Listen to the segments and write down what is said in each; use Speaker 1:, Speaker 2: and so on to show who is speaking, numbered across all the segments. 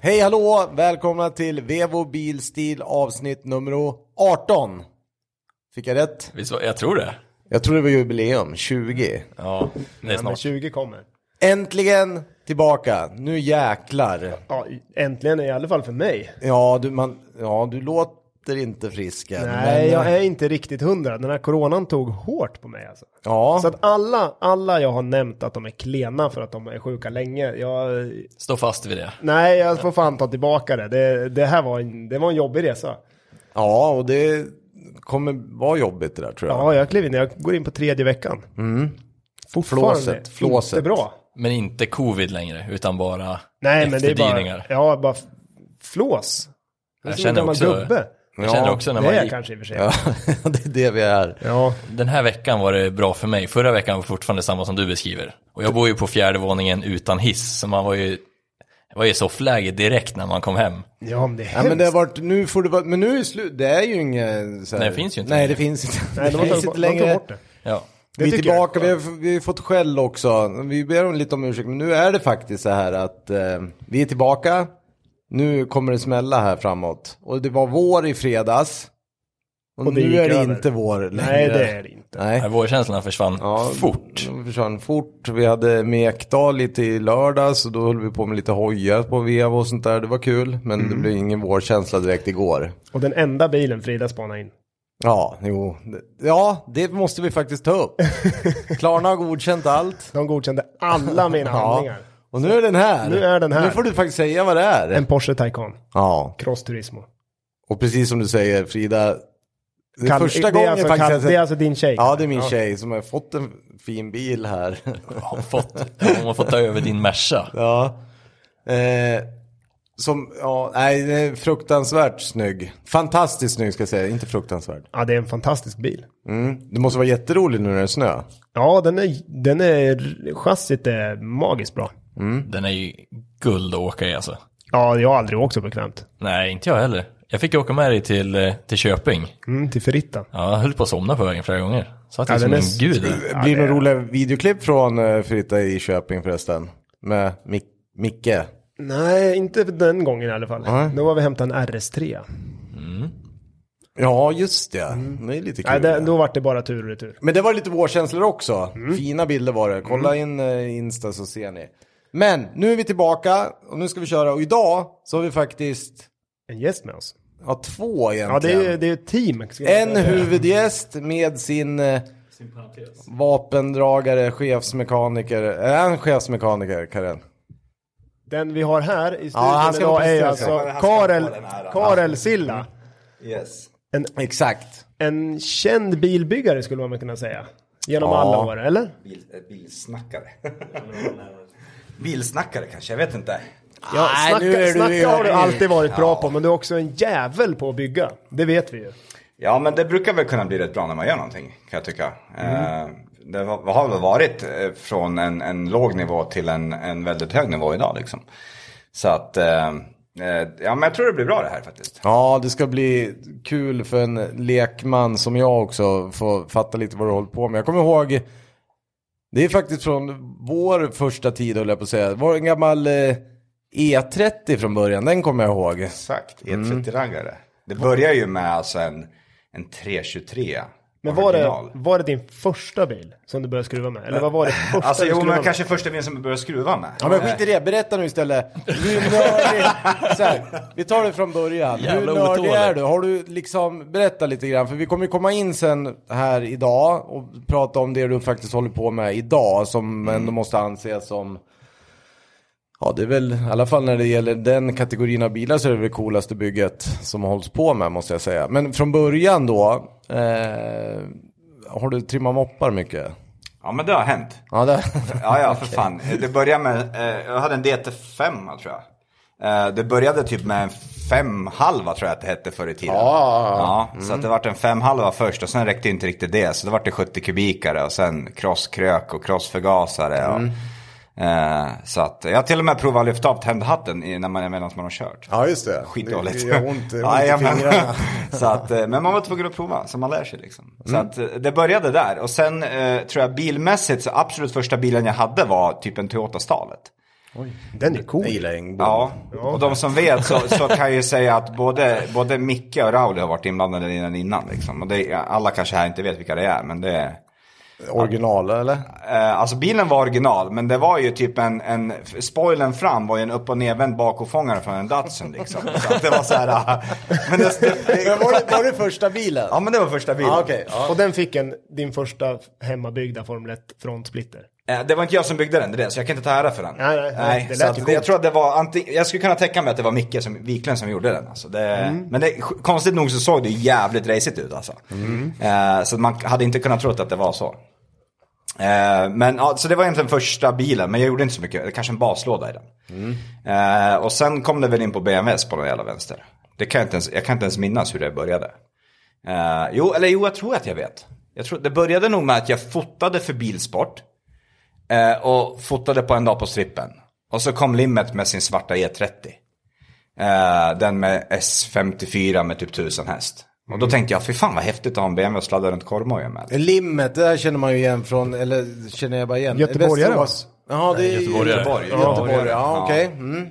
Speaker 1: Hej hallå! Välkomna till Vevo Bilstil avsnitt nummer 18. Fick jag rätt?
Speaker 2: Visst, var- jag tror det.
Speaker 1: Jag tror det var jubileum, 20.
Speaker 2: Ja, det är snart.
Speaker 3: 20 kommer.
Speaker 1: Äntligen tillbaka, nu jäklar.
Speaker 3: Ja, äntligen i alla fall för mig.
Speaker 1: Ja, du, man, ja, du låter inte frisk än,
Speaker 3: Nej,
Speaker 1: men- eh,
Speaker 3: jag är inte riktigt hundra. Den här coronan tog hårt på mig alltså.
Speaker 1: Ja,
Speaker 3: Så att alla, alla jag har nämnt att de är klena för att de är sjuka länge. Jag,
Speaker 2: Stå fast vid det.
Speaker 3: nej, jag får fan ta tillbaka det. Det, det här var en, det var en jobbig resa.
Speaker 1: ja, och det kommer vara jobbigt det där tror jag.
Speaker 3: Ja, jag klev in. Jag går in på tredje veckan. Mm. Fortfarande
Speaker 1: Flåset,
Speaker 3: inte
Speaker 1: flåset.
Speaker 3: bra.
Speaker 2: Men inte covid längre, utan bara
Speaker 3: Nej, men det är bara,
Speaker 2: efterdyningar.
Speaker 3: ja, bara f- flås. Det är
Speaker 2: Jag
Speaker 3: som en
Speaker 2: känner
Speaker 3: gammal
Speaker 2: också-
Speaker 3: Gubbe.
Speaker 2: Jag känner också när man
Speaker 3: det är
Speaker 2: gick,
Speaker 3: kanske i och för sig.
Speaker 1: Ja, det är det vi är.
Speaker 3: ja.
Speaker 2: Den här veckan var det bra för mig. Förra veckan var fortfarande samma som du beskriver. Och jag bor ju på fjärde våningen utan hiss, så man var ju, var ju i soffläge direkt när man kom hem.
Speaker 3: ja, men det är
Speaker 1: Ja,
Speaker 3: hemskt.
Speaker 1: men det har varit, nu får det vara, men nu är det slut, det är ju inget så här,
Speaker 2: Nej, det finns ju inte
Speaker 1: Nej,
Speaker 2: längre.
Speaker 1: det finns inte.
Speaker 3: Nej,
Speaker 1: det
Speaker 3: de har
Speaker 1: finns
Speaker 3: tagit
Speaker 1: inte
Speaker 3: bort- de har tagit
Speaker 1: längre.
Speaker 3: bort det.
Speaker 2: Ja.
Speaker 1: vi är
Speaker 3: tycker jag.
Speaker 1: tillbaka, vi har, vi har fått skäll också. Vi ber om lite om ursäkt, men nu är det faktiskt så här att eh, vi är tillbaka. Nu kommer det smälla här framåt. Och det var vår i fredags. Och,
Speaker 3: Och det
Speaker 1: nu
Speaker 3: gick
Speaker 1: är det
Speaker 3: över.
Speaker 1: inte vår längre.
Speaker 3: Nej, det är det inte.
Speaker 1: Nej.
Speaker 2: Nej, Vårkänslan försvann
Speaker 1: Ja,
Speaker 2: fort.
Speaker 1: de försvann fort. Vi hade Mekdal lite i lördags och då höll vi på med lite hojar på vevo och sånt där. Det var kul, men
Speaker 3: Mm.
Speaker 1: det blev ingen vårkänsla direkt igår.
Speaker 3: Och den enda bilen Frida spanade in.
Speaker 1: Ja, jo. Ja, det måste vi faktiskt ta upp. Klarna har godkänt allt.
Speaker 3: De godkände alla mina
Speaker 1: Ja.
Speaker 3: handlingar.
Speaker 1: Och nu är den här.
Speaker 3: Nu är den här.
Speaker 1: Nu får du faktiskt säga vad det är.
Speaker 3: En Porsche Taycan,
Speaker 1: Ja,
Speaker 3: Cross Turismo.
Speaker 1: och precis som du säger Frida. Det är
Speaker 3: Kalle-
Speaker 1: första gången
Speaker 3: det är alltså,
Speaker 1: faktiskt.
Speaker 3: Kalle-
Speaker 1: jag sett-
Speaker 3: det är alltså din tjej?
Speaker 1: Ja, det är min tjej som har fått en fin bil här.
Speaker 2: Hon har fått, hon har fått ta över din Merca.
Speaker 1: ja. Eh, som, ja, nej, den är fruktansvärt snygg. Fantastiskt snygg ska jag säga, inte fruktansvärt.
Speaker 3: Ja, det är en fantastisk bil.
Speaker 1: Mm. Det måste vara jätteroligt nu när det är snö.
Speaker 3: Ja, den är, den är, chassit är magiskt bra.
Speaker 2: Den är ju guld att åka i alltså.
Speaker 3: Ja, jag har aldrig åkt så bekvämt.
Speaker 2: Nej, inte jag heller. Jag fick ju åka med dig till, eh, till Köping.
Speaker 3: Mm, till Ferrita.
Speaker 2: Ja, jag höll på att somna på vägen flera gånger. Så att
Speaker 3: Ja,
Speaker 2: jag som
Speaker 3: den är
Speaker 2: en
Speaker 3: s-
Speaker 2: gud.
Speaker 1: Det blir några roliga videoklipp från eh, Fritta i Köping förresten. Med Mic- Micke.
Speaker 3: Nej, inte den gången i alla fall.
Speaker 1: Nej.
Speaker 3: Då var vi och hämtade en RS3.
Speaker 1: Ja, just det. Det är lite kul.
Speaker 3: Nej, det, då var det bara tur och retur.
Speaker 1: Men det var lite vårkänslor också. Fina bilder var det. Kolla in eh, Insta så ser ni. Men nu är vi tillbaka och nu ska vi köra. Och idag så har vi faktiskt
Speaker 3: En gäst med oss.
Speaker 1: ja, två
Speaker 3: Ja, det
Speaker 1: egentligen.
Speaker 3: är ju det är ett team. ska jag
Speaker 1: En
Speaker 3: säga.
Speaker 1: huvudgäst med sin eh, vapendragare, chefsmekaniker. Är han chefsmekaniker, Karin?
Speaker 3: Den vi har här i studion
Speaker 1: han ska vara
Speaker 3: idag är ju
Speaker 1: precis-
Speaker 3: alltså
Speaker 1: han ska
Speaker 3: Karel,
Speaker 1: få den här, då.
Speaker 3: Karel Silla.
Speaker 1: Yes.
Speaker 3: En,
Speaker 1: Exakt.
Speaker 3: en känd bilbyggare skulle man kunna säga. Genom
Speaker 1: Ja.
Speaker 3: alla år, eller?
Speaker 4: Bil, eh, bilsnackare. bilsnackare kanske, jag vet inte.
Speaker 3: Ja,
Speaker 1: Nej,
Speaker 3: snacka,
Speaker 1: nu är du-
Speaker 3: snacka har du alltid varit bra
Speaker 4: Ja.
Speaker 3: på, men du är också en jävel på att bygga. Det vet vi ju.
Speaker 4: Ja, men det brukar väl kunna bli rätt bra när man gör någonting, kan jag tycka. Eh, Det har har väl varit eh, från en, en låg nivå till en, en väldigt hög nivå idag liksom. Så att, eh, eh, ja men jag tror det blir bra det här faktiskt.
Speaker 1: Ja, det ska bli kul för en lekman som jag också få fatta lite vad du håller på med. Jag kommer ihåg, det är faktiskt från vår första tid höll jag på att säga. Det var en gammal eh, E30 från början, den kommer jag ihåg.
Speaker 4: Exakt, e 30 raggare Det börjar ju med alltså en, en 323.
Speaker 3: Men var det,
Speaker 4: original.
Speaker 3: var det din första bil som du började skruva med? Eller vad var det första
Speaker 4: Alltså
Speaker 3: du
Speaker 4: jo,
Speaker 3: skruvade
Speaker 4: men
Speaker 3: med?
Speaker 4: kanske första bilen som jag började skruva med.
Speaker 1: Ja men skit i det, berätta nu istället. Hur nördig, så här, vi tar det från början.
Speaker 2: Jävla
Speaker 1: Hur nördig
Speaker 2: otålig.
Speaker 1: är du? Har du liksom, berätta lite grann, för vi kommer ju komma in sen här idag och prata om det du faktiskt håller på med idag som ändå måste anses som Ja det är väl i alla fall när det gäller den kategorin av bilar så är det väl det coolaste bygget som hålls på med måste jag säga. Men från början då, eh, har du trimmat moppar mycket?
Speaker 4: Ja, men det har hänt.
Speaker 1: Ja, det...
Speaker 4: Ja, ja, för fan. Det började med, eh, jag hade en DT5 tror jag. Eh, det började typ med en femhalva tror jag att det hette förr i tiden. Ja, Mm. så att det vart en femhalva först och sen räckte inte riktigt det. Så det vart det 70 kubikare och sen krosskrök och krossförgasare. Och, eh, så att jag har till och med provat att lyfta av tändhatten i- när man, medan man har kört.
Speaker 1: ja just det.
Speaker 4: Skitdåligt.
Speaker 1: Det gör ont, ont i
Speaker 4: Jajamän.
Speaker 1: fingrarna.
Speaker 4: så att, eh, men man var tvungen att prova, så man lär sig liksom. Så
Speaker 1: Mm.
Speaker 4: att eh, det började där. Och sen eh, tror jag bilmässigt så absolut första bilen jag hade var typ en Toyota Stalet.
Speaker 3: Den är cool.
Speaker 1: Jag gillar Engblom.
Speaker 4: Ja, och de som vet så, så kan jag ju säga att både, både Micke och Rauli har varit inblandade innan innan. Liksom. Och det, alla kanske här inte vet vilka det är, men det är...
Speaker 1: Original eller?
Speaker 4: Eh, alltså bilen var original, men det var ju typ en, en spoilern fram var ju en upp och nedvänd bakofångare från en Datsun liksom. Så att det var så här, ah, men det, det,
Speaker 1: Men var, det, var det första bilen?
Speaker 4: ja men det var första bilen.
Speaker 1: Ah, okej, ja.
Speaker 3: Och den fick en, din första hemmabyggda Formel 1 frontsplitter.
Speaker 4: Eh, Det var inte jag som byggde den, det är det, så jag kan inte ta ära för den.
Speaker 3: Nej, nej, det
Speaker 4: så
Speaker 3: lät
Speaker 4: att
Speaker 3: ju
Speaker 4: det, jag
Speaker 3: coolt.
Speaker 4: tror att det var, anting, jag skulle kunna tänka mig att det var Micke som, Wiklund som gjorde den. Alltså. Det,
Speaker 3: Mm.
Speaker 4: Men det, konstigt nog så såg det jävligt racigt ut alltså.
Speaker 3: Mm.
Speaker 4: Eh, så att man hade inte kunnat tro att det var så. Eh, men ja, så det var egentligen första bilen, men jag gjorde inte så mycket, kanske en baslåda i den.
Speaker 3: Mm.
Speaker 4: Eh, och sen kom det väl in på BMWs på någon jävla vänster. Det kan jag, inte ens, jag kan inte ens minnas hur det började. Eh, jo, eller jo, jag tror att jag vet. Jag tror, det började nog med att jag fotade för Bilsport. Eh, och fotade på en dag på strippen. Och så kom Limmet med sin svarta E30. Eh, den med S54 med typ 1000 häst. Och då tänkte jag, fy fan vad häftigt att ha en BMW och sladda runt korvmojen med.
Speaker 1: Limmet, det här känner man ju igen från, eller känner jag bara igen.
Speaker 3: Göteborgare, va?
Speaker 1: Västerås. Jaha, det är
Speaker 2: Göteborgare.
Speaker 1: Göteborg.
Speaker 4: Ja,
Speaker 1: Göteborg,
Speaker 4: ja.
Speaker 1: ja okej. Mm.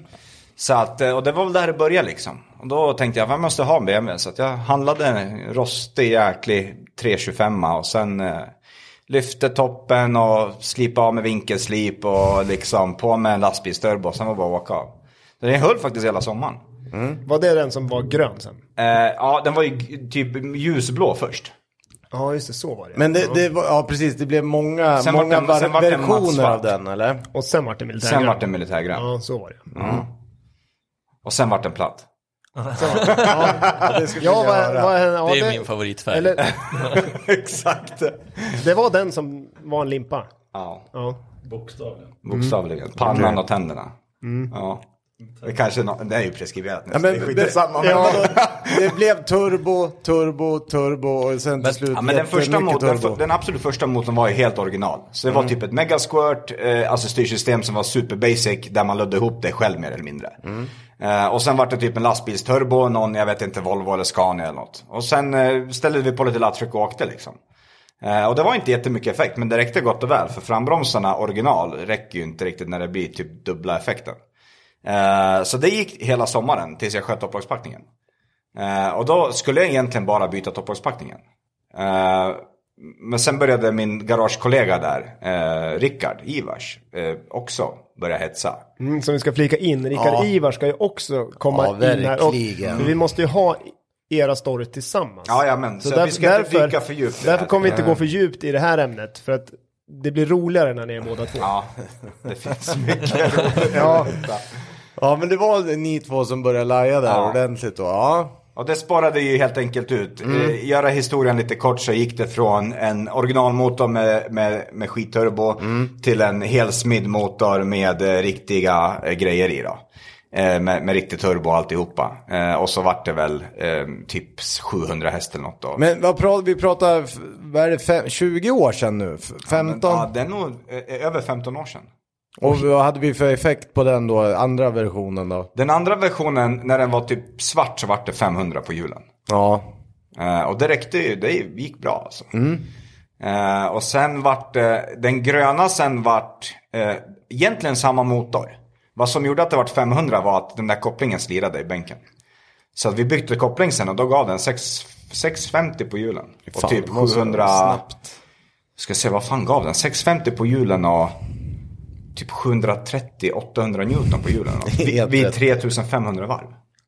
Speaker 4: Så att, eh, och det var väl där det började liksom. Och då tänkte jag, jag måste ha en BMW. Så att jag handlade en rostig jäklig 325 och sen eh, lyfte toppen och slipade av med vinkelslip och liksom på med en lastbilsturbo. Sen var det bara att åka av. Så den höll faktiskt hela sommaren.
Speaker 3: Var det den som var grön sen?
Speaker 4: Eh, ja, den var ju g- typ ljusblå först.
Speaker 3: Ja, just det, så var det.
Speaker 1: Men det, det var, ja precis, det blev många,
Speaker 4: Sen vart
Speaker 1: många
Speaker 4: den- sen
Speaker 1: var
Speaker 4: vart den
Speaker 1: versioner
Speaker 4: mattsvart.
Speaker 1: av den eller?
Speaker 3: Och sen vart det militärgrön.
Speaker 4: Sen vart den militärgrön.
Speaker 3: Ja, så var det.
Speaker 4: Och sen vart den platt.
Speaker 3: Ja, vad, vad, ja,
Speaker 2: det är min favoritfärg.
Speaker 3: Eller,
Speaker 4: Exakt.
Speaker 3: det var den som var en limpa.
Speaker 4: Ja,
Speaker 3: Ja.
Speaker 4: bokstavligen. Pannan och tänderna. Ja. Det kanske är nå- det är ju preskriberat nu.
Speaker 1: Ja,
Speaker 4: så det är
Speaker 1: men, det,
Speaker 4: skitsamma. men-
Speaker 1: ja, det blev turbo, turbo, turbo och sen till slut
Speaker 4: Ja, men den, första
Speaker 1: jättemycket
Speaker 4: mot, den,
Speaker 1: turbo. Mm.
Speaker 4: för- den absolut första motorn var ju helt original. Så det var typ ett megasquirt, eh, alltså styrsystem som var super basic där man lödde ihop det själv mer eller mindre.
Speaker 1: Mm.
Speaker 4: Eh, och sen var det typ en lastbilsturbo, någon, jag vet inte, Volvo eller Scania eller något. Och sen eh, ställde vi på lite lattryck och åkte liksom. Eh, och det var inte jättemycket effekt, men det räckte gott och väl. För frambromsarna original räcker ju inte riktigt när det blir typ dubbla effekten. Eh, så det gick hela sommaren tills jag sköt topplockspackningen. Eh, och då skulle jag egentligen bara byta topplockspackningen. Eh, men sen började min garagekollega där, eh, Rickard Ivars, eh, också börja hetsa.
Speaker 3: Mm, som vi ska flika in. Rickard
Speaker 1: Ja.
Speaker 3: Ivar ska ju också komma
Speaker 1: Ja,
Speaker 3: in här.
Speaker 1: verkligen.
Speaker 3: för vi måste ju ha era stories tillsammans.
Speaker 4: Ja, ja, men, så, vi ska inte dyka för djupt i det
Speaker 3: Därför
Speaker 4: här. Mm.
Speaker 3: kommer vi inte gå för djupt i det här ämnet. För att det blir roligare när ni är båda två.
Speaker 4: Ja, det finns mycket roligt. ja.
Speaker 1: Ja men det var ni två som började laja där
Speaker 4: Ja.
Speaker 1: ordentligt då. Ja.
Speaker 4: Och det sparade ju helt enkelt ut. Eh, göra historien lite kort så gick det från en originalmotor med, med, med skitturbo till en helsmidd motor med eh, riktiga eh, grejer i då. Eh, med, med riktig turbo och alltihopa. Eh, och så vart det väl eh, typ 700 häst eller något då.
Speaker 1: Men vad pratar, vi pratar, f- vad är det, fem, 20 år sedan nu? F- 15?
Speaker 4: Ja, det är nog eh, över 15 år sedan.
Speaker 1: och vad hade vi för effekt på den då, andra versionen då?
Speaker 4: Den andra versionen, när den var typ svart så vart det 500 på hjulen.
Speaker 1: Ja.
Speaker 4: Eh, och det räckte ju, det gick bra alltså.
Speaker 1: Mm.
Speaker 4: Eh, och sen vart eh, den gröna sen vart eh, egentligen samma motor. Vad som gjorde att det vart 500 var att den där kopplingen slirade i bänken. Så att vi bytte koppling sen och då gav den 6, 650 på hjulen. Och
Speaker 1: Fan,
Speaker 4: typ
Speaker 1: det måste vara
Speaker 4: 700...
Speaker 1: snabbt.
Speaker 4: Ska se, vad fan gav den? 650 på hjulen och typ 730-800 Newton på hjulen. Vid,
Speaker 1: Helt
Speaker 4: vid
Speaker 1: rätt.
Speaker 4: 3500 varv.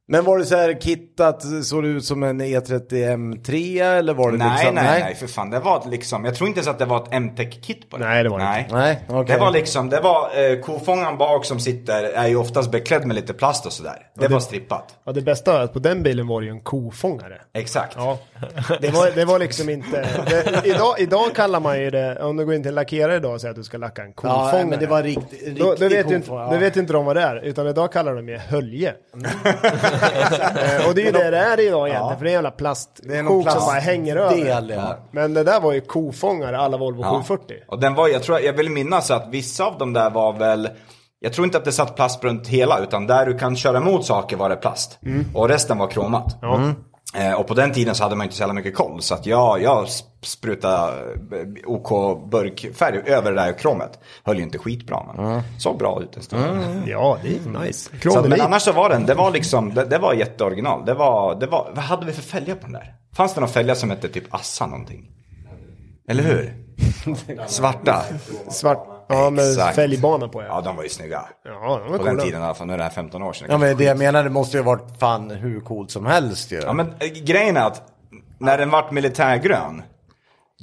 Speaker 1: Men var det så här kittat, såg det ut som en E30 M3 eller var det
Speaker 3: typ
Speaker 4: Nej,
Speaker 1: liksom?
Speaker 4: nej, nej, för fan. Det var ett liksom, jag tror inte ens att det var ett MTech-kit på det.
Speaker 3: Nej, det var det
Speaker 4: nej.
Speaker 1: Nej, okej.
Speaker 4: Det var liksom, det var eh, kofångaren bak som sitter, är ju oftast beklädd med lite plast och sådär. Det, var strippat.
Speaker 3: Ja, det bästa är att på den bilen var det ju en kofångare.
Speaker 4: Exakt.
Speaker 3: Ja, det var, det var liksom inte... Det, idag, idag kallar man ju det, om du går in till en lackerare idag och säger att du ska lacka en
Speaker 1: Ja,
Speaker 3: kofångare.
Speaker 1: men det var rikt- riktig
Speaker 3: då, då, vet ju inte,
Speaker 1: kofångare,
Speaker 3: då
Speaker 1: ja. Mm.
Speaker 3: vet inte de vad det är, utan idag kallar de ju hölje. Eh, och det är ju det det är idag egentligen, för det är en jävla
Speaker 1: Det är någon
Speaker 3: plastkok
Speaker 1: plast-
Speaker 3: som bara hänger över.
Speaker 1: del, ja.
Speaker 3: Men det där var ju kofångare, alla Volvo
Speaker 4: Ja.
Speaker 3: 740.
Speaker 4: Och den var, jag tror, jag vill minnas att vissa av dem där var väl, jag tror inte att det satt plast runt hela, utan där du kan köra emot saker var det plast. Och resten var kromat. Eh, Och på den tiden så hade man inte så jävla mycket koll. Så att jag, jag sp- sprutade eh, OK burkfärg över det där kromet. Höll ju inte skitbra men såg bra ut en stund.
Speaker 3: Ja, det är nice.
Speaker 4: Så, att- men
Speaker 3: Kronolit.
Speaker 4: annars så var den, det var liksom, det, det var jätteoriginal. Det var, det var, vad hade vi för fälgar på den där? Fanns det någon fälgar som hette typ Assa någonting? Eller hur? Svarta.
Speaker 3: Svart. Ja, med
Speaker 4: Exakt.
Speaker 3: fälgbana på.
Speaker 4: Ja,
Speaker 3: Ja,
Speaker 4: de var ju snygga.
Speaker 3: ja de var
Speaker 4: På den
Speaker 3: coola.
Speaker 4: tiden i alla fall, nu är det här 15 år sedan.
Speaker 1: Ja men det jag menar, det måste ju ha varit fan hur coolt som helst ju.
Speaker 4: Ja men eh, grejen är att när den vart militärgrön,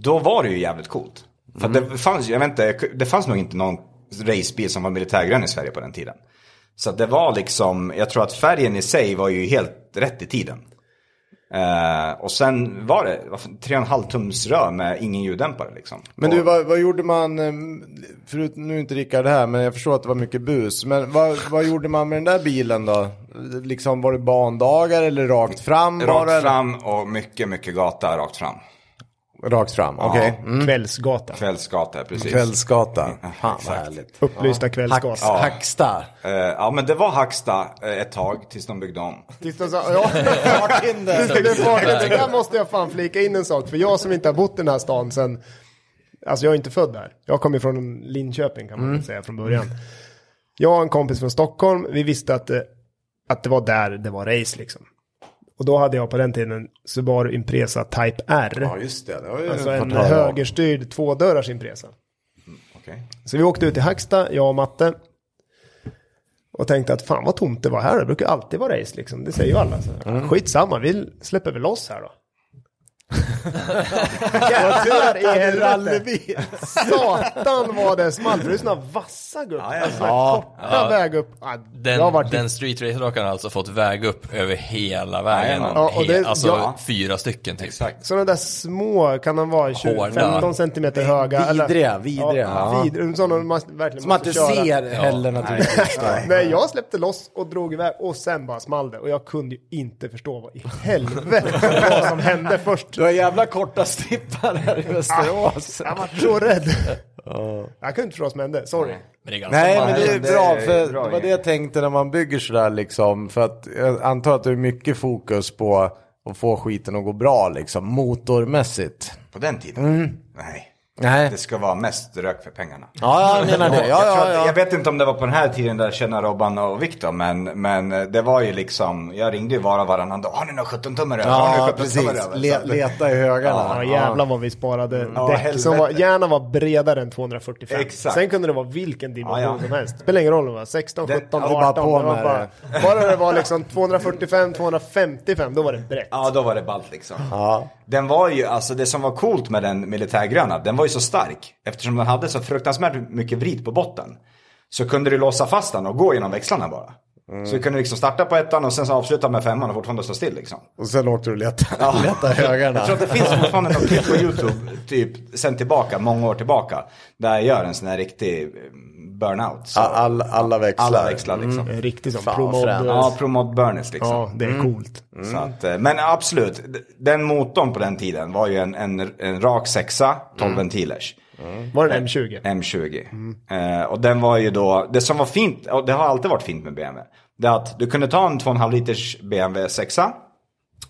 Speaker 4: då var det ju jävligt coolt. För
Speaker 1: Mm.
Speaker 4: att det fanns, jag vet inte, det fanns nog inte någon racebil som var militärgrön i Sverige på den tiden. Så att det var liksom, jag tror att färgen i sig var ju helt rätt i tiden. Eh, och sen var det vad fan, tre och en halv tums rör med ingen ljuddämpare liksom.
Speaker 1: Men
Speaker 4: och,
Speaker 1: du, vad, vad gjorde man, eh, förut, nu är inte Rickard här, men jag förstår att det var mycket bus. Men vad, vad gjorde man med den där bilen då? Liksom var det bandagar eller rakt fram bara?
Speaker 4: Rakt fram och mycket, mycket gata rakt fram.
Speaker 1: Rakt fram, okej. Mm.
Speaker 3: Kvällsgata.
Speaker 4: Kvällsgata, precis.
Speaker 1: Kvällsgata. Fan vad
Speaker 4: exakt.
Speaker 1: härligt.
Speaker 3: Upplysta kvällsgata.
Speaker 1: Hacks, Hacksta.
Speaker 4: Eh, ja men det var Hacksta eh, ett tag tills de byggde om.
Speaker 3: Tills de sa, ja. Det, det, det, där måste jag fan flika in en sak, för jag som inte har bott i den här stan sen, alltså jag är inte född där. Jag kommer från Linköping kan man väl säga från början. Jag och en kompis från Stockholm, vi visste att, det- att det var där det var race liksom. Och då hade jag på den tiden Subaru Impresa Type R.
Speaker 1: Ja just det, det var ju
Speaker 3: Alltså
Speaker 1: ett
Speaker 3: en
Speaker 1: par dagar.
Speaker 3: högerstyrd tvådörrars Impresa.
Speaker 4: Okej.
Speaker 3: Så vi åkte ut till Hacksta, jag och Matte. Och tänkte att fan vad tomt det var här. Det brukar alltid vara race liksom. Det säger ju alla. Så. Skitsamma, vi släpper väl loss här då. Jävlar i helvete. Satan vad det small. För det är såna vassa gupp.
Speaker 4: ja.
Speaker 3: Alltså, korta väg upp. Ja,
Speaker 2: Den,
Speaker 3: jag har varit
Speaker 2: den street race-rakaren har alltså fått väg upp över hela vägen.
Speaker 4: Jajamän.
Speaker 3: Ja, och det-
Speaker 2: He- alltså
Speaker 3: ja.
Speaker 2: fyra stycken typ.
Speaker 4: Exakt.
Speaker 3: Sådana där små, kan de vara 20,
Speaker 2: Hårda.
Speaker 3: 15 centimeter höga? eller-
Speaker 1: Vidriga, vidriga.
Speaker 3: Ja,
Speaker 1: Ja.
Speaker 3: vidriga. Sådana man verkligen
Speaker 1: Som att du ser heller naturligtvis. då.
Speaker 3: Nej, jag släppte loss och drog iväg och sen bara small det. Och jag kunde ju inte förstå vad i helvete det var som hände först.
Speaker 1: Du har jävla korta strippar här i Västerås.
Speaker 3: Jag var så rädd. Jag kunde inte förstå vad som hände, sorry.
Speaker 2: Men det är ganska
Speaker 1: Nej
Speaker 2: bra.
Speaker 1: men det är
Speaker 4: Ah, det är
Speaker 1: bra, för
Speaker 4: bra
Speaker 1: det var det
Speaker 4: grej.
Speaker 1: jag tänkte när man bygger sådär liksom. För att jag antar att det är mycket fokus på att få skiten att gå bra liksom, motormässigt.
Speaker 4: På den tiden? Nej.
Speaker 1: Nej.
Speaker 4: Det ska vara mest rök för pengarna.
Speaker 1: Mm. Ja, jag menar det. Ja,
Speaker 4: jag, tror
Speaker 1: ja,
Speaker 4: att-
Speaker 1: ja.
Speaker 4: jag vet inte om det var på den här tiden där jag känner Robban och Viktor, men, men det var ju liksom, jag ringde ju var och varannan dag. Har ni några 17 tummar över? Har ni några
Speaker 1: Ja,
Speaker 4: 17
Speaker 1: precis.
Speaker 4: tummar över?"
Speaker 1: Le-
Speaker 4: Så-
Speaker 1: leta i högarna.
Speaker 3: Ja, jävlar vad vi sparade däck.
Speaker 4: helvete.
Speaker 3: Som var, gärna var bredare än 245.
Speaker 4: Exakt.
Speaker 3: Sen kunde det vara vilken dimension
Speaker 4: Ja, ja.
Speaker 3: som helst. Spelar ingen roll om det var 16,
Speaker 4: Det-
Speaker 3: 17,
Speaker 4: ja,
Speaker 1: är
Speaker 4: det
Speaker 1: bara
Speaker 3: 18.
Speaker 1: på
Speaker 3: det var
Speaker 1: med
Speaker 3: bara, bara det var liksom 245, 255, då var det brett.
Speaker 4: Ja, då var det ballt liksom. Den var ju, alltså det som var coolt med den militärgröna, den var ju så stark. Eftersom den hade så fruktansvärt mycket vrid på botten. Så kunde du låsa fast den och gå genom växlarna bara.
Speaker 1: Mm.
Speaker 4: Så du kunde liksom starta på ettan och sen så avsluta med femman och fortfarande stå still liksom.
Speaker 1: Och sen åkte du och letade, leta i högarna.
Speaker 4: Jag tror att det finns fortfarande något klipp på YouTube, typ sen tillbaka, många år tillbaka, där jag gör en sån här riktig eh, burnout. Så
Speaker 1: All, alla växlar. Mm.
Speaker 4: alla växlar liksom.
Speaker 3: En riktig sån
Speaker 1: Fan,
Speaker 3: promod.
Speaker 1: frän.
Speaker 4: Ja, promod burners liksom.
Speaker 3: Ja, det är coolt.
Speaker 4: Så att, eh, men absolut, d- den motorn på den tiden var ju en, en, en rak sexa, 12 ventilers.
Speaker 3: Var det en M20?
Speaker 4: M20. Eh, och den var ju då, det som var fint, och det har alltid varit fint med BMW, det är att du kunde ta en 2,5 liters BMW 6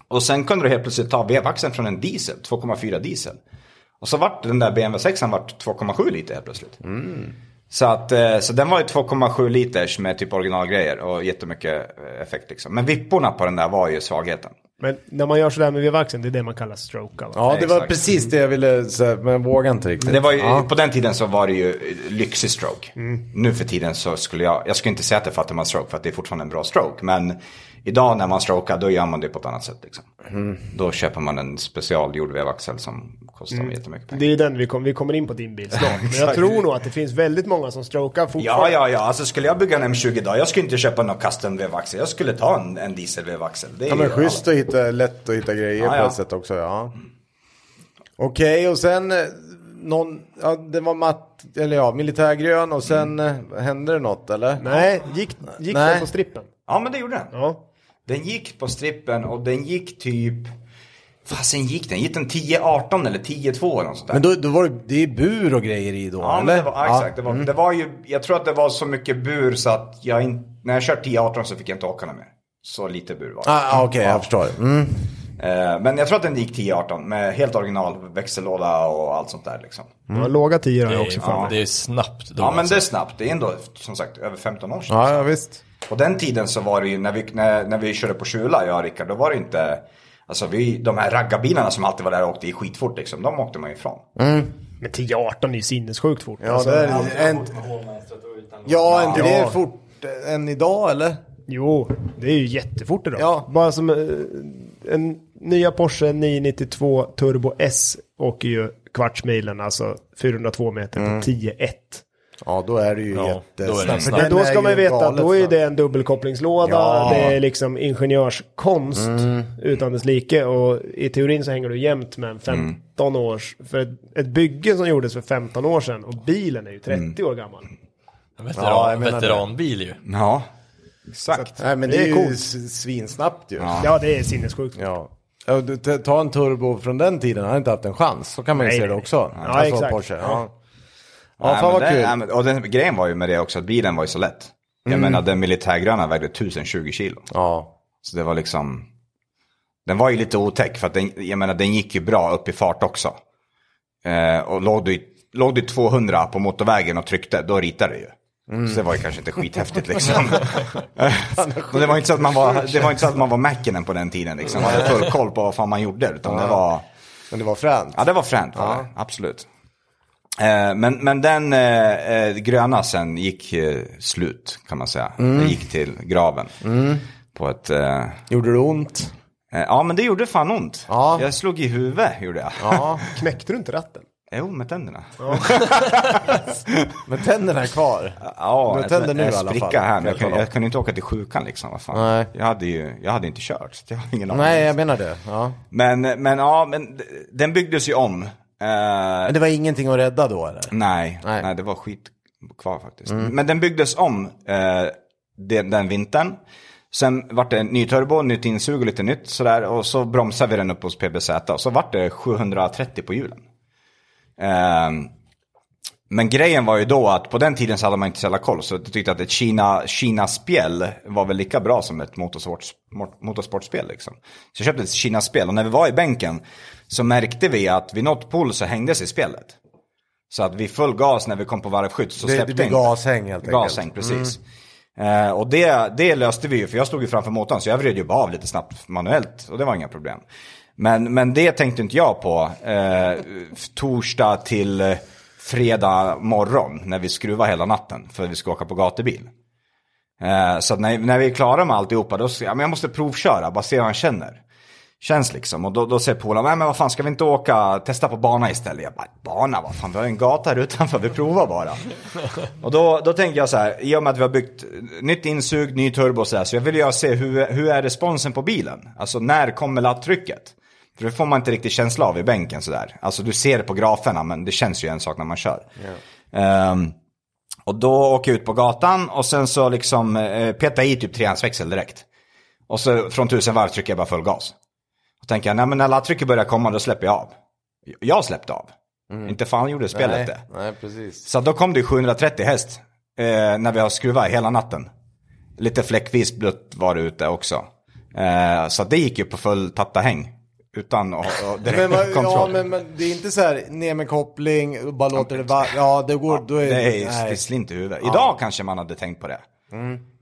Speaker 4: och sen kunde du helt plötsligt ta vevaxeln från en diesel, 2,4 diesel. Och så vart den där BMW 6 vart 2,7 liter helt plötsligt. Så, att, eh, så den var ju 2,7 liters med typ originalgrejer och jättemycket eh, effekt liksom. Men vipporna på den där var ju svagheten.
Speaker 3: Men när man gör sådär med vevaxeln, det är det man kallar stroka. Va?
Speaker 1: Ja, det var
Speaker 4: Exakt.
Speaker 1: precis det jag ville säga, men jag vågade inte riktigt.
Speaker 4: Det var ju,
Speaker 1: ja. Mm.
Speaker 4: På den tiden så var det ju lyxig stroke. Nu för tiden så skulle jag, jag skulle inte säga att jag fattar man stroke för att det är fortfarande en bra stroke. Men idag när man strokar då gör man det på ett annat sätt. Liksom.
Speaker 1: Mm.
Speaker 4: Då köper man en specialgjord vevaxel som kostar
Speaker 1: Mm.
Speaker 4: jättemycket pengar.
Speaker 3: Det är ju den vi, kom, vi kommer in på din bil snart. Men jag tror nog att det finns väldigt många som strokar
Speaker 4: Ja,
Speaker 3: fortfarande.
Speaker 4: ja, ja. Alltså skulle jag bygga en M20 idag, jag skulle inte köpa någon custom vevaxel. Jag skulle ta en, en diesel vevaxel. Det är
Speaker 1: ja, men
Speaker 4: ju
Speaker 1: schysst att hitta, lätt att hitta grejer
Speaker 4: Ja,
Speaker 1: på
Speaker 4: ja.
Speaker 1: ett sätt också. Ja. Okej, och sen eh, någon, ja, det var matt, eller ja, militärgrön och sen
Speaker 4: Mm.
Speaker 1: eh, hände det något eller?
Speaker 3: Nej, gick, gick
Speaker 1: Nej.
Speaker 3: den på strippen?
Speaker 4: alla. Ja, men det gjorde den.
Speaker 3: Ja.
Speaker 4: Den gick på strippen och den gick typ... Fasen gick den? Gick den 10-18 eller 10-2 eller något sånt där?
Speaker 1: Men då, då var det, det är bur och grejer i då
Speaker 4: Ja,
Speaker 1: eller?
Speaker 4: men det var, ja, exakt. Det var, det var ju, jag tror att det var så mycket bur så att jag in, när jag kört 10-18 så fick jag inte åka den mer. Så lite bur var det.
Speaker 1: Ah, ah, Okej, jag förstår. Mm.
Speaker 4: Eh, Men jag tror att den gick 10-18 med helt original växellåda och allt sånt där liksom.
Speaker 3: Det
Speaker 1: Mm.
Speaker 3: var låga tior har
Speaker 2: Det
Speaker 3: jag
Speaker 2: är,
Speaker 3: också för
Speaker 2: ja,
Speaker 3: mig.
Speaker 2: det är snabbt då.
Speaker 4: Ja men
Speaker 2: alltså.
Speaker 4: det är snabbt, det är ändå som sagt över 15 år sedan.
Speaker 1: Ja, ja visst.
Speaker 4: På den tiden så var det ju när vi, när, när vi körde på Kjula, jag och Rickard, då var det inte Alltså vi, de här raggarbilarna som alltid var där och åkte i skitfort liksom, de åkte man ju ifrån.
Speaker 3: Men 10-18 är ju sinnessjukt fort. Alltså,
Speaker 1: Ja,
Speaker 4: Alltså,
Speaker 1: det är en, ja, är inte det är fort än idag eller?
Speaker 3: Jo, det är ju jättefort idag.
Speaker 1: Ja.
Speaker 3: Bara som eh, en nya Porsche 992 Turbo S åker ju kvartsmilen, alltså 402 meter
Speaker 1: Mm.
Speaker 3: på 10-1.
Speaker 1: Ja, då är det ju
Speaker 2: Ja, då är det
Speaker 1: jättesnabbt. För
Speaker 2: snabbt.
Speaker 1: den
Speaker 3: Men då
Speaker 1: är
Speaker 3: ska
Speaker 1: ju
Speaker 3: man ju veta att
Speaker 1: galet
Speaker 3: då är
Speaker 1: snabb.
Speaker 3: det en dubbelkopplingslåda,
Speaker 1: Ja. Mm.
Speaker 3: det är liksom ingenjörskonst utan dess like och i teorin så hänger du jämt med en 15 års, för ett, ett bygge som gjordes för 15 år sedan och bilen är ju 30
Speaker 1: Mm.
Speaker 3: år gammal.
Speaker 2: Veteran,
Speaker 1: Ja, jag menar det.
Speaker 2: veteranbil ju.
Speaker 4: Ja, exakt.
Speaker 1: Nej, men det,
Speaker 3: Det är
Speaker 1: är ju
Speaker 3: coolt.
Speaker 1: s- svinsnabbt ju. Ja.
Speaker 3: Ja, det är sinnessjukt.
Speaker 1: Ja, du, ta- Ta en turbo från den tiden, han har inte haft en chans. Så kan man ju
Speaker 3: Nej,
Speaker 1: se det
Speaker 3: nej.
Speaker 1: också.
Speaker 3: Ja, exakt.
Speaker 1: Porsche. Ja, ja
Speaker 4: Nej,
Speaker 1: fan
Speaker 4: men
Speaker 1: vad
Speaker 4: det-
Speaker 1: kul. Mm.
Speaker 4: nej, men- och den, grejen var ju med det också att bilen var ju så lätt. Jag menar den militärgröna vägde 1020 kilo.
Speaker 1: Ja.
Speaker 4: Så det var liksom, den var ju lite otäck för att den, jag menar den gick ju bra upp i fart också. Eh, och låg du, i- låg du i 200 på motorvägen och tryckte, då ritade du ju.
Speaker 1: Mm.
Speaker 4: Så det var ju kanske inte skithäftigt liksom. och det var inte så att man var, det var inte så att man var Mäkinen på den tiden liksom. Man hade full koll på vad fan man gjorde. Utan det var...
Speaker 1: Men det var fränt.
Speaker 4: Ja, det var fränt. Var det. Absolut. Eh, men, men den eh, eh, gröna sen gick eh, slut, kan man säga.
Speaker 1: Mm.
Speaker 4: Den gick till graven. På ett... Eh, eh,
Speaker 1: Gjorde det ont?
Speaker 4: ja, men det gjorde fan ont.
Speaker 1: Ja.
Speaker 4: Jag slog i huvudet, gjorde jag.
Speaker 1: Ja,
Speaker 3: Knäckte du inte ratten?
Speaker 4: Jo, med tänderna. Ja,
Speaker 1: men tänderna är kvar. med
Speaker 4: ett-
Speaker 1: tänder nu
Speaker 4: en
Speaker 1: i alla fall.
Speaker 4: spricka här.
Speaker 1: Kan
Speaker 4: Men jag,
Speaker 1: jag
Speaker 4: kunde,
Speaker 1: kolla.
Speaker 4: jag kunde inte åka till sjukan liksom. Vad fan.
Speaker 1: Nej.
Speaker 4: Jag, hade ju, jag hade inte kört, så jag har ingen aning.
Speaker 1: Nej, jag menar det. Ja.
Speaker 4: Men, men ja, men d- den byggdes ju om. Eh,
Speaker 1: Men det var ingenting att rädda då eller?
Speaker 4: Nej,
Speaker 1: Nej.
Speaker 4: nej. det var skit kvar faktiskt. Men den byggdes om eh, den, den vintern. Sen vart det en ny turbo, nytt insug och lite nytt sådär. Och så bromsade vi den upp hos PBZ. Och så vart det 730 på hjulen. Ehm, men grejen var ju då att på den tiden så hade man inte så jävla koll. Så jag tyckte att ett Kina, Kina-spel var väl lika bra som ett motorsports, mot- motorsportspel. Liksom. Så jag köpte ett Kina-spel och när vi var i bänken så märkte vi att vid något pool så hängdes i spelet. Så att vi full gas när vi kom på varvskydd så
Speaker 1: Det- det
Speaker 4: släppte
Speaker 1: blir
Speaker 4: inte.
Speaker 1: gashäng helt enkelt. Mm.
Speaker 4: Gashäng, precis. Eh, och det, det löste vi ju, för jag stod ju framför motorn så jag vred ju bara av lite snabbt manuellt och det var inga problem. Men, men det tänkte inte jag på eh, torsdag till eh, fredag morgon när vi skruvade hela natten för vi ska åka på gatubil. Eh, så att när, när vi är klara med alltihopa då ska jag, men jag måste provköra, bara se hur han känner. Känns liksom. Och då, då säger polaren, nej men vad fan ska vi inte åka, testa på bana istället? Jag bara, bana, vad fan vi har ju en gata här utanför, vi provar bara. och då, då tänker jag så här, i och med att vi har byggt nytt insug, ny turbo och så här, så jag vill ju se hur, hur är responsen på bilen? Alltså när kommer laddtrycket? För det får man inte riktigt känsla av i bänken sådär. Alltså du ser det på graferna, men det känns ju en sak när man kör. Ehm, och då åker jag ut på gatan och sen så liksom eh, petar jag i typ trehandsväxel direkt. Och så från tusen varv trycker jag bara full gas. Och tänker jag, nej men när laddtrycket börjar komma då släpper jag av. Jag släppte av. Inte fan gjorde spelet
Speaker 1: nej,
Speaker 4: det.
Speaker 1: nej, precis.
Speaker 4: Så då kom det 730 häst eh, när vi har skruvat hela natten. Lite fläckvis blött var det ute också. Eh, så det gick ju på full tatta häng. Utan att- att direkt
Speaker 1: Men, vad-
Speaker 4: kontroll.
Speaker 1: ja, men, men det är inte så här, ner med koppling, och bara låter det vara. Ja, det går, då är
Speaker 4: Det är
Speaker 1: nej. Mm.
Speaker 4: slint i huvudet. Idag kanske man hade tänkt på det.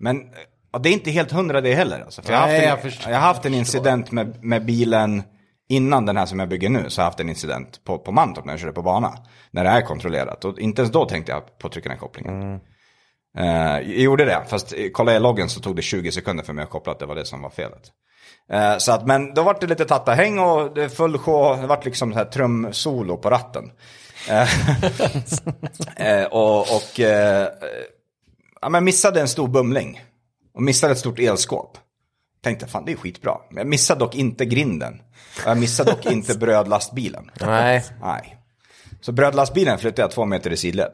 Speaker 4: Men eh, ja, det är inte helt hundra det heller. Alltså. För jag har
Speaker 1: Nej, jag
Speaker 4: haft en,
Speaker 1: förstår-
Speaker 4: jag har haft en incident med, med bilen innan den här som jag bygger nu. Så har jag haft en incident på, på Mantorp när jag körde på bana. När det är kontrollerat. Och inte ens då tänkte jag på att trycka den här kopplingen.
Speaker 1: Mm.
Speaker 4: Eh, jag gjorde det, fast eh, kolla i loggen så tog det 20 sekunder för mig att koppla att det var det som var felet. Eh, så att, men då vart det lite tattahäng och det full sjå, det vart liksom så här trumsolo på ratten. Eh, och och eh, eh, ja, men missade en stor bumling. Och missade ett stort elskåp. Tänkte fan det är skitbra. Men jag missade dock inte grinden. Och jag missade dock inte brödlastbilen.
Speaker 1: Nej.
Speaker 4: Nej. Så brödlastbilen flyttade jag två meter i sidled.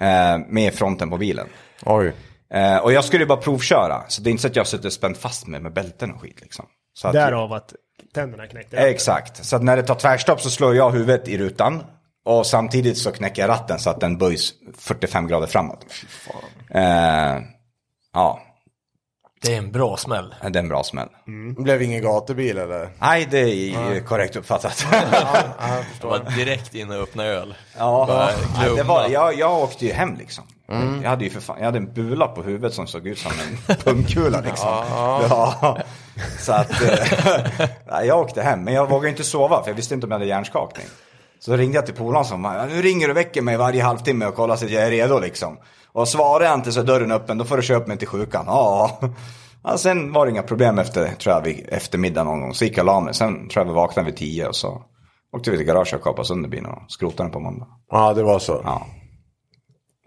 Speaker 4: Eh, med fronten på bilen.
Speaker 1: Oj.
Speaker 4: Eh, och jag skulle ju bara provköra. Så det är inte så att jag sitter spänt fast mig med bälten och skit liksom. Så att,
Speaker 3: Därav att tänderna knäckte ratten.
Speaker 4: Exakt, så att när det tar tvärstopp så slår jag huvudet i rutan. Och samtidigt så knäcker jag ratten så att den böjs 45 grader framåt. Eh, ja.
Speaker 2: Det är en bra smäll.
Speaker 4: Det är en bra smäll.
Speaker 1: Det Mm, blev ingen gatubil eller?
Speaker 4: Nej, det är ju korrekt uppfattat.
Speaker 2: Jag var direkt inne och öppnade öl.
Speaker 4: Ja,
Speaker 2: Bara
Speaker 4: Nej, det var,
Speaker 2: glömma. Mm.
Speaker 4: jag, jag åkte ju hem liksom. Jag, hade ju för fan, jag hade en bula på huvudet som såg ut som en pungkula liksom. Ja. Så att, eh, nej, jag åkte hem, men jag vågade inte sova för jag visste inte om jag hade hjärnskakning. Så ringde jag till polaren som bara, nu ringer du och väcker mig varje halvtimme och kollar så att jag är redo liksom. Och svarar jag inte så är dörren öppen, då får du köra upp mig till sjukan. Ja. Ja, sen var det inga problem efter, tror jag, vid eftermiddag någon gång. Så gick jag och la mig. Sen tror jag vi vaknade vid tio och så åkte vi till garaget och kapade sönder bilen och skrotade den på måndag.
Speaker 1: Ja, det var så.
Speaker 4: Ja.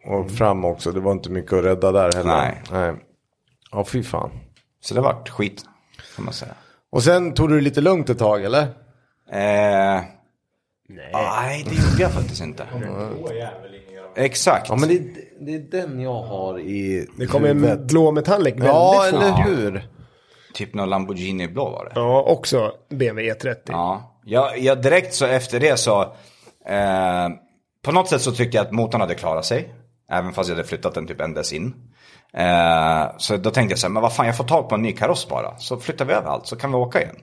Speaker 1: Och fram också, det var inte mycket att rädda där heller.
Speaker 4: Nej.
Speaker 1: Nej. Ja, fy fan.
Speaker 4: Så det vart skit, kan man säga.
Speaker 1: Och sen tog du det lite lugnt ett tag eller?
Speaker 4: Eh, ah, nej.
Speaker 1: Ah,
Speaker 4: det gjorde jag faktiskt inte. Exakt.
Speaker 1: Ja, men det, det är den jag har i
Speaker 3: Det kom en blå metallic väldigt
Speaker 1: Ja,
Speaker 3: fort.
Speaker 1: eller hur?
Speaker 4: Typ någon Lamborghini blå var det.
Speaker 3: Ja, också BMW E30.
Speaker 4: Ja. Jag, jag direkt så efter det så, eh, på något sätt så tyckte jag att motorn hade klarat sig. Även fast jag hade flyttat den typ ändes in. Eh, så då tänkte jag så här, men vad fan jag får tag på en ny kaross bara. Så flyttar vi över allt så kan vi åka igen.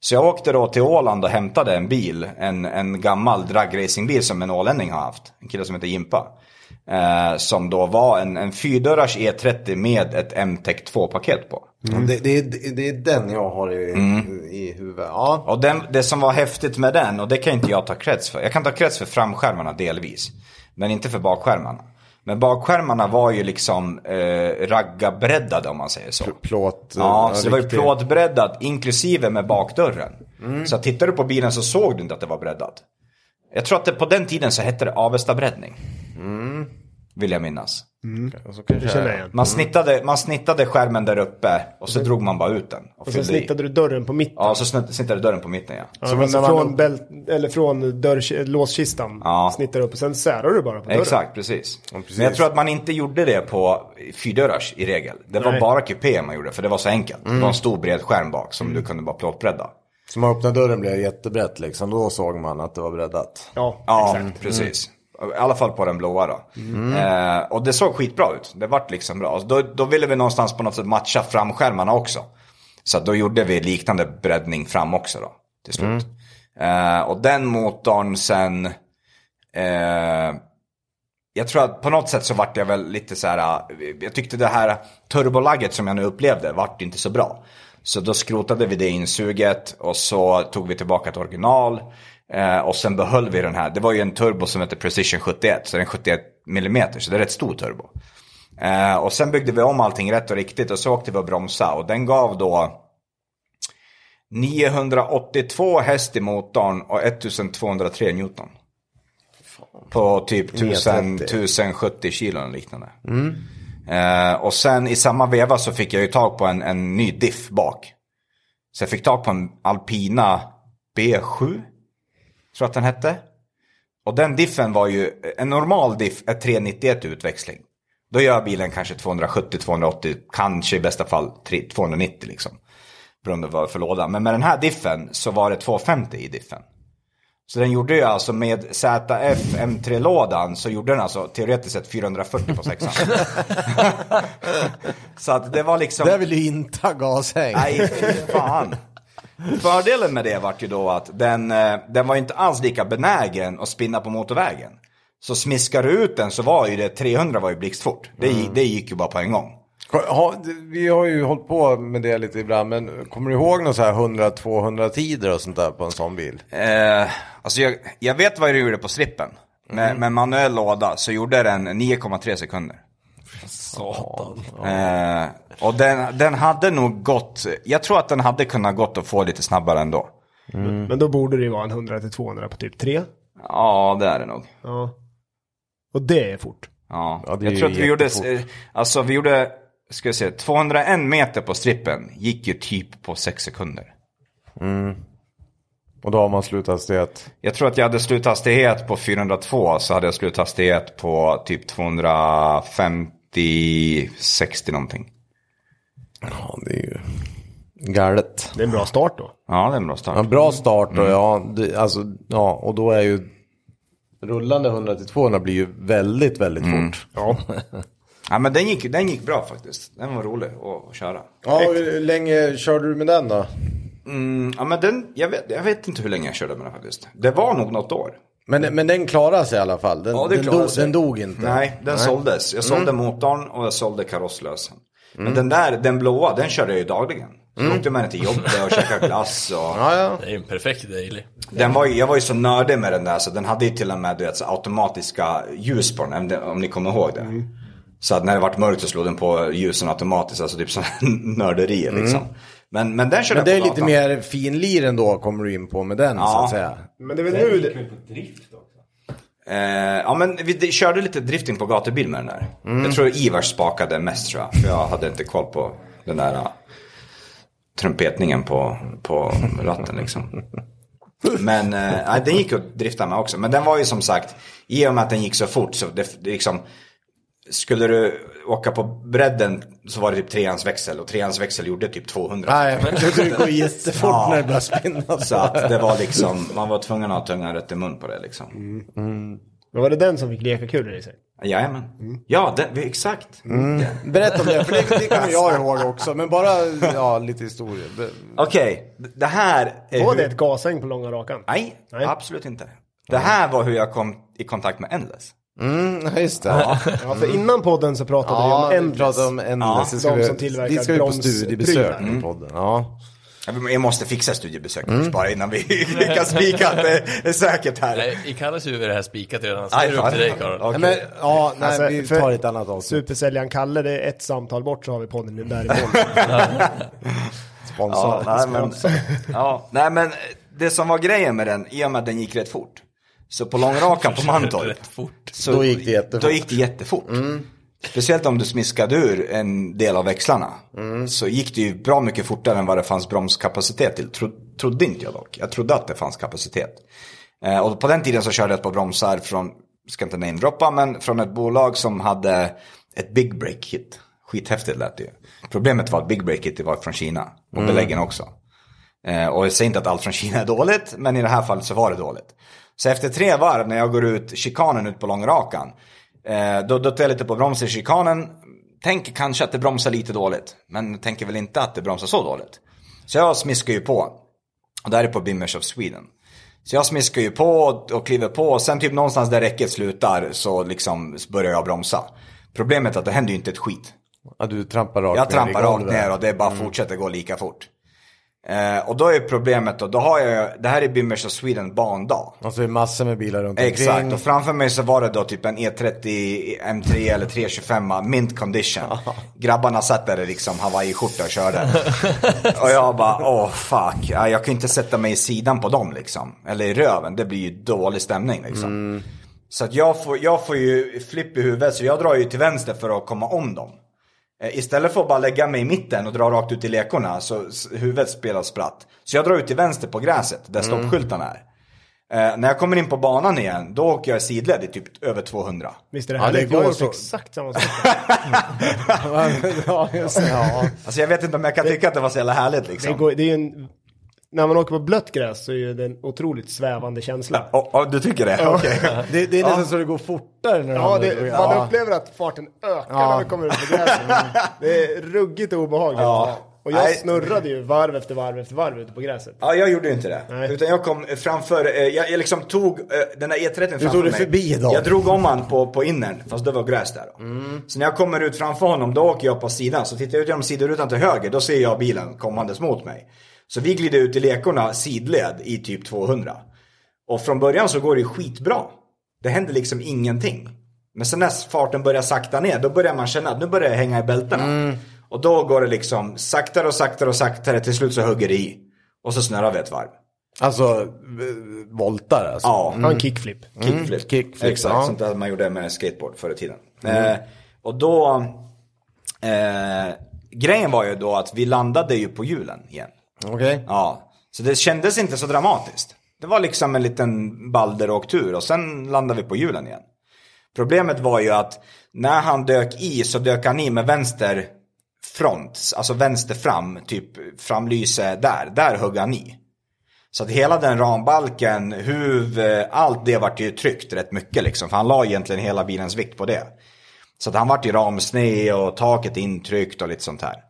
Speaker 4: Så jag åkte då till Åland och hämtade en bil, en, en gammal dragracingbil som en ålänning har haft. En kille som heter Jimpa. Eh, som då var en, en fyrdörrars E30 med ett M-Tech 2-paket på.
Speaker 1: Det, det, är- det är den jag har i, i huvudet. Ja.
Speaker 4: Och den, det som var häftigt med den, och det kan inte jag ta krets för. Jag kan ta krets för framskärmarna delvis. Men inte för bakskärmarna. Men bakskärmarna var ju liksom eh, raggabreddade om man säger så.
Speaker 1: Plåt.
Speaker 4: Ja, så det var ju
Speaker 1: riktigt.
Speaker 4: plåtbreddat inklusive med bakdörren. Så tittar du på bilen så såg du inte att det var breddat. Jag tror att det, på den tiden så hette det Avestabreddning. Vill jag minnas.
Speaker 1: Och så kanske
Speaker 3: Det känner jag igen.
Speaker 4: Man, snittade, man snittade skärmen där uppe och så drog man bara ut den. Och,
Speaker 3: Och sen
Speaker 4: fyllde i.
Speaker 3: snittade du dörren på mitten.
Speaker 4: Ja, så snitt- snittade dörren på mitten ja.
Speaker 3: Ja, alltså från, bält, eller från dörr, låskistan
Speaker 4: Ja.
Speaker 3: snittar upp och sen särar du bara på dörren.
Speaker 4: Exakt, precis.
Speaker 1: precis.
Speaker 4: Men jag tror att man inte gjorde det på fyrdörrars i regel. Det var
Speaker 3: Nej.
Speaker 4: bara kupé man gjorde, för det var så enkelt. Det var en stor bred skärm bak som du kunde bara plåtbredda.
Speaker 1: Så man öppnade dörren blev det jättebrett liksom. Då såg man att det var breddat.
Speaker 3: Ja, mm.
Speaker 4: Ja,
Speaker 3: exakt.
Speaker 4: precis. I alla fall på den blåa då. Eh, och det såg skitbra ut. Det vart liksom bra. Då, då ville vi någonstans på något sätt matcha framskärmarna också. Så att då gjorde vi liknande breddning fram också då. Till slut. Eh, och den motorn sen... Eh, jag tror att på något sätt så vart jag väl lite så här, eh, jag tyckte det här turbolagget som jag nu upplevde vart inte så bra. Så då skrotade vi det insuget och så tog vi tillbaka ett original. Eh, och sen behöll vi den här, det var ju en turbo som hette Precision 71, så den är 71 mm, så det är rätt stor turbo. Eh, och sen byggde vi om allting rätt och riktigt och så åkte vi och bromsade och den gav då 982 häst i motorn och 1203 Newton. På typ 1000, 1070 kilo eller liknande. Eh, och sen i samma veva så fick jag ju tag på en, en ny diff bak. Så jag fick tag på en Alpina B7. Tror jag att den hette. Och den diffen var ju, en normal diff är 391 utväxling. Då gör bilen kanske 270-280, kanske i bästa fall 3- 290 liksom. Beroende på vad för låda. Men med den här diffen så var det 250 i diffen. Så den gjorde ju alltså med ZF M3-lådan så gjorde den alltså teoretiskt sett 440 på sexan. så att det var liksom...
Speaker 1: Där vill du inte ha gashäng.
Speaker 4: Nej, fy fan. Fördelen med det vart ju då att den, eh, den var ju inte alls lika benägen att spinna på motorvägen. Så smiskar du ut den så var ju det 300 var ju blixtfort. Det, gi- det gick ju bara på en gång.
Speaker 1: Ja, det- vi har ju hållit på med det lite ibland, men kommer du ihåg någon så här 100-200 tider och sånt där på en sån bil?
Speaker 4: Eh, alltså jag, jag vet vad du gjorde på strippen. Med, med manuell låda så gjorde den 9,3 sekunder.
Speaker 2: Satan.
Speaker 4: Eh, och den, den hade nog gått, jag tror att den hade kunnat gått att få lite snabbare ändå.
Speaker 3: Men då borde det ju vara en 100-200 på typ 3.
Speaker 4: Ja, det är det nog.
Speaker 3: Ja. Och det är fort.
Speaker 4: Ja,
Speaker 1: Ja, det är
Speaker 4: jag
Speaker 1: ju
Speaker 4: tror att vi gjorde,
Speaker 1: jättefort.
Speaker 4: eh, alltså vi gjorde, ska jag säga, 201 meter på strippen gick ju typ på 6 sekunder.
Speaker 1: Och då har man sluthastighet.
Speaker 4: Jag tror att jag hade sluthastighet på 402 så hade jag sluthastighet på typ 250, 60 någonting.
Speaker 1: Ja, det är ju galet.
Speaker 3: Det är en bra start då.
Speaker 4: Ja, det är en bra start.
Speaker 1: Ja, bra start och ja, det, alltså, ja, och då är Mm. ju rullande 100-200 blir ju väldigt, väldigt fort.
Speaker 3: Ja.
Speaker 4: Ja, men den gick, den gick bra faktiskt. Den var rolig att köra.
Speaker 1: Ja, hur länge körde du med den då?
Speaker 4: Mm, ja, men den, jag, vet, jag vet inte hur länge jag körde med den faktiskt. Det var nog något år.
Speaker 1: Men, men den klarade sig i alla fall? Den,
Speaker 4: Ja, det
Speaker 1: den,
Speaker 4: klarade
Speaker 1: dog,
Speaker 4: sig.
Speaker 1: den dog inte? Mm.
Speaker 4: Nej, den såldes. Jag sålde motorn och jag sålde karosslösen. Men den där, den blåa, den körde jag ju dagligen. Så åkte med den till jobbet och käkade glass och...
Speaker 1: Mm. Ja, ja.
Speaker 2: Det är en perfekt daily.
Speaker 4: Den var ju, jag var ju så nördig med den där så den hade ju till och med du vet, så automatiska ljus på den, om det- om ni kommer ihåg det.
Speaker 1: Mm.
Speaker 4: Så att när det vart mörkt så slog den på ljusen automatiskt, alltså typ sån här nörderi liksom. Men, men den körde
Speaker 1: Mm. Men det är
Speaker 4: jag på
Speaker 1: lite
Speaker 4: gatan.
Speaker 1: mer finlir ändå kommer du in på med den så
Speaker 4: Ja.
Speaker 1: att säga.
Speaker 3: Men det är väl nu det...
Speaker 4: Eh, ja men vi d- körde lite drifting på gatubil med den där. Jag tror Ivars spakade mest tror jag. För jag hade inte koll på den där eh, trumpetningen på, på ratten liksom. Men eh, nej, den gick att drifta med också. Men den var ju som sagt, i och med att den gick så fort så det, det liksom, skulle du åka på bredden så var det typ treans växel och treans växel gjorde typ 200.
Speaker 1: Nej, men det går jättefort
Speaker 4: Ja.
Speaker 1: när det börjar spinna.
Speaker 4: Så att det var liksom, man var tvungen att ha tungan rätt i mun på det liksom.
Speaker 3: Men var det den som fick leka kulor i sig?
Speaker 4: Jajamän. Ja, det, exakt.
Speaker 1: Berätta om det, för det, det kommer jag ihåg också. Men bara ja, lite historia. Be-
Speaker 4: Okej, d- det här är
Speaker 3: Var
Speaker 4: hur...
Speaker 3: det ett gasäng på långa rakan?
Speaker 4: Nej,
Speaker 3: Nej.
Speaker 4: absolut inte. Det här var hur jag kom i kontakt med Endless.
Speaker 1: Mm, ja, just det. Ja,
Speaker 3: Ja, för innan podden så pratade
Speaker 1: ja
Speaker 3: vi om
Speaker 1: vi
Speaker 3: Endless.
Speaker 1: pratar om Endless. det ska
Speaker 4: Ja, Mm.
Speaker 3: de
Speaker 1: vi,
Speaker 3: som tillverkar
Speaker 1: dit ska vi på
Speaker 3: bromsprylar.
Speaker 1: studiebesök i podden. Ja.
Speaker 4: Jag måste fixa studiebesök först bara innan vi kan spika att det är säkert här.
Speaker 2: Nej, I Kalles huvud är det här spikat redan. Så det
Speaker 4: Aj,
Speaker 2: är upp till dig
Speaker 4: fan.
Speaker 2: Karl.
Speaker 1: Nej,
Speaker 4: Okej.
Speaker 1: men, ja, nej,
Speaker 3: Alltså,
Speaker 1: vi
Speaker 3: för-
Speaker 1: tar ett annat avsnitt.
Speaker 3: Supersäljaren Kalle, det är ett samtal bort så har vi podden nu därifrån.
Speaker 1: Sponsor.
Speaker 4: Ja, nej, men, ja, nej men det som var grejen med den, i och med att den gick rätt fort. Så på långrakan på Mantorp.
Speaker 2: Rätt fort.
Speaker 4: så-
Speaker 1: Då gick det jättefort.
Speaker 4: Då gick det jättefort. Mm. Speciellt om du smiskade ur en del av växlarna. Så gick det ju bra mycket fortare än vad det fanns bromskapacitet till. Tro, trodde inte jag dock. Jag trodde att det fanns kapacitet. Eh, och på den tiden så körde jag ett par bromsar från, ska inte namedroppa, men från ett bolag som hade ett big break kit. Skithäftigt lät det ju. Problemet var att big break kit var från Kina. Och beläggen också. Eh, Och jag säger inte att allt från Kina är dåligt, men i det här fallet så var det dåligt. Så efter tre varv när jag går ut chikanen ut på långrakan, eh, då, då tar jag lite på bromsen i chikanen. Tänker kanske att det bromsar lite dåligt, men tänker väl inte att det bromsar så dåligt. Så jag smiskar ju på. Och där är på Bimmers of Sweden. Så jag smiskar ju på och- och kliver på och sen typ någonstans där räcket slutar så liksom börjar jag bromsa. Problemet är att det händer ju inte ett skit.
Speaker 1: Ja, du trampar rakt
Speaker 4: Jag trampar
Speaker 1: i
Speaker 4: rakt
Speaker 1: golvet.
Speaker 4: ner och det
Speaker 1: Mm.
Speaker 4: bara fortsätter gå lika fort. Eh, och då är problemet då, då har jag, det här är Bimmers of Sweden bandag.
Speaker 1: Mm. Och så är det massor med bilar runt
Speaker 4: Exakt,
Speaker 1: omkring.
Speaker 4: och framför mig så var det då typ en E30 M3 eller 325 mint condition. Grabbarna satt där i liksom hawaiiskjorta och körde. och jag bara, åh fuck, Ja, jag kan ju inte sätta mig i sidan på dem liksom. Eller i röven, det blir ju dålig stämning liksom.
Speaker 1: Mm.
Speaker 4: Så att jag får, jag får ju flipp i huvudet så jag drar ju till vänster för att komma om dem. Eh, Istället för att bara lägga mig i mitten och dra rakt ut i lekorna så s- huvudet spelar spratt. Så jag drar ut till vänster på gräset där
Speaker 3: Mm.
Speaker 4: stoppskyltarna är. Eh, när jag kommer in på banan igen, då åker jag i sidled i typ över 200.
Speaker 3: Visst är det
Speaker 1: Ja, det
Speaker 3: härligt?
Speaker 1: går
Speaker 3: jag har gjort
Speaker 1: så.
Speaker 3: exakt samma sak.
Speaker 1: ja, just det. Ja.
Speaker 4: Alltså jag vet inte om jag kan tycka att det var så jävla härligt liksom.
Speaker 3: Det, går, det är ju en... När man åker på blött gräs så är ju det en otroligt svävande känsla.
Speaker 4: Ja, ja, du tycker det? Okej.
Speaker 1: Det, det är nästan så det går fortare när du
Speaker 3: Ja,
Speaker 1: hamnar i
Speaker 3: det,
Speaker 1: golvet.
Speaker 3: man upplever att farten ökar när vi kommer ut på gräset. Det är ruggigt och obehagligt.
Speaker 4: Ja.
Speaker 3: Och jag
Speaker 4: Nej.
Speaker 3: snurrade ju varv efter varv efter varv ute på gräset.
Speaker 4: Ja, jag gjorde ju inte det.
Speaker 3: Nej.
Speaker 4: Utan jag kom framför, eh, jag, jag liksom tog eh, den där E30 framför
Speaker 1: tog dig
Speaker 4: mig.
Speaker 1: förbi dem.
Speaker 4: Jag drog om han på, på innern, fast det var gräs där. Då.
Speaker 1: Mm.
Speaker 4: Så när jag kommer ut framför honom, då åker jag på sidan. Så tittar jag ut genom sidorutan till höger, då ser jag bilen kommandes mot mig. Så vi glider ut i lekorna sidled i typ 200. Och från början så går det ju skitbra. Det händer liksom ingenting. Men sen när farten börjar sakta ner, då börjar man känna att nu börjar jag hänga i bältena.
Speaker 1: Mm.
Speaker 4: Och då går det liksom saktare och saktare och saktare, till slut så hugger det i. Och så snurrar vi ett varv.
Speaker 1: Alltså, eh, voltar alltså. Mm.
Speaker 4: Ja,
Speaker 3: Ja, en kickflip.
Speaker 4: kickflip.
Speaker 1: kickflip,
Speaker 4: Exakt,
Speaker 1: ja. Mm.
Speaker 4: sånt där man gjorde med skateboard förr i tiden. Eh, och då, eh, grejen var ju då att vi landade ju på hjulen igen.
Speaker 1: Okej.
Speaker 4: Ja, så det kändes inte så dramatiskt. Det var liksom en liten balderåktur och sen landade vi på hjulen igen. Problemet var ju att när han dök i så dök han i med vänster front, alltså vänster fram, typ framlyse där, där högg han i. Så att hela den rambalken, huv, eh, allt det vart ju tryckt rätt mycket liksom. För han la egentligen hela bilens vikt på det. Så att han vart ju ramsned och taket intryckt och lite sånt här.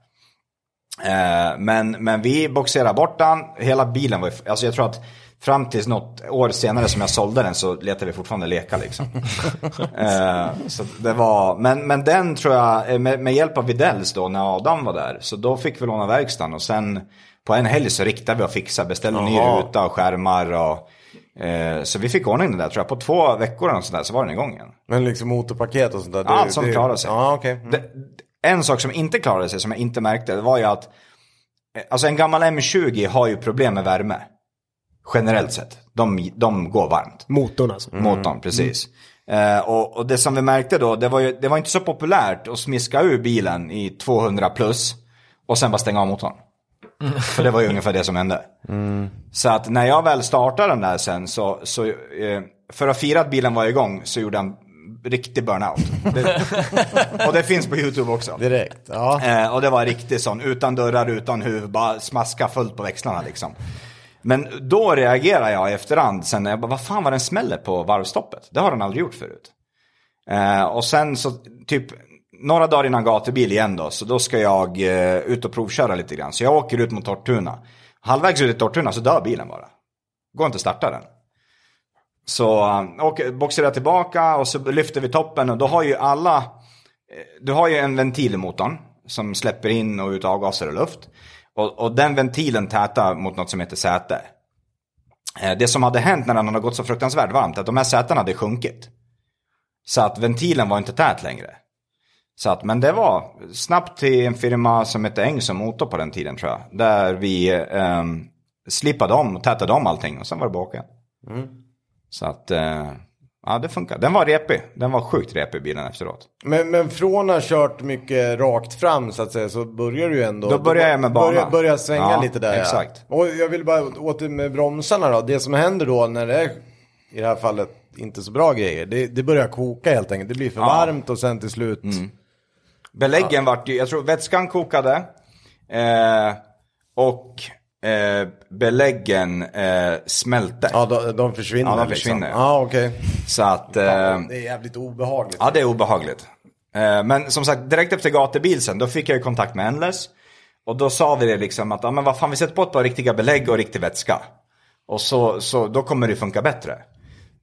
Speaker 4: Eh, Men, men vi boxerade bort den, hela bilen var ju- alltså jag tror att fram tills något år senare som jag sålde den så letade vi fortfarande leka liksom. Eh, så det var, men, men den tror jag, eh, med, med hjälp av Videls då när Adam var där, så då fick vi låna verkstaden och sen på en helg så riktade vi och fixade, beställde ny ruta och skärmar och eh, så vi fick ordning den där tror jag, på två veckor eller något sånt där så var den igång igen.
Speaker 1: Men liksom motorpaket och sånt där. det-
Speaker 4: Allt som
Speaker 1: det-
Speaker 4: klarar sig.
Speaker 1: Ja, okej. Mm.
Speaker 4: Det, en sak som inte klarade sig, som jag inte märkte, det var ju att eh, alltså en gammal M20 har ju problem med värme. Generellt sett. De, de går varmt.
Speaker 3: Motorn alltså.
Speaker 4: Motorn, precis. Eh, och, och det som vi märkte då, det var ju det var inte så populärt att smiska ur bilen i 200 plus och sen bara stänga av motorn. För det var ju ungefär det som hände. Så att när jag väl startade den där sen så, så eh, för att fira att bilen var igång så gjorde han riktig burnout. Det, och det finns på YouTube också.
Speaker 1: Direkt. Ja.
Speaker 4: Eh, och det var riktigt sån, utan dörrar, utan huvud, bara smaska fullt på växlarna liksom. Men då reagerar jag i efterhand, sen när jag bara, vad fan var den smäller på varvstoppet? Det har den aldrig gjort förut. Eh, och sen så, typ, några dagar innan gatubil igen då, så då ska jag eh, ut och provköra lite grann. Så jag åker ut mot Tortuna. Halvvägs ut i Tortuna så dör bilen bara. Går inte att starta den. Så eh, och boxerar jag tillbaka och så lyfter vi toppen och då har ju alla, eh, du har ju en ventil i motorn som släpper in och ut avgaser och luft. Och, och den ventilen tätar mot något som heter säte. Eh, Det som hade hänt när den hade gått så fruktansvärt varmt, att de här sätena hade sjunkit. Så att ventilen var inte tät längre. Så att, men det var snabbt till en firma som hette Eng som motor på den tiden tror jag. Där vi eh, slipade om och tätade om allting och sen var det baka. Så att, eh, ja det funkar. Den var repig. Den var sjukt repig bilen efteråt.
Speaker 1: Men, men från att ha kört mycket rakt fram så att säga så börjar du ju ändå.
Speaker 4: Då börjar jag med banan.
Speaker 1: Börjar, börjar svänga
Speaker 4: Ja,
Speaker 1: lite där. ja.
Speaker 4: exakt.
Speaker 1: Och jag vill bara åter med bromsarna då. Det som händer då när det är i det här fallet inte så bra grejer. Det, det börjar koka helt enkelt. Det blir för varmt och sen till slut.
Speaker 4: Mm. Beläggen vart ju, jag tror vätskan kokade. Eh, och eh, beläggen eh, smälte.
Speaker 1: Ja, de, de försvinner.
Speaker 4: Ja, de försvinner.
Speaker 1: Liksom. Ja, okej.
Speaker 4: Så att, eh,
Speaker 1: Det är jävligt obehagligt.
Speaker 4: ja det är obehagligt. Eh, men som sagt, direkt efter gatubil sen, då fick jag ju kontakt med Endless. Och då sa vi det liksom att, ja men vad fan vi sätter på ett par riktiga belägg och riktig vätska. Och så, så då kommer det funka bättre.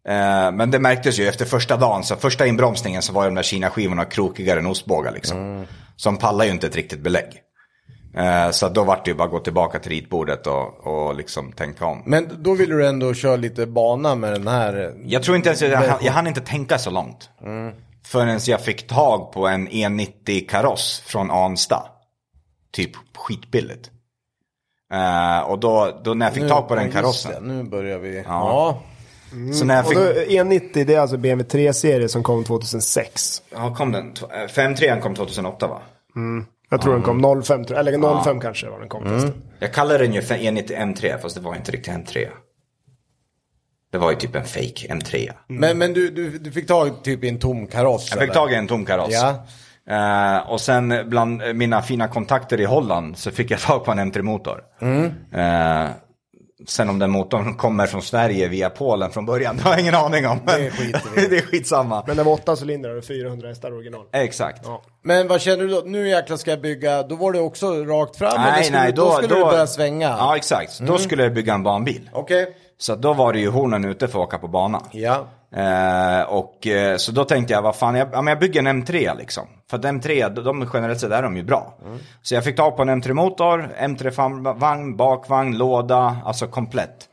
Speaker 4: Eh, men det märktes ju efter första dagen, så första inbromsningen så var ju de där Kina-skivorna krokigare än ostbågar liksom. Som pallar ju inte ett riktigt belägg. Eh, så då vart det ju bara att gå tillbaka till ritbordet och, och liksom tänka om.
Speaker 1: Men då vill du ändå köra lite bana med den här.
Speaker 4: Jag tror inte ens, jag, hann- jag hann inte tänka så långt. Förrän jag fick tag på en E90 kaross från Ansta. Typ skitbilligt. Eh, och då, då när jag fick tag på den
Speaker 1: just
Speaker 4: karossen.
Speaker 1: det, Nu börjar vi. Ja.
Speaker 4: Så när jag
Speaker 3: Mm. Och
Speaker 4: fick,
Speaker 3: då, E90 det är alltså BMW 3-serie som kom 2006.
Speaker 4: ja, kom den, Tw- eh, 53 kom 2008 va?
Speaker 3: Jag tror den kom 05, tror jag. eller 05 kanske var den kom. Mm.
Speaker 4: Jag kallar den ju för E E90 M3 fast det var inte riktigt M3. Det var ju typ en fake M3.
Speaker 1: Men, men du, du, du fick tag typ i en tom kaross?
Speaker 4: Jag fick
Speaker 1: eller?
Speaker 4: tag i en tom kaross.
Speaker 1: Ja.
Speaker 4: Eh, och sen bland eh, mina fina kontakter i Holland så fick jag tag på en M3-motor.
Speaker 1: Mm.
Speaker 4: Eh, sen om den motorn kommer från Sverige via Polen från början, det har jag ingen aning om.
Speaker 1: Det skiter vi i.
Speaker 4: det är skitsamma.
Speaker 3: Men den var 8 cylindrar och 400 hästar
Speaker 4: Äh.
Speaker 3: original.
Speaker 4: Exakt.
Speaker 1: Men vad känner du då? Nu jäklar ska jag bygga. Då var det också rakt fram? eller
Speaker 4: Nej,
Speaker 1: skulle,
Speaker 4: nej,
Speaker 1: då,
Speaker 4: då,
Speaker 1: skulle du börja svänga? Mm.
Speaker 4: Ja, exakt. Då skulle jag bygga en banbil.
Speaker 1: Okej.
Speaker 4: Så då var det ju hornen ute för att åka på banan.
Speaker 1: Ja.
Speaker 4: Eh, och, eh, så då tänkte jag, vad fan, jag, ja, men jag bygger en M3 liksom. För att M3, de- de generellt sett är de ju bra. Så jag fick tag på en M3-motor, M3-vagn, bakvagn, låda, alltså komplett.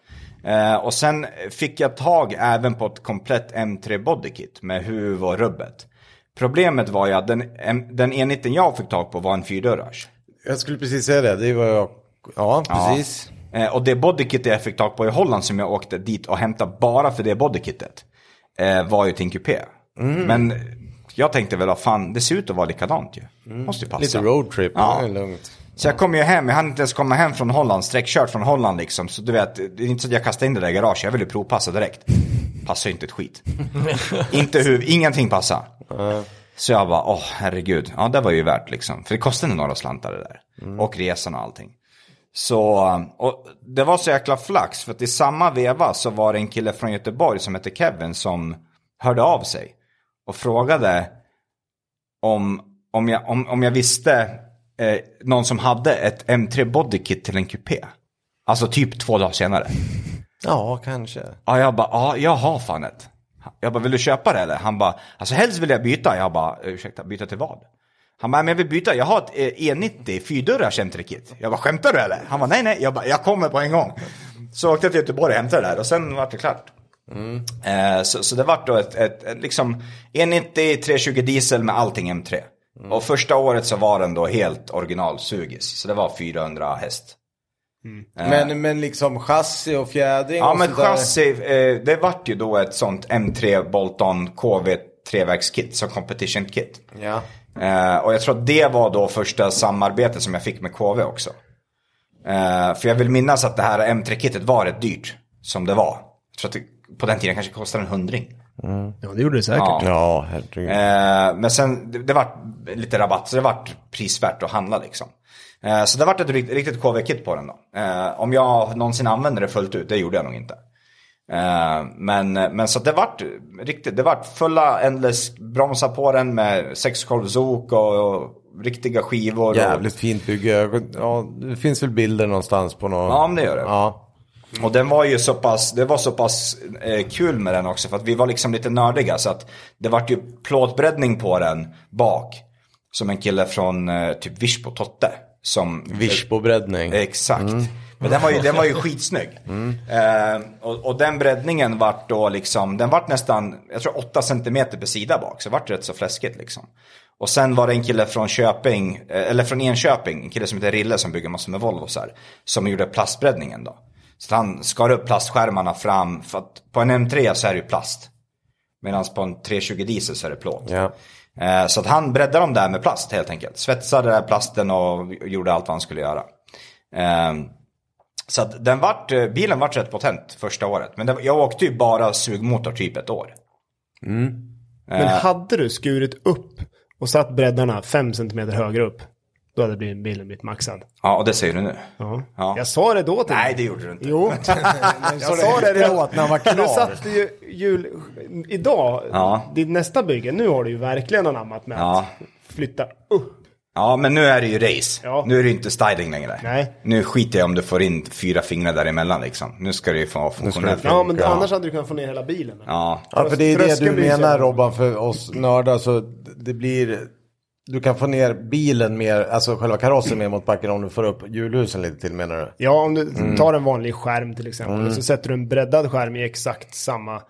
Speaker 4: Eh, och sen fick jag tag även på ett komplett M3 bodykit med huv och rubbet. Problemet var ju att den, en- den enheten jag fick tag på var en fyrdörrars.
Speaker 1: Jag skulle precis säga det. Det var jag... Ja, precis.
Speaker 4: Eh, och det bodykit jag fick tag på i Holland som jag åkte dit och hämtade bara för det bodykitet eh, var ju till en kupé.
Speaker 1: Mm.
Speaker 4: Men jag tänkte väl, vad fan, det ser ut att vara likadant ju. Måste ju passa.
Speaker 1: Mm. Lite roadtrip.
Speaker 4: Ja.
Speaker 1: Det är lugnt.
Speaker 4: Så jag kom ju hem, jag hann inte ens komma hem från Holland, sträckkört från Holland liksom. Så du vet, det är inte så att jag kastade in det där i garaget, jag ville provpassa direkt. Passar ju inte ett skit. inte hur, ingenting passar. Så jag bara, åh herregud, ja det var ju värt liksom. För det kostade några slantar det där. Och resan och allting. Så, och det var så jäkla flax, för att i samma veva så var det en kille från Göteborg som hette Kevin som hörde av sig. Och frågade, om, om, jag, om, om jag visste eh, någon som hade ett M3 Bodykit till en kupé. Alltså typ två dagar senare.
Speaker 1: Ja, kanske.
Speaker 4: Ja, jag bara, ja, jag har fan ett. Jag bara, vill du köpa det eller? Han bara, alltså helst vill jag byta. Jag bara, ursäkta, byta till vad? Han bara, men jag vill byta, jag har ett eh, E90 fyrdörrars M3-kit. Jag bara, skämtar du eller? Han bara, nej nej, jag bara, jag kommer på en gång. Så åkte jag till Göteborg och hämtade det där och sen var det klart. Eh, så, så det vart då ett, ett, ett liksom E90 320 diesel med allting M3. Och första året så var den då helt originalsugis, så det var 400 häst.
Speaker 1: Men, men liksom chassi och fjädring
Speaker 4: Ja
Speaker 1: och
Speaker 4: men
Speaker 1: sånt där.
Speaker 4: chassi, eh, det vart ju då ett sånt M3 Bolton KV trevägskit, som competition kit.
Speaker 1: Ja.
Speaker 4: Eh, och jag tror att det var då första samarbetet som jag fick med KV också. Eh, för jag vill minnas att det här M3-kittet var rätt dyrt som det var. Jag tror att det, på den tiden kanske kostade en hundring.
Speaker 3: Ja, det gjorde det säkert.
Speaker 4: Ja.
Speaker 1: Ja, herregud.
Speaker 4: Eh, men sen, det, det vart lite rabatt, så det vart prisvärt att handla liksom. Eh, så det vart ett rikt- riktigt KV-kit på den då. Eh, om jag någonsin använde det fullt ut, det gjorde jag nog inte. Eh, men, men så att det vart riktigt, det vart fulla endless bromsar på den med sexkolvsok och, och riktiga skivor. Och,
Speaker 1: Jävligt fint bygge. Ja, det finns väl bilder någonstans på någon.
Speaker 4: Ja, men det gör det.
Speaker 1: Ja.
Speaker 4: Mm. Och den var ju så pass, det var så pass eh, kul med den också för att vi var liksom lite nördiga så att det vart ju plåtbreddning på den bak. Som en kille från eh, typ Virsbo, Totte. Som,
Speaker 1: Virsbobreddning.
Speaker 4: Exakt. Men den var ju, den var ju skitsnygg. Eh, och, och den breddningen vart då liksom, den vart nästan, jag tror 8 centimeter per sida bak. Så det vart rätt så fläskigt liksom. Och sen var det en kille från Köping, eh, eller från Enköping, en kille som heter Rille som bygger massor med Volvosar. Som gjorde plastbreddningen då. Så han skar upp plastskärmarna fram, för att på en M3 så är det ju plast. Medan på en 320 diesel så är det plåt.
Speaker 1: Ja.
Speaker 4: Eh, Så att han breddade dem där med plast helt enkelt. Svetsade där plasten och gjorde allt vad han skulle göra. Eh, Så att den vart, eh, bilen vart rätt potent första året. Men det, jag åkte ju bara sugmotor typ ett år.
Speaker 3: Men hade du skurit upp och satt breddarna 5 cm högre upp, då hade bilen blivit maxad.
Speaker 4: Ja, och det säger du nu.
Speaker 3: Ja.
Speaker 4: Ja.
Speaker 3: Jag sa det då till dig.
Speaker 4: Nej, det gjorde du inte.
Speaker 3: Jo, jag sa det redan.
Speaker 1: efteråt när han var klar.
Speaker 3: Du satte ju jul... Idag,
Speaker 4: Ja.
Speaker 3: ditt nästa bygge, nu har du ju verkligen anammat med
Speaker 4: Ja.
Speaker 3: att flytta upp.
Speaker 4: Ja, men nu är det ju race.
Speaker 3: Ja.
Speaker 4: Nu är det ju inte styling längre.
Speaker 3: Nej.
Speaker 4: Nu skiter jag om du får in fyra fingrar däremellan liksom. Nu ska det ju få vara funktionellt.
Speaker 3: Ja, men annars hade du kunnat få ner hela bilen.
Speaker 4: Ja.
Speaker 1: Ja, för det är det du
Speaker 3: Tröskeln blir så
Speaker 1: menar
Speaker 3: jävla-
Speaker 1: Robban, för oss nördar så det blir... Du kan få ner bilen mer, alltså själva karossen mer mot backen om du får upp hjulhusen lite till menar du?
Speaker 3: Ja, om du tar en vanlig skärm till exempel och så sätter du en breddad skärm i exakt samma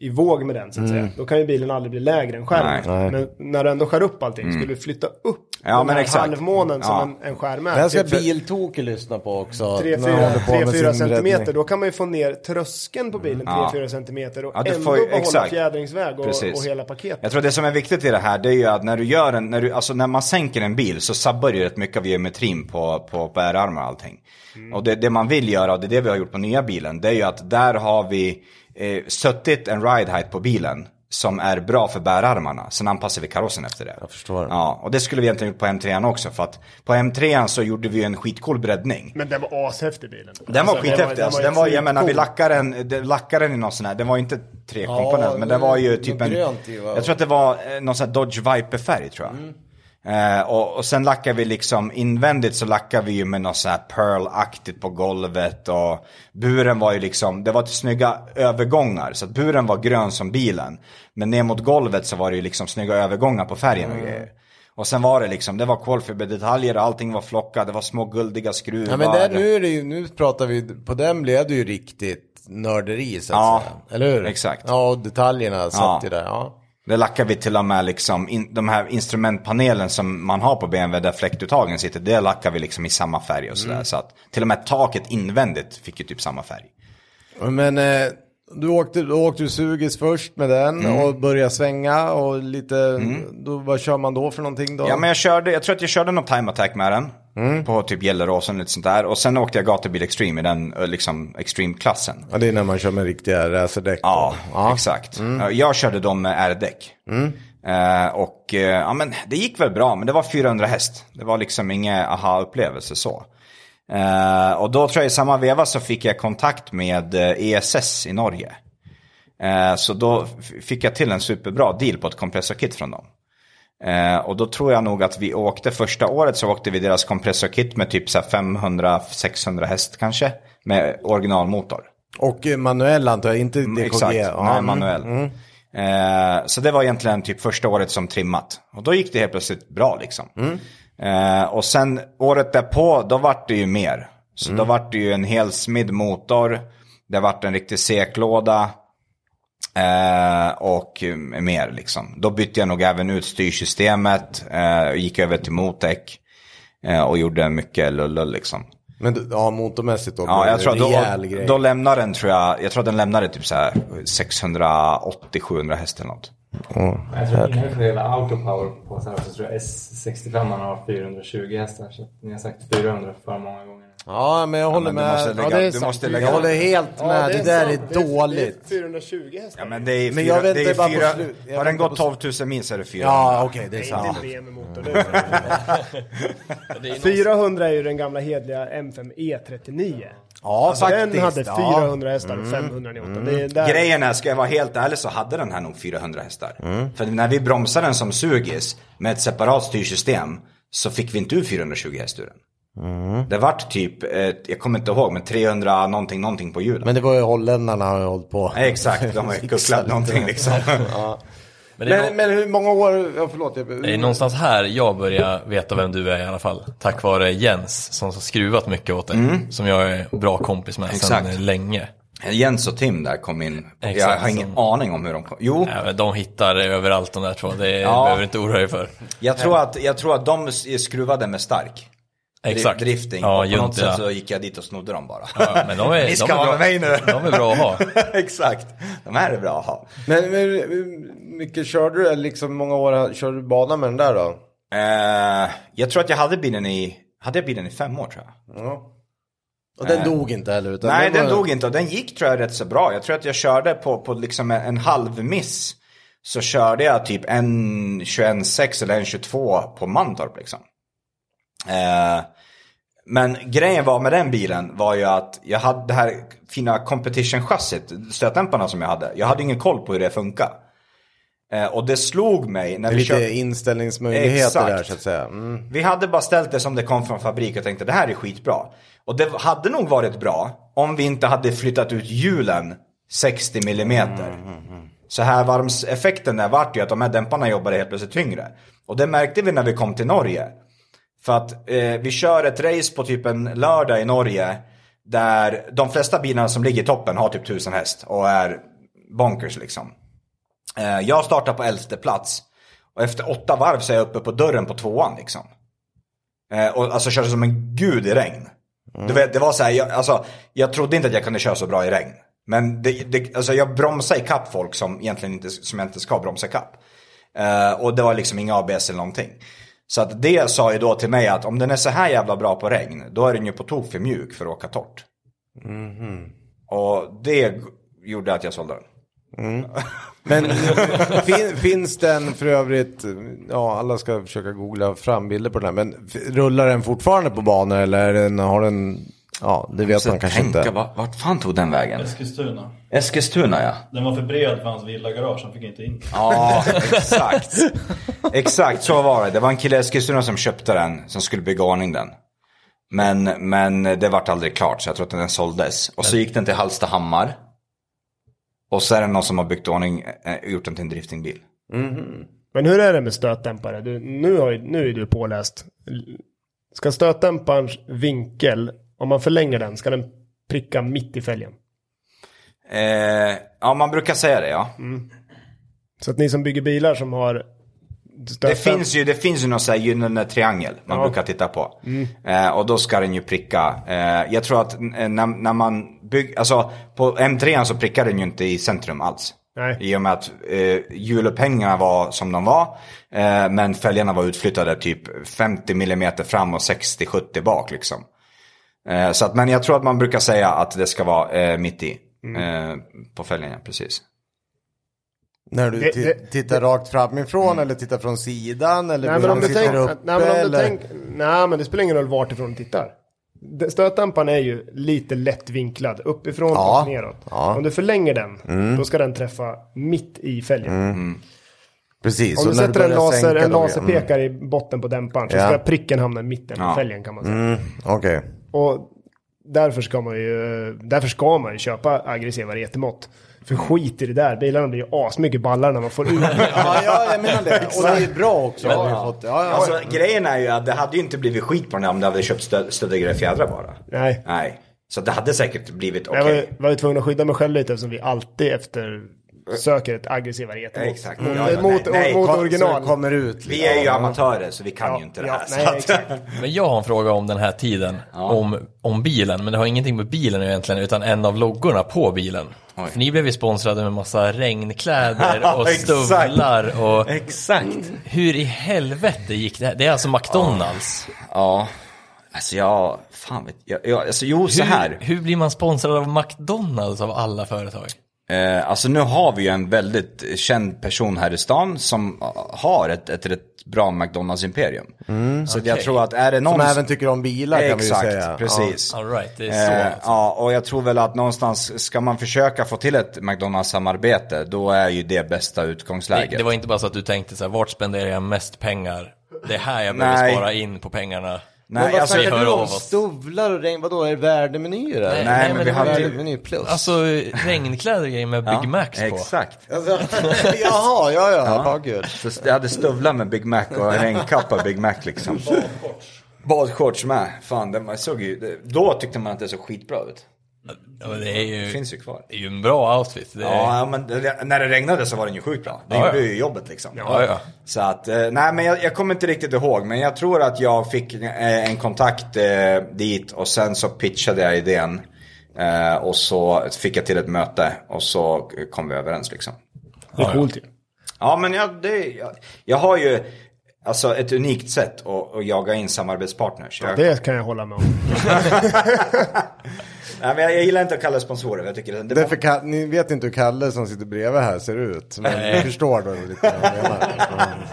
Speaker 3: i våg med den så att säga. Då kan ju bilen aldrig bli lägre än skärmen.
Speaker 1: Nej.
Speaker 3: Men när du ändå skär upp allting, skulle du flytta upp
Speaker 4: Ja,
Speaker 3: den
Speaker 4: men
Speaker 3: här
Speaker 4: exakt.
Speaker 3: halvmånen som
Speaker 4: Ja.
Speaker 3: en, en skärm är.
Speaker 1: Det här ska
Speaker 3: typ för
Speaker 1: Biltoke lyssna på också.
Speaker 3: tre,
Speaker 1: när han
Speaker 3: fyra-
Speaker 1: håller på med
Speaker 3: tre, fyra
Speaker 1: sin
Speaker 3: centimeter,
Speaker 1: breddning.
Speaker 3: då kan man ju få ner tröskeln på bilen 3-4
Speaker 4: Ja.
Speaker 3: centimeter och
Speaker 4: Ja, du
Speaker 3: ändå
Speaker 4: får ju-
Speaker 3: behålla
Speaker 4: exakt.
Speaker 3: fjädringsväg och,
Speaker 4: Precis.
Speaker 3: och hela paketet.
Speaker 4: Jag tror det som är viktigt i det här det är ju att när du gör en, när du, alltså när man sänker en bil så sabbar ju rätt mycket av geometrin på, på, på R-armar och allting.
Speaker 3: Mm.
Speaker 4: Och det, det man vill göra, och det är det vi har gjort på nya bilen, det är ju att där har vi eh, suttit en ride height på bilen som är bra för bärarmarna. Sen anpassar vi karossen efter det. Jag
Speaker 1: förstår.
Speaker 4: Ja, och det skulle vi egentligen gjort på M3 an också för att på M3 an så gjorde vi ju en skitcool breddning.
Speaker 3: Men den var ashäftig bilen.
Speaker 4: Den var skithäftig. Alltså, den var, jag menar, vi
Speaker 3: skitcool.
Speaker 4: lackade den, den- lackade den i någon sån här, den var inte tre komponent, men den
Speaker 1: det-
Speaker 4: var ju
Speaker 1: det
Speaker 4: typ
Speaker 1: var Mm.
Speaker 4: en,
Speaker 1: grönt i, va?
Speaker 4: jag tror att det var eh, någon sån här Dodge Viper-färg tror jag. Eh, och, och sen lackar vi liksom invändigt så lackar vi ju med något sån här pearl-aktigt på golvet och buren var ju liksom, det var till snygga övergångar så att buren var grön som bilen. Men ner mot golvet så var det ju liksom snygga övergångar på färgen
Speaker 1: Mm.
Speaker 4: och grejer. Och sen var det liksom, det var kolfiberdetaljer, allting var flockat, det var små guldiga skruvar.
Speaker 1: Ja men där, nu, är det ju, nu pratar vi, på den blev det ju riktigt nörderi så att
Speaker 4: Ja,
Speaker 1: säga. Eller hur?
Speaker 4: exakt.
Speaker 1: Ja och detaljerna satt
Speaker 4: Ja.
Speaker 1: ju där. Ja.
Speaker 4: Där lackar vi till och med liksom in, de här instrumentpanelen som man har på BMW där fläktuttagen sitter. Det lackar vi liksom i samma färg och sådär. Så att till och med taket invändigt fick ju typ samma färg.
Speaker 1: Men eh, du åkte, då åkte du sugis först med den
Speaker 4: Mm.
Speaker 1: och började svänga och lite, då, vad kör man då för någonting då?
Speaker 4: Ja men jag körde, jag tror att jag körde någon time attack med den. På typ Gelleråsen och lite sånt där. Och sen åkte jag gatubil extreme i den eh, liksom extreme-klassen.
Speaker 1: Ja, det är när man kör med riktiga racerdäck.
Speaker 4: Ja,
Speaker 1: då. ja.
Speaker 4: exakt. Jag körde dem med R-däck. Eh, och eh, ja, men det gick väl bra, men det var 400 häst. Det var liksom ingen aha-upplevelse så. Eh, och då tror jag i samma veva så fick jag kontakt med eh, ESS i Norge. Eh, så då f- fick jag till en superbra deal på ett kompressorkit från dem. Eh, och då tror jag nog att vi åkte, första året så åkte vi deras kompressorkit med typ så här 500-600 häst kanske. Med originalmotor.
Speaker 1: Och eh, manuell antar jag, inte DKG?
Speaker 4: Exakt,
Speaker 1: Ja,
Speaker 4: nej,
Speaker 1: mm.
Speaker 4: manuell. Eh, så det var egentligen typ första året som trimmat. Och då gick det helt plötsligt bra liksom.
Speaker 1: Mm.
Speaker 4: Eh, och sen året därpå, då vart det ju mer. Så
Speaker 1: Mm.
Speaker 4: då vart det ju en helsmidd motor, det vart en riktig seklåda eh, och eh, mer liksom. Då bytte jag nog även ut styrsystemet, eh, gick över till Motec eh, och gjorde mycket lullull liksom.
Speaker 1: Men du- ja, motormässigt då?
Speaker 4: Ja, jag tror att
Speaker 1: rejäl
Speaker 4: då,
Speaker 1: grej.
Speaker 4: då lämnar den, tror jag, jag tror att den lämnade typ så här 680-700 häst eller något.
Speaker 1: Ja.
Speaker 5: Jag tror innan vi får dela autopower på så här så tror jag S65 har 420 hästar. Så att ni har sagt 400 för många gånger.
Speaker 1: ja, men jag håller
Speaker 4: Men du måste
Speaker 1: med.
Speaker 4: lägga,
Speaker 3: det är
Speaker 4: du
Speaker 3: sant.
Speaker 4: måste
Speaker 1: Jag
Speaker 4: lägga
Speaker 1: håller helt med. det, där är dåligt.
Speaker 3: 420 hästar.
Speaker 4: Ja, men det är
Speaker 1: Men
Speaker 4: fyra,
Speaker 1: jag väntar
Speaker 4: det är
Speaker 1: bara på
Speaker 4: fyra,
Speaker 1: slut. Jag
Speaker 4: Har den
Speaker 1: väntar
Speaker 4: gått
Speaker 1: på
Speaker 4: 12 000 mil så är det 400.
Speaker 1: Ja, okej, det är sant.
Speaker 3: Det är inte en motor nu. 400 är ju den gamla hedliga M5 E39.
Speaker 1: Ja,
Speaker 3: Alltså,
Speaker 1: faktiskt.
Speaker 3: den hade
Speaker 1: ja.
Speaker 3: 400 hästar, 500 newton. Det är där.
Speaker 4: Mm. Grejen är, ska jag vara helt ärlig så hade den här nog 400 hästar.
Speaker 1: Mm.
Speaker 4: För när vi bromsade den som sugis med ett separat styrsystem så fick vi inte ut 420 häst ur den.
Speaker 1: Mm.
Speaker 4: Det vart typ, eh, jag kommer inte ihåg, men 300 någonting, någonting på hjulen.
Speaker 1: Men det var ju holländarna har ju hållit på.
Speaker 4: Nej, Exakt, de har ju kucklat någonting liksom.
Speaker 2: Men det är, nå-
Speaker 1: Men, men hur många år, ja, förlåt. Jag,
Speaker 2: det är någonstans här jag börjar veta vem du är i alla fall. Tack vare Jens som har skruvat mycket åt dig. Som jag är bra kompis med
Speaker 4: Mm. Exakt.
Speaker 2: sedan länge.
Speaker 4: Jens och Tim där kom in. jag
Speaker 2: Exakt,
Speaker 4: har ingen
Speaker 2: som-
Speaker 4: aning om hur de kom. Jo,
Speaker 2: Ja, men Äh, de hittar överallt de där två, det
Speaker 4: Ja.
Speaker 2: behöver du inte oroa dig för.
Speaker 4: jag tror, att, jag tror att de s- skruvade med stark. Dri-
Speaker 2: Exakt.
Speaker 4: Drifting.
Speaker 2: Ja,
Speaker 4: och på något
Speaker 2: Junta.
Speaker 4: sätt så gick jag dit och snodde dem bara.
Speaker 2: Ja, men de är,
Speaker 4: Ni ska
Speaker 2: de är
Speaker 4: vara
Speaker 2: bra,
Speaker 4: med mig nu.
Speaker 2: De är bra att ha.
Speaker 4: Exakt. De här är bra att ha.
Speaker 1: men, men hur mycket körde du, eller liksom hur många år körde du bana med den där då?
Speaker 4: Eh, jag tror att jag hade bilen i, hade jag bilen i fem år tror jag.
Speaker 1: Ja. Och den dog inte heller? Utan
Speaker 4: Nej,
Speaker 1: det
Speaker 4: den
Speaker 1: var-
Speaker 4: dog inte och den gick tror jag rätt så bra. Jag tror att jag körde på, på liksom en, en halv miss. Så körde jag typ en 21.6 eller en 22 på Mantorp liksom. Eh, men grejen var med den bilen var ju att jag hade det här fina competition-chassit, stötdämparna som jag hade. Jag hade ingen koll på hur det funkar. Eh, och det slog mig när
Speaker 1: Det är
Speaker 4: vi
Speaker 1: lite
Speaker 4: körde.
Speaker 1: inställningsmöjligheter
Speaker 4: Exakt.
Speaker 1: där så att säga. Mm.
Speaker 4: Vi hade bara ställt det som det kom från fabrik och tänkte det här är skitbra. Och det hade nog varit bra om vi inte hade flyttat ut hjulen 60 millimeter. Så här varmseffekten där vart ju att de här dämparna jobbade helt plötsligt tyngre. Och det märkte vi när vi kom till Norge. För att eh, vi kör ett race på typ en lördag i Norge. Där de flesta bilarna som ligger i toppen har typ 1000 häst och är bonkers liksom. Eh, jag startar på elfte plats. Och efter åtta varv så är jag uppe på dörren på tvåan liksom. Eh, och alltså körde som en gud i regn.
Speaker 1: Mm.
Speaker 4: Du vet, det var så här, jag, alltså, jag trodde inte att jag kunde köra så bra i regn. Men det, det, alltså, jag bromsade ikapp folk som, egentligen inte, som jag inte ska bromsa ikapp. Eh, och det var liksom inga ABS eller någonting. Så att det sa ju då till mig att om den är så här jävla bra på regn, då är den ju på tok för mjuk för att åka torrt.
Speaker 1: Mhm.
Speaker 4: Och det g- gjorde att jag sålde den.
Speaker 1: Men fin, finns den för övrigt, ja alla ska försöka googla fram bilder på den här, men f- rullar den fortfarande på banor eller är den, har den, ja det vet man kanske inte.
Speaker 4: vart, fan tog den vägen?
Speaker 6: Eskilstuna.
Speaker 4: Eskilstuna ja.
Speaker 6: Den var för bred för hans villagarage, han fick inte in den.
Speaker 4: Ja, exakt. Exakt, så var det. Det var en kille i Eskilstuna som köpte den, som skulle bygga ordning den. Men, men det vart aldrig klart, så jag tror att den såldes. Och så gick den till Hallstahammar. Och så är det någon som har byggt ordning, eh, gjort den till en driftingbil.
Speaker 3: Men hur är det med stötdämpare? Du, nu, har, ju- nu är du påläst. Ska stötdämparens vinkel, om man förlänger den, ska den pricka mitt i fälgen?
Speaker 4: Eh, ja, man brukar säga det ja.
Speaker 3: Så att ni som bygger bilar som har
Speaker 4: Det
Speaker 3: stötdämpare.
Speaker 4: finns ju, det finns ju någon sån här gyllene triangel man brukar titta på. Eh, och då ska den ju pricka. Eh, jag tror att eh, när, när man bygger, alltså på M3 så prickar den ju inte i centrum alls.
Speaker 3: Nej.
Speaker 4: I och med att eh, hjulupphängningarna var som de var. Eh, men fälgarna var utflyttade typ 50 mm fram och 60-70 bak liksom. Eh, så att, men jag tror att man brukar säga att det ska vara eh, mitt i. Eh, på fälgen, ja, precis.
Speaker 1: När du
Speaker 3: Det-
Speaker 1: ti-
Speaker 3: det- Mm.
Speaker 1: tittar rakt framifrån eller tittar från sidan eller
Speaker 3: Nej men, om du
Speaker 1: sitter
Speaker 3: tänk,
Speaker 1: uppe
Speaker 3: nej, men om du
Speaker 1: eller?
Speaker 3: tänk, nej men det spelar ingen roll vart ifrån du tittar. Det- Stötdämparen är ju lite lätt vinklad uppifrån
Speaker 1: Ja.
Speaker 3: och neråt.
Speaker 1: Ja. Mm.
Speaker 3: Om du förlänger den, då ska den träffa mitt i fälgen.
Speaker 1: Precis.
Speaker 3: Om
Speaker 1: Mm. så
Speaker 3: du
Speaker 1: när
Speaker 3: sätter en,
Speaker 1: börjar
Speaker 3: laser,
Speaker 1: sänka
Speaker 3: en
Speaker 1: dem, ja. Mm.
Speaker 3: laserpekare i botten på dämparen så
Speaker 1: Ja.
Speaker 3: ska pricken hamna i mitten på
Speaker 4: Ja.
Speaker 3: fälgen kan man säga.
Speaker 1: Mm, Okej.
Speaker 3: Och därför ska man ju, därför ska man ju köpa aggressiva retemått. För skit i det där, bilarna blir ju asmycket ballare när man får ut
Speaker 1: Ja, ja, jag menar det. Och det är ju bra också. har vi fått. Ja, ja.
Speaker 4: Alltså, grejen är ju att det hade ju inte blivit skit på den här om du hade köpt stöd- stöddigare fjädrar bara.
Speaker 3: Nej.
Speaker 4: Nej. Så det hade säkert blivit okej.
Speaker 3: Jag var, ju- var ju tvungen att skydda mig själv lite eftersom vi alltid efter söker ett aggressivare retemått. Mm.
Speaker 4: Exakt.
Speaker 3: Mot,
Speaker 4: Ja, ja,
Speaker 3: mot,
Speaker 4: nej, nej.
Speaker 3: mot
Speaker 1: Kom- så
Speaker 3: original.
Speaker 1: det kommer ut.
Speaker 4: Vi är ju amatörer så vi kan ju inte det
Speaker 3: ja,
Speaker 4: här.
Speaker 3: nej,
Speaker 4: så att-
Speaker 3: exakt.
Speaker 2: Men jag har en fråga om den här tiden, om, om bilen, men det har ingenting med bilen egentligen, utan en av loggorna på bilen.
Speaker 4: Oj.
Speaker 2: För ni blev ju sponsrade med massa regnkläder och
Speaker 4: Exakt.
Speaker 2: stövlar och
Speaker 4: Exakt.
Speaker 2: hur i helvete gick det här? Det är alltså McDonalds.
Speaker 4: Ja. Alltså jag, fan vet jag. jag alltså jo, så
Speaker 2: Hur,
Speaker 4: här.
Speaker 2: hur blir man sponsrad av McDonalds av alla företag?
Speaker 4: Eh, alltså nu har vi ju en väldigt känd person här i stan som har ett, ett rätt bra McDonalds-imperium. så att jag
Speaker 2: Okej.
Speaker 4: tror att är det någon...
Speaker 1: Som även tycker om bilar kan vi ju
Speaker 4: Exakt,
Speaker 1: säga. Ja.
Speaker 4: precis.
Speaker 2: All right, det är så.
Speaker 4: Eh,
Speaker 2: alltså.
Speaker 4: ja, och jag tror väl att någonstans ska man försöka få till ett McDonalds-samarbete, då är ju det bästa utgångsläget.
Speaker 2: det, det var inte bara så att du tänkte så här, vart spenderar jag mest pengar? Det är här jag behöver
Speaker 4: Nej.
Speaker 2: spara in på pengarna.
Speaker 1: Men
Speaker 4: Nej,
Speaker 1: vad
Speaker 4: alltså,
Speaker 2: vi
Speaker 1: snackar
Speaker 2: hör
Speaker 1: du om?
Speaker 2: av oss.
Speaker 1: Stövlar och regn? Vadå, är det värdemenyer eller?
Speaker 2: Nej,
Speaker 4: nej, men
Speaker 2: men
Speaker 4: vi
Speaker 2: det
Speaker 4: hade ju...
Speaker 1: Värdemenyr plus?
Speaker 2: Alltså regnkläder och grejer med Big
Speaker 4: Ja,
Speaker 2: Macs på.
Speaker 4: Exakt.
Speaker 1: Alltså, jaha, ja, ja. ja. gud.
Speaker 4: Så jag hade stövlar med Big Mac och en regnkappa Big Mac liksom. Badshorts med. Fan, den man såg ju, det- då tyckte man att det såg skitbra ut.
Speaker 2: Ja, men det är ju,
Speaker 4: Det finns ju kvar.
Speaker 2: det är ju en bra outfit. Det är,
Speaker 4: Ja, alltså, ja, men det- när det regnade så var den ju sjukt bra. Det
Speaker 2: Ja,
Speaker 4: gjorde
Speaker 2: ja.
Speaker 4: ju jobbet liksom.
Speaker 2: Ja, ja.
Speaker 4: Så att, eh, nej men jag, jag kommer inte riktigt ihåg, men jag tror att jag fick eh, en kontakt eh, dit och sen så pitchade jag idén. Eh, och så fick jag till ett möte och så kom vi överens liksom.
Speaker 3: Det är coolt ju.
Speaker 4: Ja, men jag, det, jag, jag har ju alltså, ett unikt sätt att, att jaga in samarbetspartners. Jag,
Speaker 3: Det kan jag hålla med om.
Speaker 4: nej, men jag, jag gillar inte att kalla det sponsorer. Jag tycker det, det,
Speaker 1: Därför Ka- ni vet inte hur Kalle som sitter bredvid här ser ut. Men ni förstår då lite vad jag menar.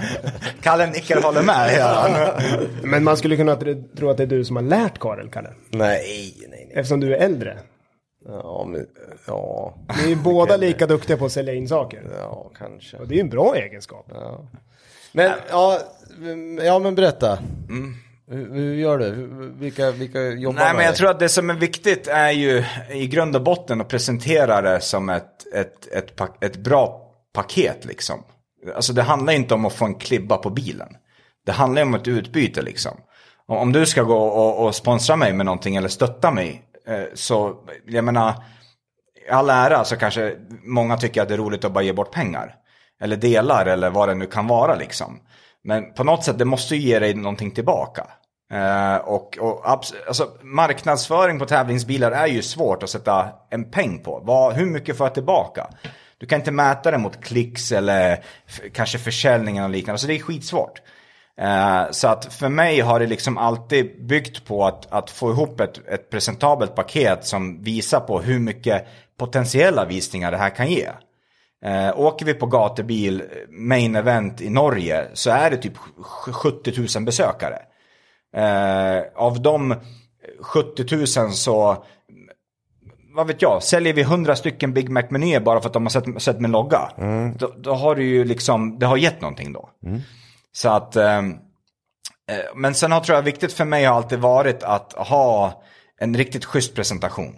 Speaker 4: Kalle nickar och håller med. Ja.
Speaker 3: Men man skulle kunna tro- tro att det är du som har lärt Karel, Kalle.
Speaker 1: Nej, nej, nej.
Speaker 3: Eftersom du är äldre.
Speaker 1: Ja, men, ja,
Speaker 3: Ni är ju båda lika duktiga på att sälja in saker.
Speaker 1: ja, kanske.
Speaker 3: Och det är ju en bra egenskap.
Speaker 1: Men, ja, mm, ja men berätta. Mm. Hur, hur gör du? Hur- Vilka, vilka jobbar
Speaker 4: Nej, men
Speaker 1: med
Speaker 4: jag
Speaker 1: dig?
Speaker 4: tror att det som är viktigt är ju i grund och botten att presentera det som ett, ett, ett, pa- ett bra paket liksom. Alltså det handlar inte om att få en klibba på bilen. Det handlar ju om ett utbyte liksom. Om- Om du ska gå och, och sponsra mig med någonting eller stötta mig, eh, så jag menar, i all ära så kanske många tycker att det är roligt att bara ge bort pengar. Eller delar eller vad det nu kan vara liksom. Men på något sätt, det måste ju ge dig någonting tillbaka. Eh, och och abs- alltså, marknadsföring på tävlingsbilar är ju svårt att sätta en peng på. Vad, hur mycket får jag tillbaka? Du kan inte mäta det mot klicks eller f- kanske försäljningen och liknande. Så det är skitsvårt. Eh, Så att för mig har det liksom alltid byggt på att, att få ihop ett, ett presentabelt paket som visar på hur mycket potentiella visningar det här kan ge. Eh, åker vi på gatubil, eh, main event i Norge, så är det typ sj- 70 000 besökare. Eh, av de 70 000 så, vad vet jag, säljer vi 100 stycken Big Mac-menyer bara för att de har sett, sett min logga. Då, då har det ju liksom, det har gett någonting då. Så att, ehm, eh, men sen har, tror jag viktigt för mig har alltid varit att ha en riktigt schysst presentation.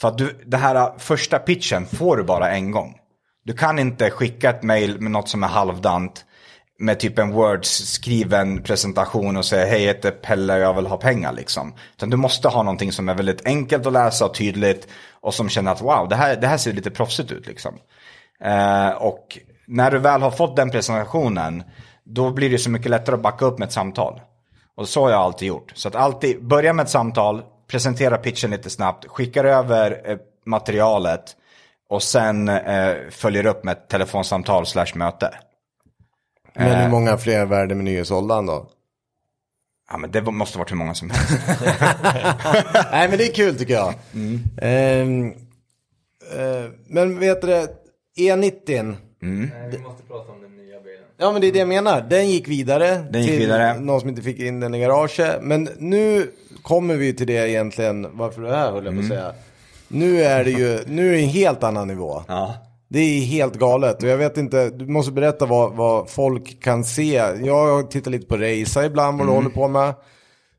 Speaker 4: För att du, det här äh, första pitchen får du bara en gång. Du kan inte skicka ett mail med något som är halvdant med typ en Word-skriven presentation och säga hej, jag heter Pelle och jag vill ha pengar liksom. Utan du måste ha någonting som är väldigt enkelt att läsa och tydligt och som känner att wow, det här, det här ser lite proffsigt ut liksom. Eh, och när du väl har fått den presentationen, då blir det så mycket lättare att backa upp med ett samtal. Och så har jag alltid gjort. Så att alltid börja med ett samtal, presentera pitchen lite snabbt, skickar över eh, materialet och sen eh, följer upp med ett telefonsamtal slash möte.
Speaker 1: Men hur många fler värdemenyer sålde han då?
Speaker 4: Ja, men det måste varit hur många som helst.
Speaker 1: Nej men det är kul tycker jag. Ehm, eh, men vet du det, E E90.
Speaker 5: Nej, vi måste prata om den nya bilen.
Speaker 1: Ja men det är det jag menar. Den gick vidare.
Speaker 4: Den gick
Speaker 1: till
Speaker 4: vidare.
Speaker 1: Någon som inte fick in den i garaget. Men nu kommer vi till det
Speaker 4: Mm.
Speaker 1: egentligen. Varför du är här höll jag på att säga. Nu är det ju, nu är det en helt annan nivå.
Speaker 4: Ja.
Speaker 1: Det är helt galet och jag vet inte, du måste berätta vad, vad folk kan se. Jag tittar lite på Reisa ibland, vad
Speaker 4: Mm.
Speaker 1: du håller på med.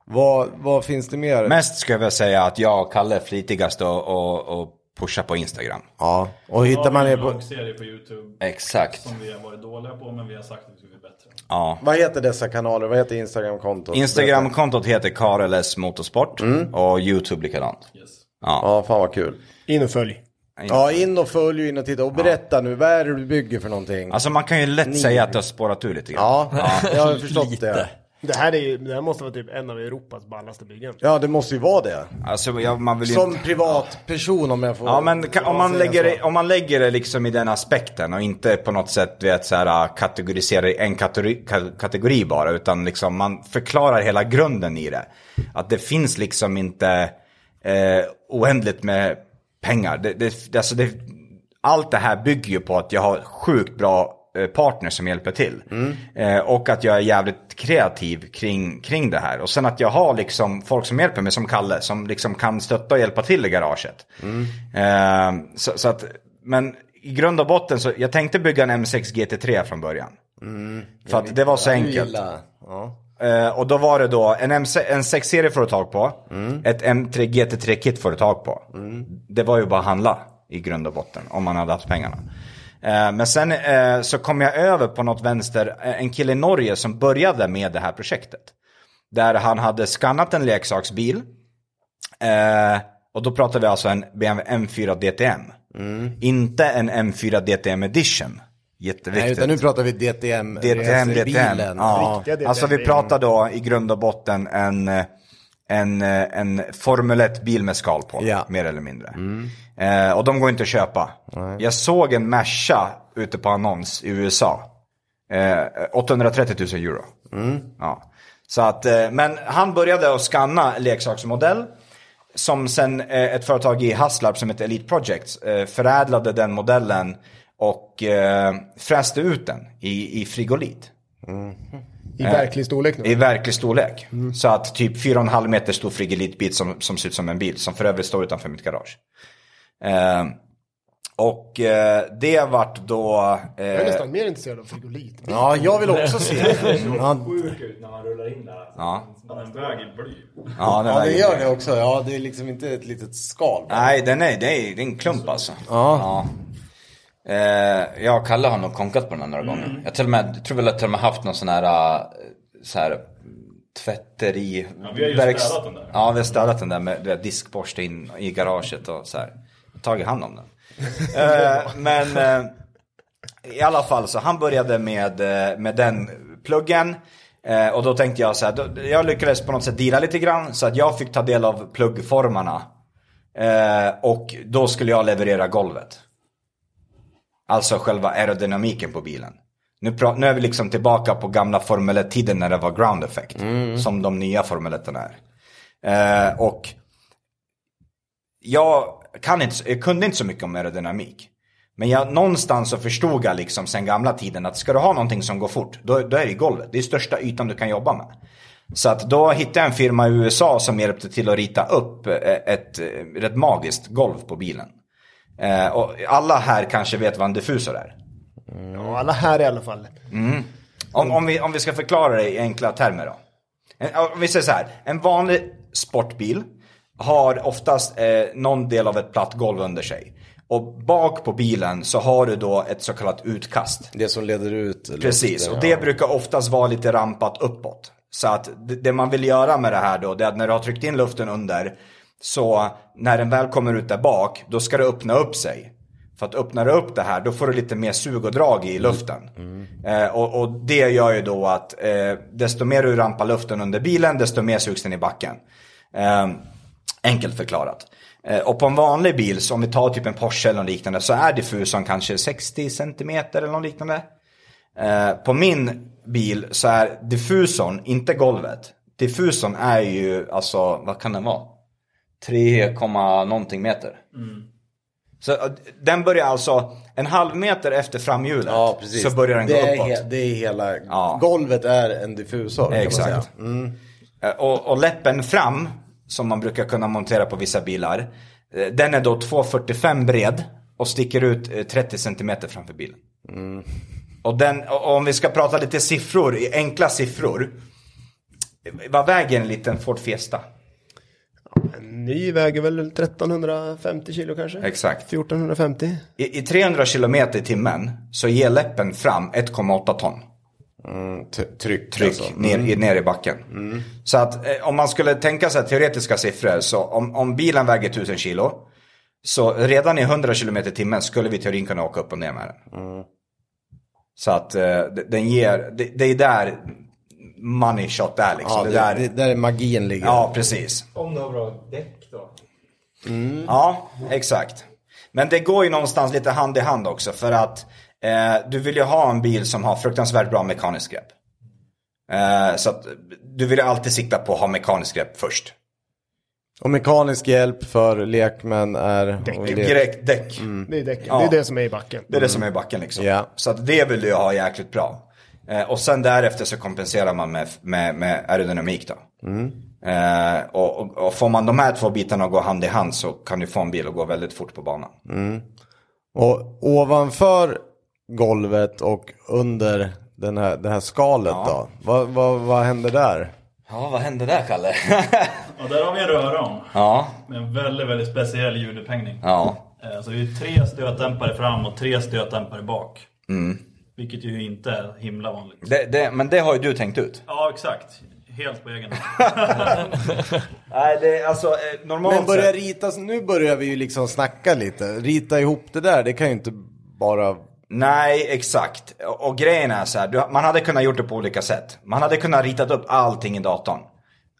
Speaker 1: Vad, vad finns det mer?
Speaker 4: Mest ska jag väl säga att jag och Kalle är flitigast och, och, och pushar på Instagram.
Speaker 1: Ja, och hittar man
Speaker 6: det
Speaker 1: det
Speaker 6: på...
Speaker 1: på...
Speaker 6: En serie på YouTube
Speaker 4: Exakt.
Speaker 6: som vi har varit dåliga på men vi har sagt att vi ska bli bättre.
Speaker 4: Ja.
Speaker 1: Vad heter dessa kanaler? Vad heter Instagram-kontot?
Speaker 4: Instagram-kontot heter Kareles Motorsport
Speaker 1: Mm.
Speaker 4: och YouTube likadant.
Speaker 6: Yes.
Speaker 4: Ja.
Speaker 1: Ja, fan vad kul.
Speaker 3: In och följ.
Speaker 1: Ja, in och följ och in och titta. Och berätta nu, vad är det du bygger för någonting?
Speaker 4: Alltså man kan ju lätt säga att det har spårat ur lite grann.
Speaker 1: Ja, jag har förstått det.
Speaker 3: Det här, är ju, det här måste vara typ en av Europas ballaste byggen.
Speaker 1: Ja, det måste ju vara det.
Speaker 4: Alltså, jag, man vill ju
Speaker 1: Som
Speaker 4: inte...
Speaker 1: privatperson om jag får
Speaker 4: Ja men ka- om man,
Speaker 1: säga
Speaker 4: lägger
Speaker 1: så.
Speaker 4: det, om man lägger det liksom i den aspekten och inte på något sätt vet, så här, äh, kategoriserar i en kategori, ka- kategori bara utan liksom man förklarar hela grunden i det. Att det finns liksom inte eh, oändligt med pengar. Det, det, alltså det, allt det här bygger ju på att jag har sjukt bra eh, partner som hjälper till. Eh, och att jag är jävligt kreativ kring, kring det här. Och sen att jag har liksom folk som hjälper mig, som Kalle, som liksom kan stötta och hjälpa till i garaget. Eh, så, så att, men i grund och botten så, jag tänkte bygga en M6 GT3 från början. För att det var så enkelt.
Speaker 1: Gilla. Ja.
Speaker 4: Eh, och då var det då en, M- en 6-serie får du tag på. Ett M3 GT3-kit får du tag på. Det var ju bara att handla i grund och botten om man hade haft pengarna. Eh, men sen eh, så kom jag över på något vänster, eh, en kille i Norge som började med det här projektet. Där han hade skannat en leksaksbil. Eh, och då pratar vi alltså en BMW M4 DTM. Inte en M4 DTM edition. Jätteviktigt.
Speaker 1: Nej, utan nu pratar vi DTM.
Speaker 4: DTM, DTM.
Speaker 1: bilen.
Speaker 4: Ja.
Speaker 3: Riktiga DTM.
Speaker 4: Alltså vi pratar då i grund och botten en, eh, en, eh, en Formel 1-bil med skal på,
Speaker 1: Ja.
Speaker 4: mer eller mindre. Eh, och de går inte att köpa. Jag såg en Merca ute på annons i USA. Eh, 830 000 euro. Ja. Så att, eh, men han började att scanna leksaksmodell. Som sen eh, ett företag i Haslarp som heter Elite Projects eh, förädlade den modellen och eh, fräste ut den i, i frigolit.
Speaker 3: I verklig storlek nu.
Speaker 4: I verklig storlek.
Speaker 1: Mm.
Speaker 4: Så att typ 4,5 meter stor frigolitbit som, som ser ut som en bil. Som för övrigt står utanför mitt garage. Eh, och eh, det vart då...
Speaker 3: Jag är
Speaker 4: Eh,
Speaker 3: nästan mer intresserad av frigolit.
Speaker 1: Ja, jag vill också se. Ja,
Speaker 5: Sjuk ut när man rullar in där. Alltså.
Speaker 4: ja,
Speaker 6: Ja, En väg i bly.
Speaker 4: ja, den
Speaker 1: ja,
Speaker 4: är-
Speaker 1: det gör det också. Ja, det är liksom inte ett litet skal.
Speaker 4: Nej, den är, det är, det är en klump alltså.
Speaker 1: Ja.
Speaker 4: Ja. Eh, jag och Kalle har nog konkat på den här några
Speaker 6: Mm.
Speaker 4: gånger. Jag till och med, jag tror väl att jag till och med haft någon sån här, eh, så här tvätteri...
Speaker 6: Ja, vi har ju
Speaker 4: verks-
Speaker 6: städat den där.
Speaker 4: Ja, vi har städat den där med du vet, diskborste in i garaget och så här. Tagit hand om den. eh, men eh, i alla fall så han började med, eh, med den pluggen. Eh, och då tänkte jag så här, då, jag lyckades på något sätt deala lite grann så att jag fick ta del av pluggformarna. Eh, och då skulle jag leverera golvet. Alltså själva aerodynamiken på bilen. Nu, pra- nu är vi liksom tillbaka på gamla Formel 1-tiden när det var ground effect. Som de nya Formel 1 är. Eh, och jag, kan inte, jag kunde inte så mycket om aerodynamik. Men jag, någonstans så förstod jag liksom sen gamla tiden att ska du ha någonting som går fort, då, då är det golvet. Det är största ytan du kan jobba med. Så att då hittade jag en firma i USA som hjälpte till att rita upp eh, ett eh, rätt magiskt golv på bilen. Eh, och alla här kanske vet vad en diffusor är.
Speaker 3: Ja, alla här i alla fall.
Speaker 4: Om, om, vi, om vi ska förklara det i enkla termer då. En, om vi säger så här, en vanlig sportbil har oftast eh, någon del av ett platt golv under sig. Och bak på bilen så har du då ett så kallat utkast.
Speaker 1: Det som leder ut. luften,
Speaker 4: Precis, och
Speaker 1: ja.
Speaker 4: det brukar oftast vara lite rampat uppåt. Så att det- det man vill göra med det här då, det är att när du har tryckt in luften under, så när den väl kommer ut där bak, då ska det öppna upp sig. För att öppna det upp det här, då får du lite mer sug och drag i luften. Eh, och, och det gör ju då att eh, desto mer du rampar luften under bilen, desto mer sugs den i backen. Eh, Enkelt förklarat. Eh, Och på en vanlig bil, så om vi tar typ en Porsche eller något liknande, så är diffusorn kanske 60 cm eller något liknande. Eh, På min bil så är diffusorn, inte golvet, diffusorn är ju, alltså vad kan den vara? 3, komma någonting meter.
Speaker 1: Mm.
Speaker 4: Så eh, den börjar alltså en halv meter efter framhjulet
Speaker 1: Ja, precis.
Speaker 4: så börjar den gå
Speaker 1: det är
Speaker 4: uppåt.
Speaker 1: he- det är hela...
Speaker 4: Ja.
Speaker 1: Golvet är en diffusor. kan man säga.
Speaker 4: Exakt. Eh, Och, och läppen fram, som man brukar kunna montera på vissa bilar, eh, den är då 2,45 bred och sticker ut eh, 30 centimeter framför bilen. Mm. Och den, och om vi ska prata lite siffror, i enkla siffror. Vad väger en liten Ford Fiesta?
Speaker 3: En ny väger väl 1350 kilo kanske?
Speaker 4: Exakt.
Speaker 3: 1450.
Speaker 4: I, i 300 kilometer i timmen så ger läppen fram 1,8 ton.
Speaker 1: T- Mm, tryck.
Speaker 4: tryck
Speaker 1: alltså. Mm.
Speaker 4: ner, i, ner i backen. Så att eh, om man skulle tänka sig teoretiska siffror, så om, om bilen väger 1000 kilo, så redan i 100 km i timmen skulle vi i teorin kunna åka upp och ner med den.
Speaker 1: Mm.
Speaker 4: Så att eh, d- den ger, det, det är där money shot är liksom.
Speaker 1: Ja,
Speaker 4: det,
Speaker 1: det,
Speaker 4: där,
Speaker 1: det, där är magin ligger.
Speaker 4: ja, precis.
Speaker 5: Om du har bra däck då.
Speaker 4: Ja, exakt. Men det går ju någonstans lite hand i hand också för att eh, du vill ju ha en bil som har fruktansvärt bra mekaniskt grepp. Eh, så att du vill ju alltid sikta på att ha mekaniskt grepp först.
Speaker 1: Och mekanisk hjälp för lekmän är... och det-
Speaker 4: Typ
Speaker 1: Mm.
Speaker 4: Direkt däck.
Speaker 3: Det är däcken.
Speaker 4: Ja.
Speaker 3: Det är det som är i backen.
Speaker 4: Det är det som är i backen liksom.
Speaker 1: Ja.
Speaker 4: Så att det vill du ju ha jäkligt bra. Eh, och sen därefter så kompenserar man med, med, med aerodynamik då.
Speaker 1: Mm.
Speaker 4: Eh, och, och, och får man de här två bitarna att gå hand i hand så kan du få en bil att gå väldigt fort på banan.
Speaker 1: Och ovanför golvet och under den här, det här skalet då? Vad, vad, vad händer där?
Speaker 4: Ja, vad hände där Kalle?
Speaker 6: Ja, där har vi en röra om.
Speaker 4: ja,
Speaker 6: Med en väldigt, väldigt speciell ljudupphängning.
Speaker 4: ja.
Speaker 6: Eh, Så det är ju tre stötdämpare fram och tre stötdämpare bak. Vilket ju inte är himla vanligt.
Speaker 4: Det, det, men det har ju du tänkt ut.
Speaker 6: Ja, exakt. Helt på egen hand.
Speaker 4: Nej, det är alltså eh, normalt
Speaker 1: Men börja
Speaker 4: sett-
Speaker 1: rita, nu börjar vi ju liksom snacka lite. Rita ihop det där, det kan ju inte bara...
Speaker 4: Nej, exakt. Och, och grejen är så här, du, man hade kunnat gjort det på olika sätt. Man hade kunnat ritat upp allting i datorn.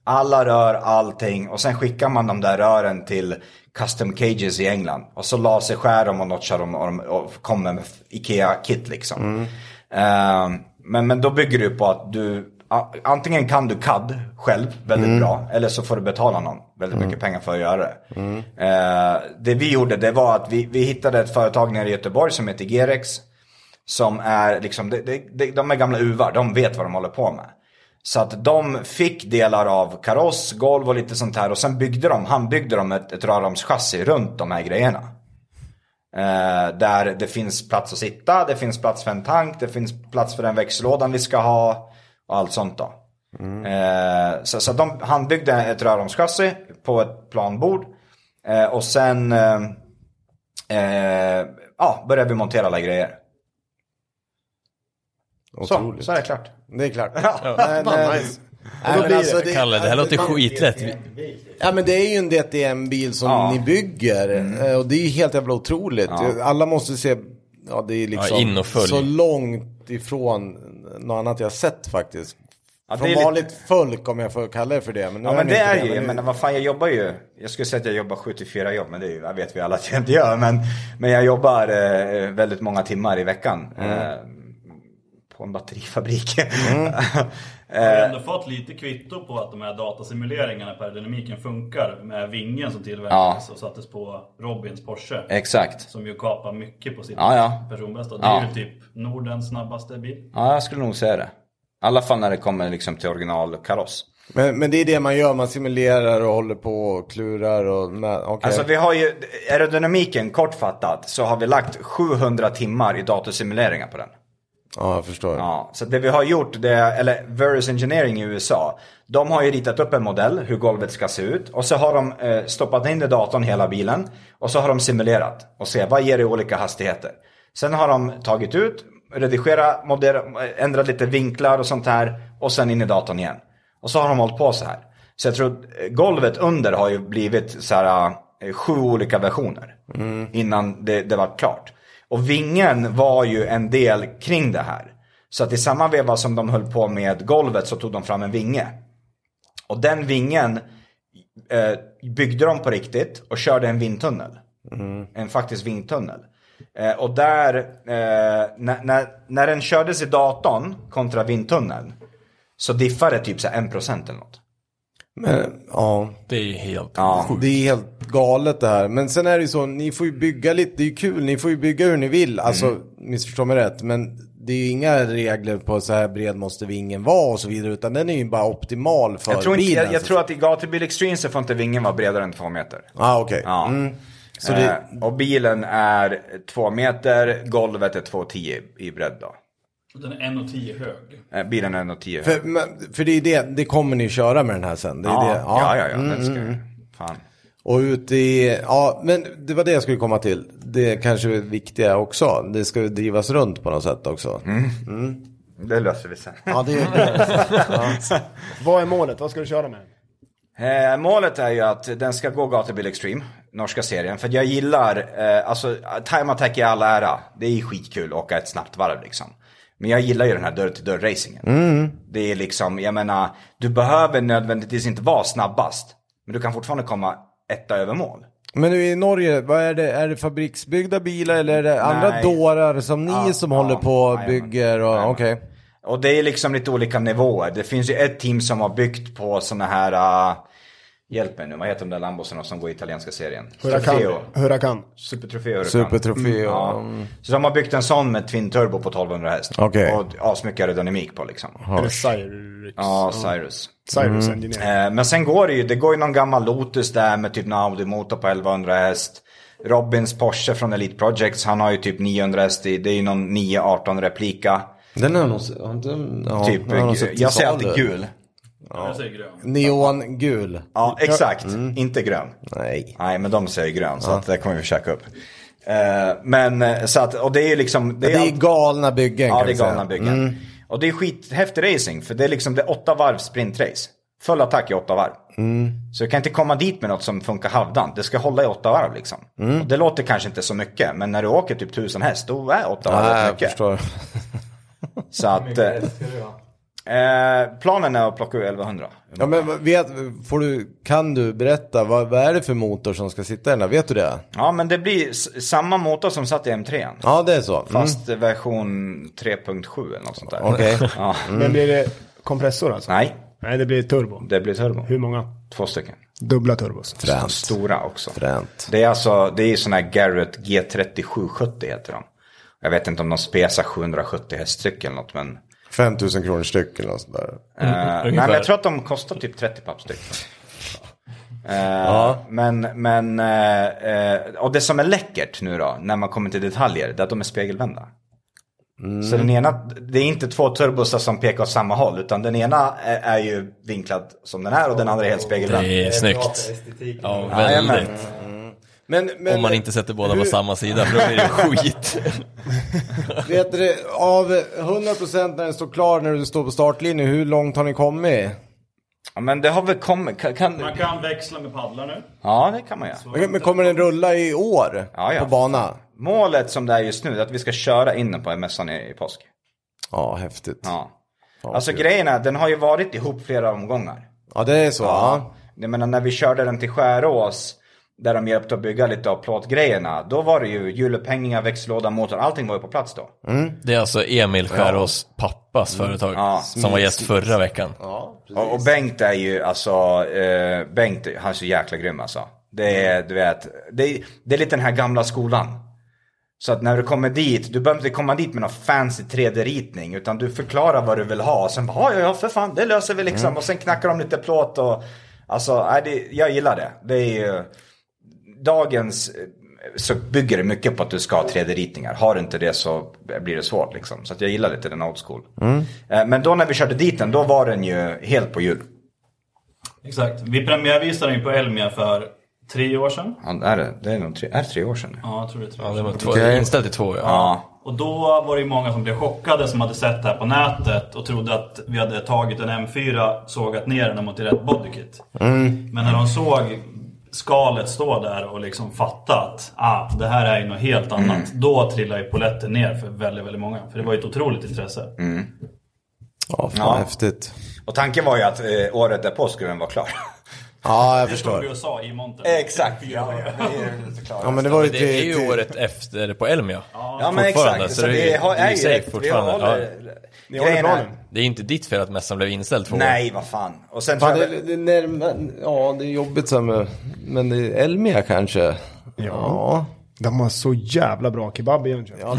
Speaker 4: Alla rör, allting och sen skickar man de där rören till custom cages i England. Och så laserskär de och notchar dem och, de, och kommer med Ikea-kit liksom. Ehm, men, men då bygger det ju på att du a- antingen kan du CAD själv väldigt bra eller så får du betala någon väldigt mycket pengar för att göra det. Ehm, det vi gjorde det var att vi, vi hittade ett företag nere i Göteborg som heter Gerex. Som är liksom, de, de, de är gamla uvar, de vet vad de håller på med. Så att de fick delar av kaross, golv och lite sånt här och sen byggde de, han byggde de ett, ett rörramschassi runt de här grejerna. Eh, där det finns plats att sitta, det finns plats för en tank, det finns plats för den växellådan vi ska ha och allt sånt då. Eh, så så de, han byggde ett rörramschassi på ett planbord eh, och sen eh, eh, ja, började vi montera alla grejer. Så,
Speaker 1: Otroligt.
Speaker 4: så är det klart.
Speaker 1: Det är klart. eh,
Speaker 3: Fan, nice. Och då blir
Speaker 1: Alltså,
Speaker 3: det-
Speaker 2: Kalle, alltså, det här låter skitlätt.
Speaker 1: Ja men det är ju en DTM-bil som
Speaker 4: Ja. Mm.
Speaker 1: ni bygger eh, och det är ju helt jävla otroligt. Alla måste se, ja det är liksom
Speaker 2: Ja, in och följ.
Speaker 1: så långt ifrån något annat jag sett faktiskt.
Speaker 4: Ja, det
Speaker 1: Från
Speaker 4: är lite-
Speaker 1: vanligt folk om jag får kalla det för det. Men nu
Speaker 4: Ja men
Speaker 1: ni
Speaker 4: det
Speaker 1: inte
Speaker 4: är ju, jag
Speaker 1: men-
Speaker 4: menar vad fan jag jobbar ju, jag skulle säga att jag jobbar 74 jobb men det är ju, jag vet vi alla att jag inte gör. Men, men jag jobbar eh, väldigt många timmar i veckan. Eh, på en batterifabrik. Mm. Eh,
Speaker 6: Jag har ändå fått lite kvitto på att de här datasimuleringarna på aerodynamiken funkar med vingen som tillverkades och sattes på Robins Porsche.
Speaker 4: Exakt.
Speaker 6: Som ju kapar mycket på sitt
Speaker 4: Eh. Ja, ja.
Speaker 6: personbästa. Det
Speaker 4: Ja.
Speaker 6: är ju typ Nordens snabbaste bil.
Speaker 4: Ja jag skulle nog säga det. I alla fall när det kommer liksom till originalkaross.
Speaker 1: men, men det är det man gör, man simulerar och håller på och klurar och med, okej.
Speaker 4: Alltså vi har ju, aerodynamiken kortfattat så har vi lagt 700 timmar i datorsimuleringar på den.
Speaker 1: Ja jag förstår.
Speaker 4: Ja, så det vi har gjort, det, eller Verus Engineering i USA, de har ju ritat upp en modell hur golvet ska se ut och så har de eh, stoppat in i datorn hela bilen och så har de simulerat och se vad ger det i olika hastigheter. Sen har de tagit ut, redigerat, moder- ändrat lite vinklar och sånt här och sen in i datorn igen. Och så har de hållit på så här. Så jag tror eh, golvet under har ju blivit så här eh, sju olika versioner innan det, det var klart. Och vingen var ju en del kring det här. Så att i samma veva som de höll på med golvet så tog de fram en vinge. Och den vingen eh, byggde de på riktigt och körde en vindtunnel. En faktisk vindtunnel. Eh, och där, eh, när, när, när den kördes i datorn kontra vindtunneln så diffade det typ så här 1% eller något.
Speaker 1: Men, ja.
Speaker 2: Det är ju helt
Speaker 4: Ja.
Speaker 2: sjukt.
Speaker 1: Det är helt galet det här. Men sen är det ju så, ni får ju bygga lite, det är ju kul, ni får ju bygga hur ni vill. Alltså,
Speaker 4: Mm.
Speaker 1: missförstå mig rätt, men det är ju inga regler på så här bred måste vingen vara och så vidare, utan den är ju bara optimal för
Speaker 4: Jag tror, inte,
Speaker 1: bilen.
Speaker 4: jag, jag tror att i gatubil extreme så får inte vingen vara bredare än 2 meter.
Speaker 1: Ah, okej.
Speaker 4: Ja.
Speaker 1: Mm. Så det-
Speaker 4: Eh, och bilen är två meter, golvet är 2,10 i bredd då.
Speaker 6: Den är 1,10 hög.
Speaker 4: Eh, bilen är 1,10
Speaker 1: För, men- för det är det, det kommer ni köra med den här sen. Det Mm, är
Speaker 4: ja,
Speaker 1: det.
Speaker 4: ja, ja, ja, den ska vi. Fan.
Speaker 1: Och ut i, ja men det var det jag skulle komma till. Det kanske är viktiga också. Det ska ju drivas runt på något sätt också.
Speaker 4: Mm. Det löser vi sen.
Speaker 1: Ja, det är,
Speaker 3: Vad är målet? Vad ska du köra med?
Speaker 4: Eh, målet är ju att den ska gå Gatubil Extreme, norska serien. För jag gillar, eh, alltså time attack i all ära, det är skitkul att åka ett snabbt varv liksom. Men jag gillar ju den här dörr-till-dörr-racingen.
Speaker 1: Mm.
Speaker 4: Det är liksom, jag menar, du behöver nödvändigtvis inte vara snabbast. Men du kan fortfarande komma etta över mål.
Speaker 1: men nu i Norge, vad är det? Är det fabriksbyggda bilar eller är det andra
Speaker 4: Nej.
Speaker 1: dårar som ni
Speaker 4: Ja,
Speaker 1: som
Speaker 4: ja,
Speaker 1: håller på och
Speaker 4: jajamän.
Speaker 1: bygger? Och,
Speaker 4: Jajamän.
Speaker 1: okej.
Speaker 4: Och det är liksom lite olika nivåer. Det finns ju ett team som har byggt på såna här, eh, hjälp mig nu, vad heter de där lambosarna som går i italienska serien? Trofeo.
Speaker 3: Huracan. Huracan.
Speaker 4: Supertrofé Huracan.
Speaker 1: Supertrofé,
Speaker 4: Mm, ja. Så de har byggt en sån med Twin Turbo på 1200 häst.
Speaker 1: Okej.
Speaker 4: Och asmycket aerodynamik på liksom.
Speaker 3: Eller Cyrus.
Speaker 4: Ja, Cyrus.
Speaker 3: Cyrus Engineer.
Speaker 4: Eh, men sen går det ju, det går ju någon gammal Lotus där med typ en Audi-motor på 1100 häst. Robins Porsche från Elite Projects, han har ju typ 900 häst i, det är ju någon 918 replika.
Speaker 1: Den är nog, har inte, ja,
Speaker 4: typ,
Speaker 1: den har nog sett till
Speaker 4: jag säger alltid
Speaker 1: salu.
Speaker 4: gul.
Speaker 6: Jag säger grön.
Speaker 1: Neongul.
Speaker 4: Ja, exakt.
Speaker 1: Mm.
Speaker 4: Inte grön.
Speaker 1: Nej.
Speaker 4: Nej, men de säger grön, så att det kommer vi käka upp. Eh, men eh, så att, och det är ju liksom...
Speaker 1: Det är
Speaker 4: allt-
Speaker 1: galna byggen
Speaker 4: Ja,
Speaker 1: kan
Speaker 4: det är
Speaker 1: vi säga. Mm.
Speaker 4: galna byggen. Och det är skithäftig racing, för det är liksom det är åtta varv sprintrace. Full attack i åtta varv.
Speaker 1: Mm.
Speaker 4: Så du kan inte komma dit med något som funkar halvdant. Det ska hålla i åtta varv liksom.
Speaker 1: Mm.
Speaker 4: Och det låter kanske inte så mycket, men när du åker typ tusen häst, då är åtta varv
Speaker 1: Nej,
Speaker 4: rätt
Speaker 1: jag
Speaker 4: mycket.
Speaker 1: förstår.
Speaker 4: Så att eh,
Speaker 5: Det ska du ha.
Speaker 4: eh, planen är att plocka ur 1100.
Speaker 1: Ja, men vad- vet, får du, kan du berätta, vad, vad är det för motor som ska sitta i den här? Vet du det?
Speaker 4: Ja, men det blir s- samma motor som satt i M3.
Speaker 1: Ja, det är så. Mm.
Speaker 4: Fast version 3.7 eller något sånt där.
Speaker 1: Okej.
Speaker 4: Ja.
Speaker 3: Men blir det kompressor alltså?
Speaker 4: Nej,
Speaker 3: Nej, det blir turbo.
Speaker 4: det blir turbo.
Speaker 3: Hur många?
Speaker 4: Två stycken.
Speaker 3: Dubbla turbos.
Speaker 1: Fränt.
Speaker 4: Stora också.
Speaker 1: Fränt.
Speaker 4: Det är alltså, det är sån här Garrett G3770 heter de. Jag vet inte om de spesar 770 häststyck eller något men.
Speaker 1: 5 000 kronor styck eller något sånt där.
Speaker 2: Mm,
Speaker 4: eh, nej men jag tror att de kostar typ 30 papp styck. Eh, Men, men, eh, eh, och det som är läckert nu då, när man kommer till detaljer, det är att de är spegelvända.
Speaker 2: Mm.
Speaker 4: Så den ena, det är inte två turbosar som pekar åt samma håll, utan den ena är, är ju vinklad som den här och den andra är helt spegelvänd.
Speaker 2: Det är
Speaker 5: bra
Speaker 2: snyggt.
Speaker 5: för estetiken.
Speaker 2: Ja,
Speaker 4: Jajamän.
Speaker 2: väldigt.
Speaker 1: Men, men
Speaker 2: Om man inte sätter båda på samma sida, för då blir det skit.
Speaker 1: vet du, av 100% när den står klar när du står på startlinjen, hur långt har ni kommit?
Speaker 4: Ja, men det har väl kommit, kan, kan,
Speaker 6: Man kan växla med paddlar nu.
Speaker 4: ja det kan man göra.
Speaker 1: Men kommer den rulla i år
Speaker 4: Ja, ja.
Speaker 1: på bana?
Speaker 4: Målet som det är just nu är att vi ska köra in den på mässan i, i påsk.
Speaker 1: Ja, häftigt. Ja,
Speaker 4: Ja. Alltså grejen är, den har ju varit ihop flera omgångar.
Speaker 1: det är så. Ja.
Speaker 4: Jag menar när vi körde den till Skärås, där de hjälpte att bygga lite av plåtgrejerna, då var det ju hjulupphängningar, växellåda, motor, allting var ju på plats då.
Speaker 2: Det är alltså Emil Skärås pappas företag
Speaker 4: Mm. Ja.
Speaker 2: som var gäst förra veckan.
Speaker 4: och, och Bengt är ju, alltså, eh, Bengt, han är så jäkla grym alltså. Det är, du vet, det är, det är lite den här gamla skolan. Så att när du kommer dit, du behöver inte komma dit med någon fancy 3D-ritning. Utan du förklarar vad du vill ha. Och sen bara, "Ja, ja, ja för fan, det löser vi liksom. Och sen knackar de lite plåt och... Alltså, nej, det, jag gillar det. Det är ju... Dagens... eh, Så bygger det mycket på att du ska ha 3D-ritningar. Har du inte det så blir det svårt liksom. Så att jag gillar lite den old school. Eh, Men då när vi körde dit den, då var den ju helt på hjul.
Speaker 6: Exakt. Vi premiärvisade den ju på Elmia för tre år sedan.
Speaker 4: Ja, det är, det- det är nog tre, är det tre år sedan nu.
Speaker 6: Ja, jag tror det är tre
Speaker 2: Ja,
Speaker 6: år
Speaker 2: det
Speaker 6: sedan.
Speaker 2: var två,
Speaker 1: Okej.
Speaker 2: inställt i två ja.
Speaker 4: Ja.
Speaker 6: Och då var det ju många som blev chockade som hade sett det här på nätet och trodde att vi hade tagit en M4, sågat ner den mot i rätt bodykit.
Speaker 1: Mm.
Speaker 6: Men när de såg skalet stå där och liksom fatta att ah, det här är ju något helt annat.
Speaker 1: Mm.
Speaker 6: Då trillade ju poletten ner för väldigt, väldigt många. För det var ju ett otroligt
Speaker 1: Mm.
Speaker 6: intresse.
Speaker 1: Ja, fan
Speaker 4: Ja.
Speaker 1: häftigt.
Speaker 4: Och tanken var ju att eh, året därpå skulle den vara klar.
Speaker 1: Ja, jag
Speaker 6: Det stod vi
Speaker 1: förstår.
Speaker 6: och sa i montern.
Speaker 4: Exakt. Ja, ja, det är ju såklart.
Speaker 1: Ja, men det var ju
Speaker 2: Men det är
Speaker 1: till,
Speaker 2: ju
Speaker 1: till...
Speaker 2: året efter på Elmia.
Speaker 4: Ja men
Speaker 2: Fortfarande,
Speaker 4: exakt,
Speaker 2: så
Speaker 4: så
Speaker 2: det
Speaker 4: det
Speaker 2: är-
Speaker 4: har-
Speaker 2: det är
Speaker 4: är ju
Speaker 2: safe
Speaker 4: rätt. Vi
Speaker 2: fortfarande,
Speaker 4: håller-
Speaker 3: Ni håller
Speaker 4: grejen är-
Speaker 3: planen.
Speaker 2: Det är inte ditt fel att mässan blev inställd två år.
Speaker 4: Nej, vad fan. Och sen
Speaker 1: Fan,
Speaker 4: tror
Speaker 1: det,
Speaker 4: jag,
Speaker 1: det, när, men, ja, det är jobbigt så här med, men det är Elmia kanske. Ja.
Speaker 3: De har så jävla bra kebab i Jönköping. Ja,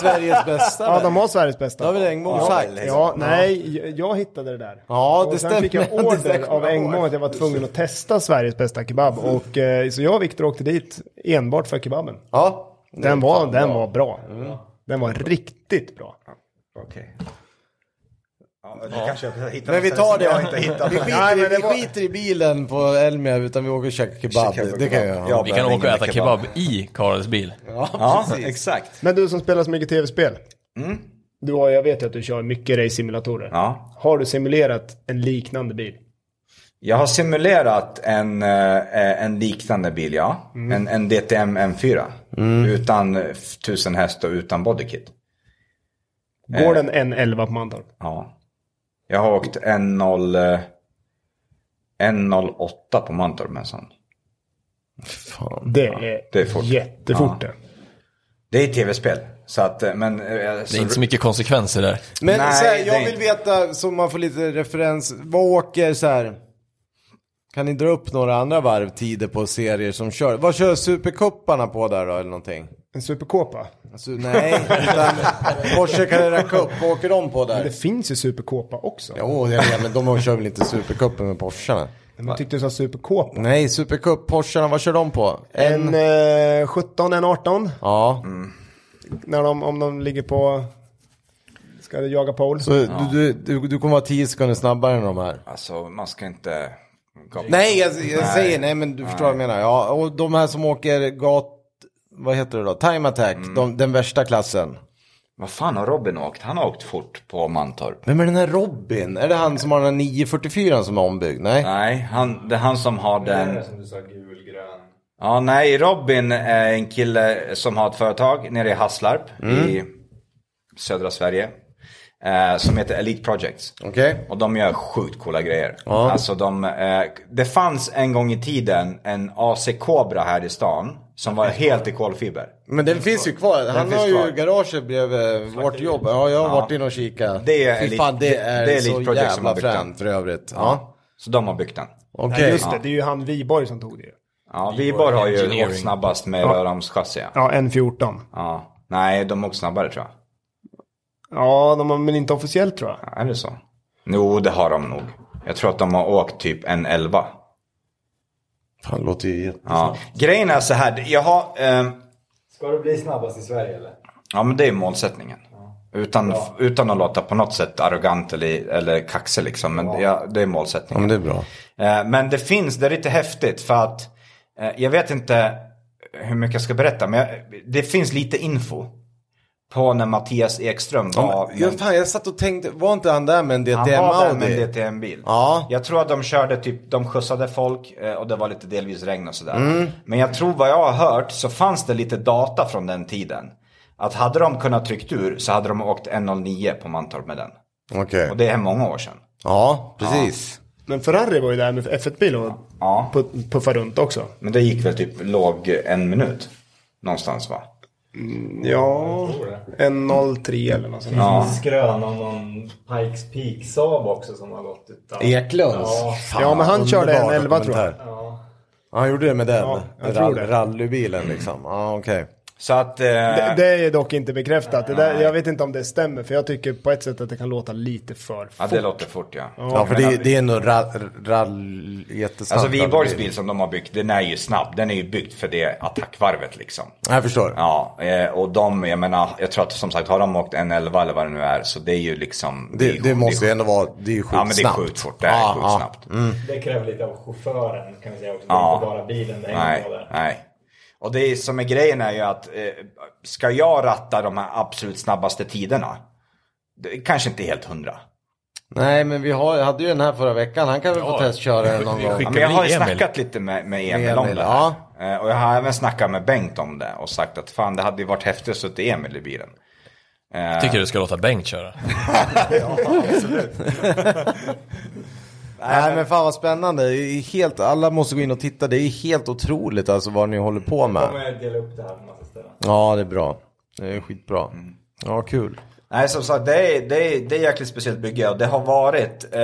Speaker 1: Sveriges bästa. väl?
Speaker 3: de har Sveriges bästa.
Speaker 1: Då har vi Engblom sagt.
Speaker 4: väl,
Speaker 3: Ja,
Speaker 4: liksom.
Speaker 3: nej, jag- jag hittade det där.
Speaker 1: Ja, det
Speaker 3: och sen
Speaker 1: stämmer.
Speaker 3: fick jag
Speaker 1: Det
Speaker 3: order
Speaker 1: stämmer.
Speaker 3: av Engblom att jag var tvungen att testa Sveriges bästa kebab. Och, eh, så jag och Viktor åkte dit enbart för kebaben.
Speaker 1: Ja.
Speaker 3: Den var, den var bra. Den var riktigt bra.
Speaker 4: Okej. Ja, men det kanske jag hittar
Speaker 1: Men vi
Speaker 4: någonstans
Speaker 1: tar
Speaker 4: som jag
Speaker 1: det.
Speaker 4: inte hittat.
Speaker 1: Vi skiter,
Speaker 3: Nej,
Speaker 1: i-
Speaker 3: men det
Speaker 1: vi
Speaker 3: var-
Speaker 1: skiter i bilen på Elmia utan vi åker och käkar kebab.
Speaker 4: Käkar
Speaker 1: Det kan jag
Speaker 4: kebab.
Speaker 1: göra.
Speaker 4: Ja.
Speaker 2: Vi kan
Speaker 4: men
Speaker 2: åka och äta
Speaker 4: ingen
Speaker 2: kebab,
Speaker 4: kebab.
Speaker 2: i Karls bil.
Speaker 4: Ja, exakt.
Speaker 3: Men du som spelar så mycket tv-spel. Du har, jag vet ju att du kör mycket race-simulatorer.
Speaker 4: Ja.
Speaker 3: Har du simulerat en liknande bil?
Speaker 4: Jag har simulerat en, eh, en liknande bil, ja.
Speaker 1: Mm.
Speaker 4: En, en DTM M4. Utan eh, 1000 häst och utan bodykit.
Speaker 3: Går den en 11 på Mantorp?
Speaker 4: Ja. Jag har åkt 10, eh, 108 på Mantorp med en sån.
Speaker 3: Det är,
Speaker 4: det är fort.
Speaker 3: jättefort det.
Speaker 4: Det är tv-spel. Så att, eh, men... eh,
Speaker 2: Det är inte så mycket konsekvenser där.
Speaker 1: Men
Speaker 4: Nej,
Speaker 1: så här,
Speaker 4: det
Speaker 1: jag
Speaker 4: är
Speaker 1: vill
Speaker 4: inte.
Speaker 1: veta, så man får lite referens, vad åker så här? Kan ni dra upp några andra varvtider på serier som kör? Vad kör supercuparna på där då eller någonting?
Speaker 3: En superkåpa?
Speaker 1: Alltså, nej, utan Porsche Carrera Cup, vad åker de på där?
Speaker 3: Det finns ju superkåpa också.
Speaker 1: Jo, jag vet, men de kör väl inte supercupen med Porscharna?
Speaker 3: Men tyckte du sa superkåpa?
Speaker 1: Nej, supercup, Porscharna, vad kör de på? En?
Speaker 3: En eh, 17, en 18.
Speaker 1: Ja,
Speaker 3: När de, om de ligger på... Ska de jaga pole.
Speaker 1: så Du, du, du, du kommer vara 10 sekunder snabbare än de här.
Speaker 4: Alltså, man ska inte...
Speaker 1: Nej, jag, jag säger nej, men du förstår vad jag menar. Ja, och de här som åker gat... Vad heter det då? Time attack, de, den värsta klassen.
Speaker 4: Vad fan har Robin åkt? Han har åkt fort på Mantorp.
Speaker 1: Vem är den här Robin? Är det han som har den här 944 som är ombyggd? Nej.
Speaker 4: Nej, han, det är han som har
Speaker 5: Det
Speaker 4: den...
Speaker 5: är som du sa, gul, grön.
Speaker 4: Ja, nej, Robin är en kille som har ett företag nere i Hasslarp i
Speaker 1: Mm.
Speaker 4: södra Sverige. Eh, som heter Elite Projects.
Speaker 1: Okej.
Speaker 4: Och de gör sjukt coola grejer.
Speaker 1: Ja.
Speaker 4: Alltså de, eh, det fanns en gång i tiden en AC Cobra här i stan som var helt i kolfiber.
Speaker 1: Men den finns ju kvar. Han
Speaker 4: finns
Speaker 1: har ju
Speaker 4: kvar.
Speaker 1: garaget bredvid vårt jobb. Ja, jag har varit inne och kikat.
Speaker 4: Det är
Speaker 1: Fy
Speaker 4: Elite-
Speaker 1: fan, det
Speaker 4: det-
Speaker 1: är,
Speaker 4: det är
Speaker 1: så
Speaker 4: Elite Project som
Speaker 1: jävla
Speaker 4: har byggt den.
Speaker 1: fränt för övrigt. Ja.
Speaker 4: Så de har byggt den.
Speaker 1: Okej.
Speaker 3: Nej, just det. Det är ju han Viborg som tog det ju.
Speaker 4: Ja, Viborg har ju
Speaker 2: Engineering.
Speaker 4: åkt snabbast med rörramschassi. Ja.
Speaker 3: Ja, en 14.
Speaker 4: Ja. Nej, de har åkt snabbare tror jag.
Speaker 3: Ja, de har, men inte officiellt tror jag.
Speaker 4: Ja, Är det så? Jo, det har de nog. Jag tror att de har åkt typ en 11.
Speaker 1: Fan, det låter ju jätte...
Speaker 4: Ja. Grejen är så här, jag har... ehm,
Speaker 5: Ska du bli snabbast i Sverige eller?
Speaker 4: Ja, men det är målsättningen. Utan, utan att låta på något sätt arrogant eller, eller kaxig liksom. Men ja, det är
Speaker 1: Ja, men
Speaker 4: målsättningen.
Speaker 1: det är bra.
Speaker 4: Eh, Men det finns, det är lite häftigt för att eh, jag vet inte hur mycket jag ska berätta. Men jag, det finns lite info på när Mattias Ekström var...
Speaker 1: Ja, fan, jag satt och tänkte, var inte han där med en
Speaker 4: han
Speaker 1: DTM
Speaker 4: var där med en
Speaker 1: Audi?
Speaker 4: DTM-bil.
Speaker 1: Ja.
Speaker 4: Jag tror att de körde typ, de skjutsade folk eh, och det var lite delvis regn och sådär. Men jag tror vad jag har hört så fanns det lite data från den tiden. Att hade de kunnat tryckt ur så hade de åkt 1.09 på Mantorp med den.
Speaker 1: Okej.
Speaker 4: Och det är många år sedan.
Speaker 1: Ja, precis.
Speaker 3: Men Ferrari var ju där med F1-bil och
Speaker 4: Ja.
Speaker 3: pu- puffade runt också.
Speaker 4: Men det gick väl typ låg en minut. Någonstans va?
Speaker 3: Ja, en 03 eller något sånt.
Speaker 4: Ja.
Speaker 5: Skrön om någon Pikes Peak Saab också som har gått utan.
Speaker 1: Eklunds?
Speaker 5: Ja.
Speaker 1: Fan,
Speaker 3: Ja, men han körde
Speaker 1: underbar
Speaker 3: en 11 tror jag.
Speaker 1: dokumentär.
Speaker 5: Ja.
Speaker 1: Ja, han gjorde det med den?
Speaker 3: Ja, jag
Speaker 1: Rall-
Speaker 3: tror det.
Speaker 1: Rallybilen liksom? Ja, okej.
Speaker 4: Så att... Eh,
Speaker 3: Det, det är dock inte bekräftat. Det där, jag vet inte om det stämmer, för jag tycker på ett sätt att det kan låta lite för
Speaker 4: ja,
Speaker 1: Alltså-
Speaker 3: fort.
Speaker 4: det låter fort ja.
Speaker 1: Ja, för det, det är nog ra- rall... Jättesnabb
Speaker 4: Alltså Viborgs
Speaker 1: rallybil.
Speaker 4: bil som de har byggt, den är ju snabb. Den är ju byggd för det attackvarvet liksom.
Speaker 1: Jag förstår.
Speaker 4: Ja, eh, och de, jag menar, jag tror att som sagt har de åkt en 11 eller vad det nu är, så det är ju liksom...
Speaker 1: det,
Speaker 4: är-
Speaker 1: det, måste ju ändå vara... Det är ju sjukt
Speaker 4: Ja, men det är
Speaker 1: snabbt.
Speaker 4: sjukt fort. Det är
Speaker 1: Ja,
Speaker 4: sjukt
Speaker 1: ja. Mm.
Speaker 4: snabbt.
Speaker 5: Det kräver lite av chauffören kan vi säga också.
Speaker 4: Ja.
Speaker 5: Det är inte bara bilen det hänger
Speaker 4: Nej,
Speaker 5: på där.
Speaker 4: nej. Och det är, som är grejen är ju att eh, ska jag ratta de här absolut snabbaste tiderna, det är kanske inte helt hundra.
Speaker 1: Nej, men vi har, hade ju den här förra veckan. Han kan väl få
Speaker 2: Ja.
Speaker 1: testköra den någon
Speaker 2: Vi
Speaker 1: gång.
Speaker 2: skickar-
Speaker 4: Ja, men jag har ju
Speaker 2: Emil.
Speaker 4: snackat lite med, med Emil,
Speaker 1: Emil,
Speaker 4: om det här.
Speaker 1: ja.
Speaker 4: Eh, Och jag har även snackat med Bengt om det och sagt att fan det hade ju varit häftigt att sitta Emil i bilen.
Speaker 2: Jag tycker du ska låta Bengt köra.
Speaker 1: Nej, men fan vad spännande. Det är Helt, alla måste gå in och titta. Det är helt otroligt alltså vad ni håller på
Speaker 5: Då
Speaker 1: med.
Speaker 5: kommer jag dela upp det här på massa ställen.
Speaker 1: Ja, det är bra. Det är skitbra.
Speaker 4: Mm.
Speaker 1: Ja, kul.
Speaker 4: Nej, som sagt, det är, det är, det är jäkligt speciellt bygge och det har varit... Eh,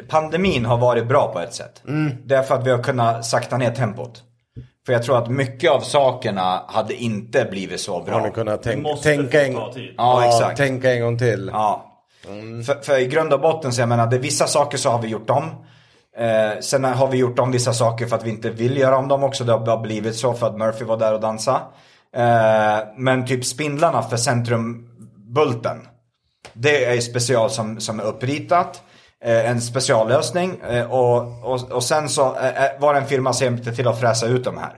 Speaker 1: Mm.
Speaker 4: pandemin har varit bra på ett sätt. Därför att vi har kunnat sakta ner tempot. För jag tror att mycket av sakerna hade inte blivit så
Speaker 1: Har
Speaker 4: bra.
Speaker 1: ni kunnat
Speaker 6: Det
Speaker 1: tänk,
Speaker 6: måste
Speaker 1: tänka,
Speaker 6: få
Speaker 1: en,
Speaker 6: ta tid.
Speaker 4: Ja, exakt.
Speaker 1: tänka en gång till?
Speaker 4: Ja. För, för i grund och botten så jag menar, det är vissa saker så har vi gjort om. Eh, sen har vi gjort om vissa saker för att vi inte vill göra om dem också. Det har bara blivit så för att Murphy var där och dansade. Eh, men typ spindlarna för centrumbulten. Det är special som, som är uppritat. Eh, en speciallösning. Eh, och, och, och sen så eh, eh, var det en firma som hjälpte till att fräsa ut de här.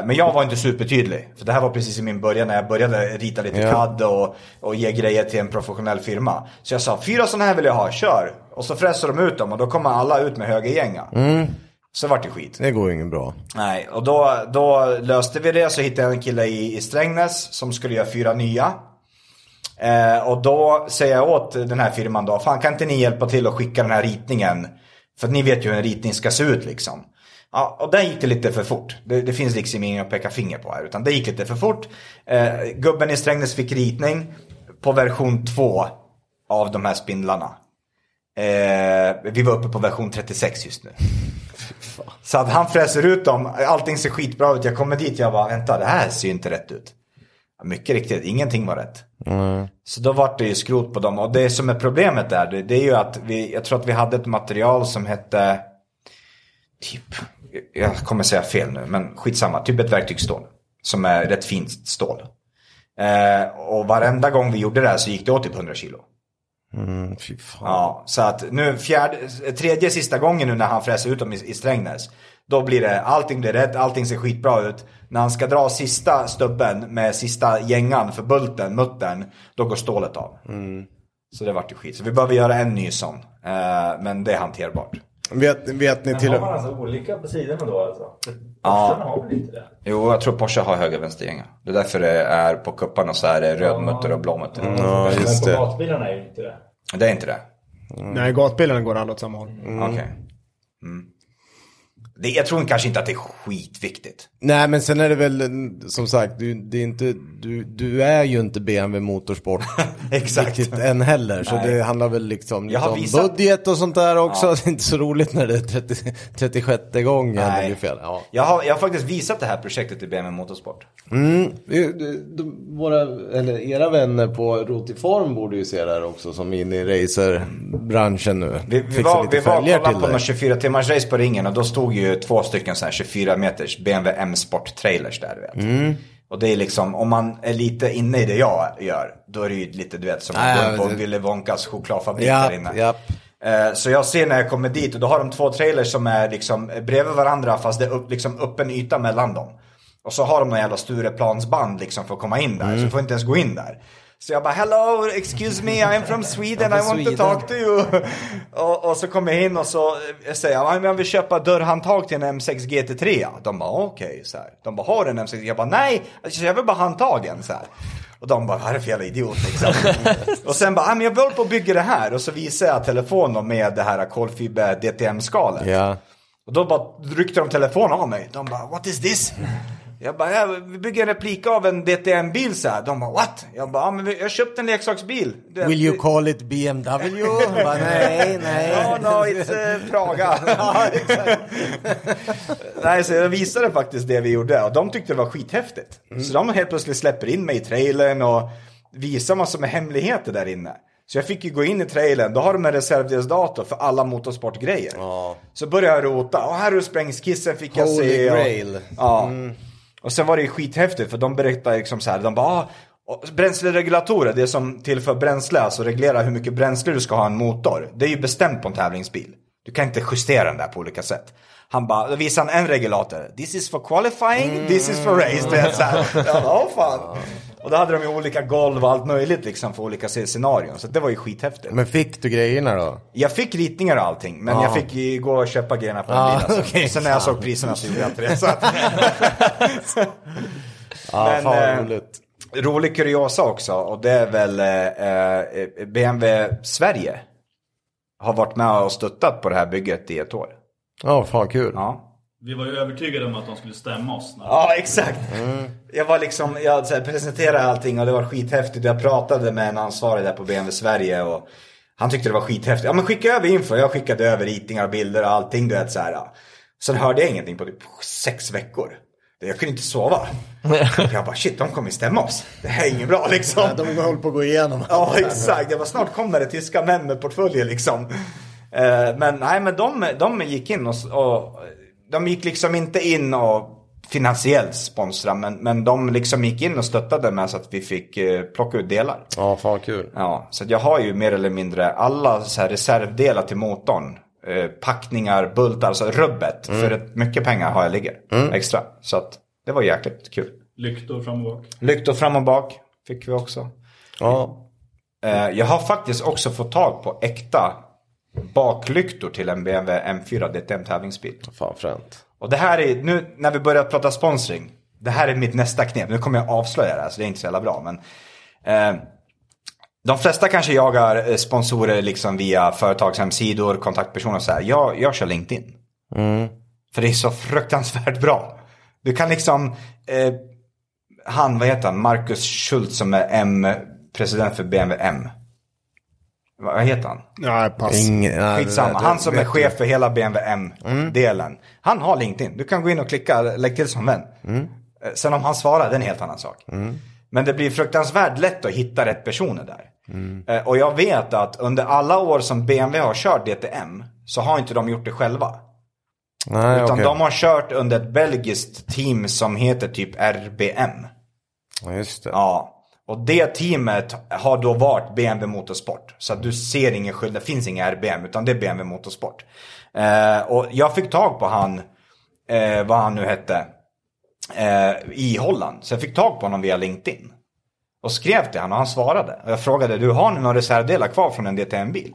Speaker 4: Eh, Men jag var inte supertydlig. För det här var precis i min början när jag började rita lite
Speaker 1: Ja.
Speaker 4: CAD och, och ge grejer till en professionell firma. Så jag sa, fyra sådana här vill jag ha, kör! Och så fräser de ut dem och då kommer alla ut med höga gänga. Så vart det skit.
Speaker 1: Mm, Det går ju ingen bra.
Speaker 4: Nej, och då, då löste vi det. Så hittade jag en kille i, i Strängnäs som skulle göra fyra nya. Eh, och då säger jag åt den här firman då, fan kan inte ni hjälpa till att skicka den här ritningen? För att ni vet ju hur en ritning ska se ut liksom. Ja, och där gick det lite för fort. Det, det finns liksom ingen att peka finger på här, utan det gick lite för fort. Eh, gubben i Strängnäs fick ritning på version 2 av de här spindlarna. Eh, vi var uppe på version 36 just nu. Så att han fräser ut dem, allting ser skitbra ut. Jag kommer dit, jag bara vänta det här ser ju inte rätt ut. Mycket riktigt, ingenting var rätt. Så då vart det ju skrot på dem. Och det som är problemet där, det, det är ju att vi, jag tror att vi hade ett material som hette, typ, jag kommer säga fel nu, men skitsamma, typ ett verktygsstål. Som är rätt fint stål. Eh, och varenda gång vi gjorde det här så gick det åt typ 100 kilo.
Speaker 1: Mm, fy fan.
Speaker 4: Ja, så att nu fjärde, tredje sista gången nu när han fräser ut dem i, i Strängnäs. Då blir det, allting blir rätt, allting ser skitbra ut. När han ska dra sista stubben med sista gängan för bulten, muttern, då går stålet av. Så det vart ju skit. Så vi behöver göra en ny sån. Eh, men det är hanterbart.
Speaker 1: Vet, vet ni
Speaker 5: Men
Speaker 1: till
Speaker 5: har man alltså olika på sidorna då alltså?
Speaker 4: Ja.
Speaker 5: Forsarna har väl inte det?
Speaker 4: Jo, jag tror Porsche har höger vänstergänga. Det är därför det är på kupparna så är det röd mutter och blå mutter.
Speaker 1: Ja, just
Speaker 5: Men på
Speaker 1: det.
Speaker 5: gatbilarna är ju inte det.
Speaker 4: Det är inte det?
Speaker 3: Nej, gatbilarna går alla åt samma håll.
Speaker 4: Okej. Mm. Det, jag tror kanske inte att det är skitviktigt.
Speaker 1: Nej men sen är det väl en- som sagt, du, det är, inte, du, du är ju inte BMW Motorsport
Speaker 4: Exakt.
Speaker 1: riktigt än heller. Så
Speaker 4: Nej.
Speaker 1: det handlar väl liksom
Speaker 4: Jag har
Speaker 1: lite om
Speaker 4: visat-
Speaker 1: budget och sånt där också.
Speaker 4: Ja.
Speaker 1: Det är inte så roligt när det är 30, 36 gången det blir fel. Ja.
Speaker 4: Jag, har, jag har faktiskt visat det här projektet i BMW Motorsport.
Speaker 1: Mm. Det- det- de- Våra, eller era vänner på Rotiform borde ju se det här också som är inne i racerbranschen nu.
Speaker 4: Vi, vi
Speaker 1: Fixar
Speaker 4: var,
Speaker 1: lite
Speaker 4: vi var och
Speaker 1: fälgar
Speaker 4: kollade
Speaker 1: till
Speaker 4: på
Speaker 1: dig.
Speaker 4: någon 24 timmars race på ringen och då stod ju två stycken så här 24 meters BMW M Sport trailers där du vet.
Speaker 1: Mm.
Speaker 4: Och det är liksom, om man är lite inne i det jag gör, då är det ju lite du vet som
Speaker 1: Ja,
Speaker 4: att
Speaker 1: ja,
Speaker 4: gå in på
Speaker 1: det-
Speaker 4: Willy Wonkas chokladfabrik
Speaker 1: Japp,
Speaker 4: där inne.
Speaker 1: japp.
Speaker 4: Eh, Så jag ser när jag kommer dit och då har de två trailers som är liksom bredvid varandra fast det är upp, liksom öppen yta mellan dem. Och så har de någon jävla Stureplansband liksom för att komma in där,
Speaker 1: Mm.
Speaker 4: så du får inte ens gå in där. Så jag bara hello, excuse me, I'm from Sweden, I want to talk to you. Och, och så kommer jag in och så eh, säger jag, "Ja, men jag vill köpa dörrhandtag till en M6 GT3. ja." De bara okej, så här. De bara har du en M6? Jag bara nej, alltså, jag vill bara handtagen så här. Och de bara, vad är det för jävla idiot liksom? och sen bara, "Ah, men jag håller på och bygger det här. Och så visar jag telefonen med det här kolfiber DTM-skalet.
Speaker 1: Ja.
Speaker 4: Och då bara ryckte de telefonen av mig. De bara, what is this? Jag bara, ja, vi bygger en replika av en DTM-bil så här. De bara, what? Jag bara, ja, men vi- jag köpte en leksaksbil. Du vet,
Speaker 1: Will you
Speaker 4: det-
Speaker 1: call it BMW? Bara, nej, nej.
Speaker 4: No, no, it's eh, Praga. Ja, exakt. Nej, så jag visade faktiskt det vi gjorde och de tyckte det var skithäftigt.
Speaker 1: Mm.
Speaker 4: Så de helt plötsligt släpper in mig i trailern och visar massor med hemligheter där inne. Så jag fick ju gå in i trailern, då har de en reservdelsdator för alla motorsportgrejer.
Speaker 1: Ja.
Speaker 4: Så började jag rota, och här är sprängskissen fick jag
Speaker 1: Holy
Speaker 4: se. och-
Speaker 1: grail. Mm.
Speaker 4: Ja. Och sen var det ju skithäftigt för de berättade liksom så här, de bara ah, och Bränsleregulatorer, det som tillför bränsle, alltså reglerar hur mycket bränsle du ska ha i en motor. Det är ju bestämt på en tävlingsbil. Du kan inte justera den där på olika sätt. Han bara, då visade han en regulator. This is for qualifying,
Speaker 1: Mm.
Speaker 4: this is for race. Det är så här, jag bara, åh fan. Och då hade de ju olika golv och allt möjligt liksom för olika scenarion. Så det var ju skithäftigt.
Speaker 1: Men fick du grejerna då?
Speaker 4: Jag fick ritningar och allting, men jag fick ju gå och köpa grejerna på en
Speaker 1: Ja,
Speaker 4: bil. Alltså.
Speaker 1: okej.
Speaker 4: Sen när jag såg priserna så gjorde jag inte det. Så att...
Speaker 1: Ja,
Speaker 4: Men,
Speaker 1: fan vad
Speaker 4: eh,
Speaker 1: roligt.
Speaker 4: Rolig kuriosa också, och det är väl eh, eh, BMW Sverige har varit med och stöttat på det här bygget i ett år.
Speaker 1: Ja, fan kul.
Speaker 4: Ja.
Speaker 6: Vi var ju övertygade om att de skulle stämma oss. När...
Speaker 4: Ja, exakt. Jag var liksom, jag så här, presenterade allting och det var skithäftigt. Jag pratade med en ansvarig där på BMW Sverige och han tyckte det var skithäftigt. Ja men skicka över info. Jag skickade över ritningar, bilder och allting du vet så här. ja. Sen hörde jag ingenting på typ sex veckor. Jag kunde inte sova. Jag bara shit, de kommer stämma oss. Det här är inget bra liksom.
Speaker 7: De höll på att gå igenom.
Speaker 4: Ja, exakt. Jag bara, snart kommer det tyska män med portföljer liksom. Eh, Men nej, men de, de gick in och, och de gick liksom inte in och finansiellt sponsra, men, men de liksom gick in och stöttade med så att vi fick eh, plocka ut delar.
Speaker 1: Ja, fan kul.
Speaker 4: Ja, så att jag har ju mer eller mindre alla så här reservdelar till motorn. Eh, packningar, bultar, alltså rubbet. För att mycket pengar har jag ligger extra. Så att det var jäkligt kul.
Speaker 6: Lyktor fram och bak.
Speaker 4: Lyktor fram och bak fick vi också.
Speaker 1: Ja.
Speaker 4: Eh, Jag har faktiskt också fått tag på äkta baklyktor till en BMW M4 DTM tävlingsbil.
Speaker 1: Fan fränt.
Speaker 4: Och det här är, nu när vi börjar prata sponsring, det här är mitt nästa knep. Nu kommer jag avslöja det här så det är inte så jävla bra. Men, eh, de flesta kanske jagar eh, sponsorer liksom via företagshemsidor, kontaktpersoner och så här. Jag, jag kör LinkedIn. För det är så fruktansvärt bra. Du kan liksom, eh, han, vad heter han, Marcus Schultz som är M, president för BMW M. Vad heter han?
Speaker 3: Nej, pass.
Speaker 4: Skitsamma. Han som är chef för hela BMW M-delen. Han har LinkedIn. Du kan gå in och klicka, lägg till som vän. Eh, Sen om han svarar, det är en helt annan sak. Men det blir fruktansvärt lätt att hitta rätt personer där. Eh, Och jag vet att under alla år som BMW har kört DTM så har inte de gjort det själva.
Speaker 1: Nej,
Speaker 4: Utan
Speaker 1: okej.
Speaker 4: de har kört under ett belgiskt team som heter typ RBM.
Speaker 1: Ja, just det.
Speaker 4: Ja. Och det teamet har då varit BMW Motorsport. Så att du ser ingen skillnad, det finns ingen RBM utan det är BMW Motorsport. Eh, och jag fick tag på han, eh, vad han nu hette, eh, i Holland. Så jag fick tag på honom via LinkedIn. Och skrev till honom och han svarade. Och jag frågade, du har ni några reservdelar kvar från en DTM-bil?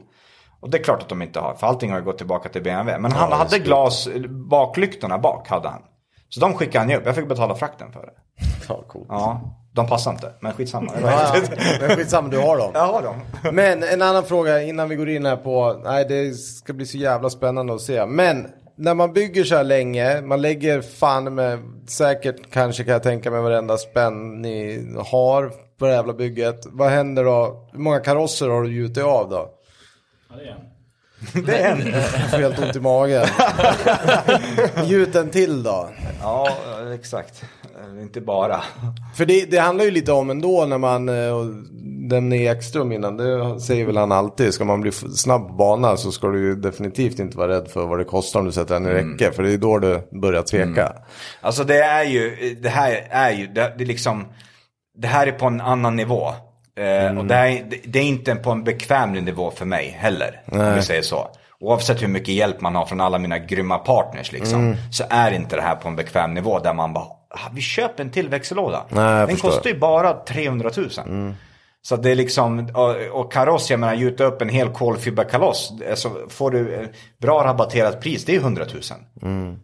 Speaker 4: Och det är klart att de inte har, för allting har ju gått tillbaka till BMW. Men han hade glas, baklyktorna bak hade han. Så de skickade han ju upp, jag fick betala frakten för det.
Speaker 1: Fan coolt.
Speaker 4: Ja, de passar inte, men skitsamma. Det var
Speaker 7: Ja, ja.
Speaker 4: häftigt.
Speaker 7: Men skitsamma, du har dem.
Speaker 4: Jag har dem.
Speaker 1: Men en annan fråga innan vi går in här på, nej det ska bli så jävla spännande att se. Men när man bygger så här länge, man lägger fan med, säkert kanske kan jag tänka mig varenda spänn ni har på det jävla bygget. Vad händer då? Hur många karosser har du gjutit av då?
Speaker 6: Ja, det är en.
Speaker 4: Det är en.
Speaker 1: Jag får helt ont i magen. Gjut en till då.
Speaker 4: Ja, exakt. Eh, Inte bara.
Speaker 1: För det, det handlar ju lite om ändå när man, eh, och den är Ekström innan, det säger väl han alltid, ska man bli f- snabb på bana så ska du ju definitivt inte vara rädd för vad det kostar om du sätter den i räcke, för det är då du börjar tveka.
Speaker 4: Alltså det är ju, det här är ju, det, det är liksom, det här är på en annan nivå. Eh, Och det, här, är- det, det är inte på en bekväm nivå för mig heller, om vi säger så. Oavsett hur mycket hjälp man har från alla mina grymma partners liksom,
Speaker 1: Mm.
Speaker 4: så är inte det här på en bekväm nivå där man bara, "Ah, vi köper en till växellåda.
Speaker 1: jag
Speaker 4: Den
Speaker 1: förstår. Mm.
Speaker 4: kostar ju bara 300 000. Så det är liksom, och- och kaross, jag menar gjuta upp en hel kolfiberkaross, så får du eh, bra rabatterat pris, det är 100 000.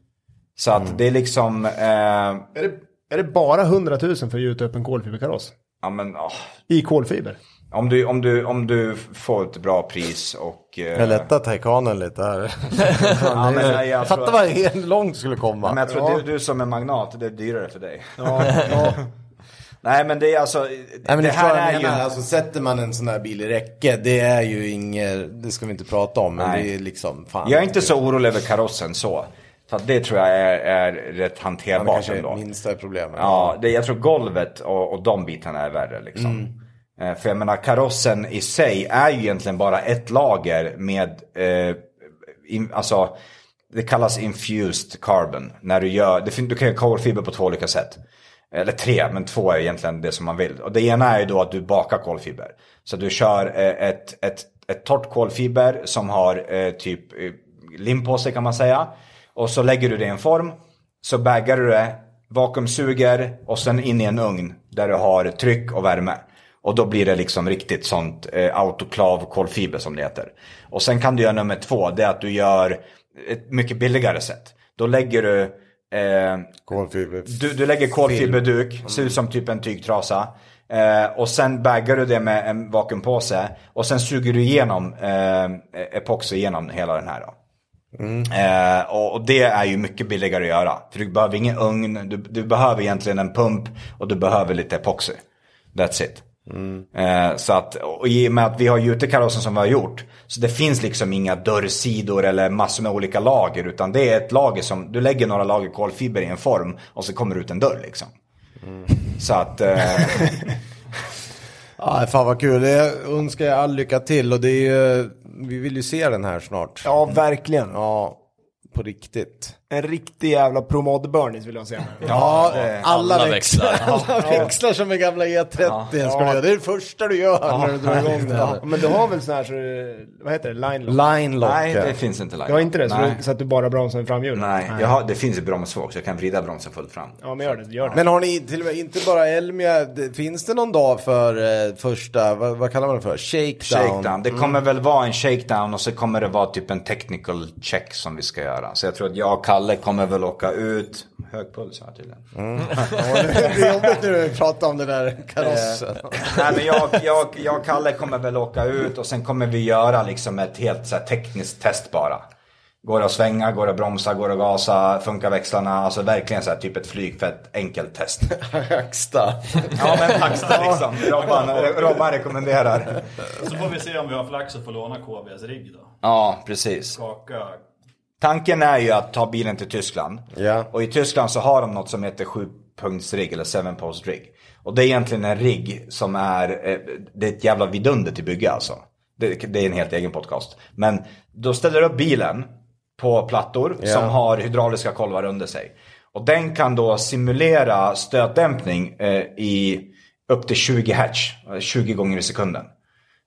Speaker 4: Så att
Speaker 1: Mm.
Speaker 4: det är liksom, eh,
Speaker 3: Är det, är det bara 100 000 för att gjuta upp en kolfiberkaross?
Speaker 4: ja men ah,
Speaker 3: I kolfiber?
Speaker 4: om, du, om, du, om du får ett bra pris och... eh,
Speaker 1: Jag lättar Taycanen lite här.
Speaker 4: ja, men, nej, jag
Speaker 1: Fatta
Speaker 4: tror-
Speaker 1: vad helt långt skulle
Speaker 4: Ja, Men
Speaker 1: komma.
Speaker 4: jag tror du, du som är magnat, det är dyrare för dig. nej men det är alltså,
Speaker 1: Nej, men
Speaker 4: det
Speaker 1: det
Speaker 4: här är
Speaker 1: jag
Speaker 4: ju...
Speaker 1: menar, alltså, sätter man en sån här bil i räcke, det är ju inget, det ska vi inte prata om, men
Speaker 4: Nej.
Speaker 1: det är liksom, fan.
Speaker 4: Jag är inte så orolig över karossen så. så att det tror jag är, är rätt
Speaker 1: det är
Speaker 4: hanterbart
Speaker 1: kanske
Speaker 4: ändå.
Speaker 1: är minsta problemet.
Speaker 4: Ja, det, jag tror golvet och, och de bitarna är värre liksom. Eh, För jag menar karossen i sig är ju egentligen bara ett lager med, eh, in, alltså det kallas infused carbon. När du gör, det, fin- du kan göra kolfiber på två olika sätt. Eller tre, men två är egentligen det som man vill. Och det ena är ju då att du bakar kolfiber. Så du kör eh, ett, ett, ett torrt kolfiber som har eh, typ eh, lim på sig kan man säga. Och så lägger du det i en form. Så baggar du det, vakuumsuger och sen in i en ugn där du har tryck och värme. Och då blir det liksom riktigt sånt eh, autoklav kolfiber som det heter. Och sen kan du göra nummer två, det är att du gör ett mycket billigare sätt. Då lägger du eh,
Speaker 1: Kolfiber.
Speaker 4: du, du lägger kolfiberduk, ser ut som typ en tygtrasa. Eh, och sen baggar du det med en vakuumpåse. Och sen suger du igenom eh, epoxy genom hela den här. Då. Eh, och, och det är ju mycket billigare att göra. För du behöver ingen ugn, du, du behöver egentligen en pump och du behöver lite epoxy. That's it. Eh, så att, och i och med att vi har gjutit karossen som vi har gjort. Så det finns liksom inga dörrsidor eller massor med olika lager. Utan det är ett lager som, du lägger några lager kolfiber i en form och så kommer det ut en dörr liksom. Så att... Eh,
Speaker 1: Ja, fan vad kul. Det önskar jag all lycka till och det är ju, vi vill ju se den här snart.
Speaker 3: Ja, verkligen.
Speaker 1: Ja, på riktigt.
Speaker 3: En riktig jävla promade Burnies vill jag säga.
Speaker 1: Ja,
Speaker 4: det-
Speaker 3: eh,
Speaker 1: alla,
Speaker 2: alla
Speaker 1: växlar.
Speaker 2: växlar.
Speaker 1: Alla växlar som är gamla E30. Ska du göra. Det är det första du gör när du drar igång den.
Speaker 3: Ja, men du har väl sån här, så, det- vad heter det, line lock?
Speaker 1: Line lock.
Speaker 4: nej, det
Speaker 1: ja.
Speaker 4: finns inte lager.
Speaker 3: Du har inte det, så,
Speaker 4: Nej,
Speaker 3: du, så att du bara bromsar med framhjulet?
Speaker 4: nej. Jag har, det finns bromsar också. Jag kan vrida bromsen fullt fram.
Speaker 3: Ja, men gör det. Gör det.
Speaker 1: Men har ni till och med, inte bara Elmia, det- finns det någon dag för eh, första, vad, vad kallar man det för? Shakedown?
Speaker 4: Shakedown. Det kommer väl vara en shakedown och så kommer det vara typ en technical check som vi ska göra. Så jag tror att jag och Kalle kommer väl åka ut. Hög puls här tydligen.
Speaker 1: det är jobbigt nu när vi pratar om den där karossen.
Speaker 4: Eh, Nej men jag, jag, jag och Kalle kommer väl åka ut och sen kommer vi göra liksom ett helt så här tekniskt test bara. Går det att svänga, går det att bromsa, går det att gasa, funkar växlarna? Alltså verkligen så här typ ett flygfett enkelt test.
Speaker 1: Högsta.
Speaker 4: Ja men taxa liksom. Robban, Robban rekommenderar.
Speaker 6: Så får vi se om vi har flax och får låna KBs rigg då.
Speaker 4: Ja precis.
Speaker 6: Skaka.
Speaker 4: Tanken är ju att ta bilen till Tyskland.
Speaker 1: Ja.
Speaker 4: Och i Tyskland så har de något som heter 7-punktsrigg eller 7-post rigg. Och det är egentligen en rigg som är, eh, det är ett jävla vidunder till bygge alltså. Det, det är en helt egen podcast. Men då ställer du upp bilen på plattor som har hydrauliska kolvar under sig. Och den kan då simulera stötdämpning eh, i upp till 20 hertz, eh, 20 gånger i sekunden.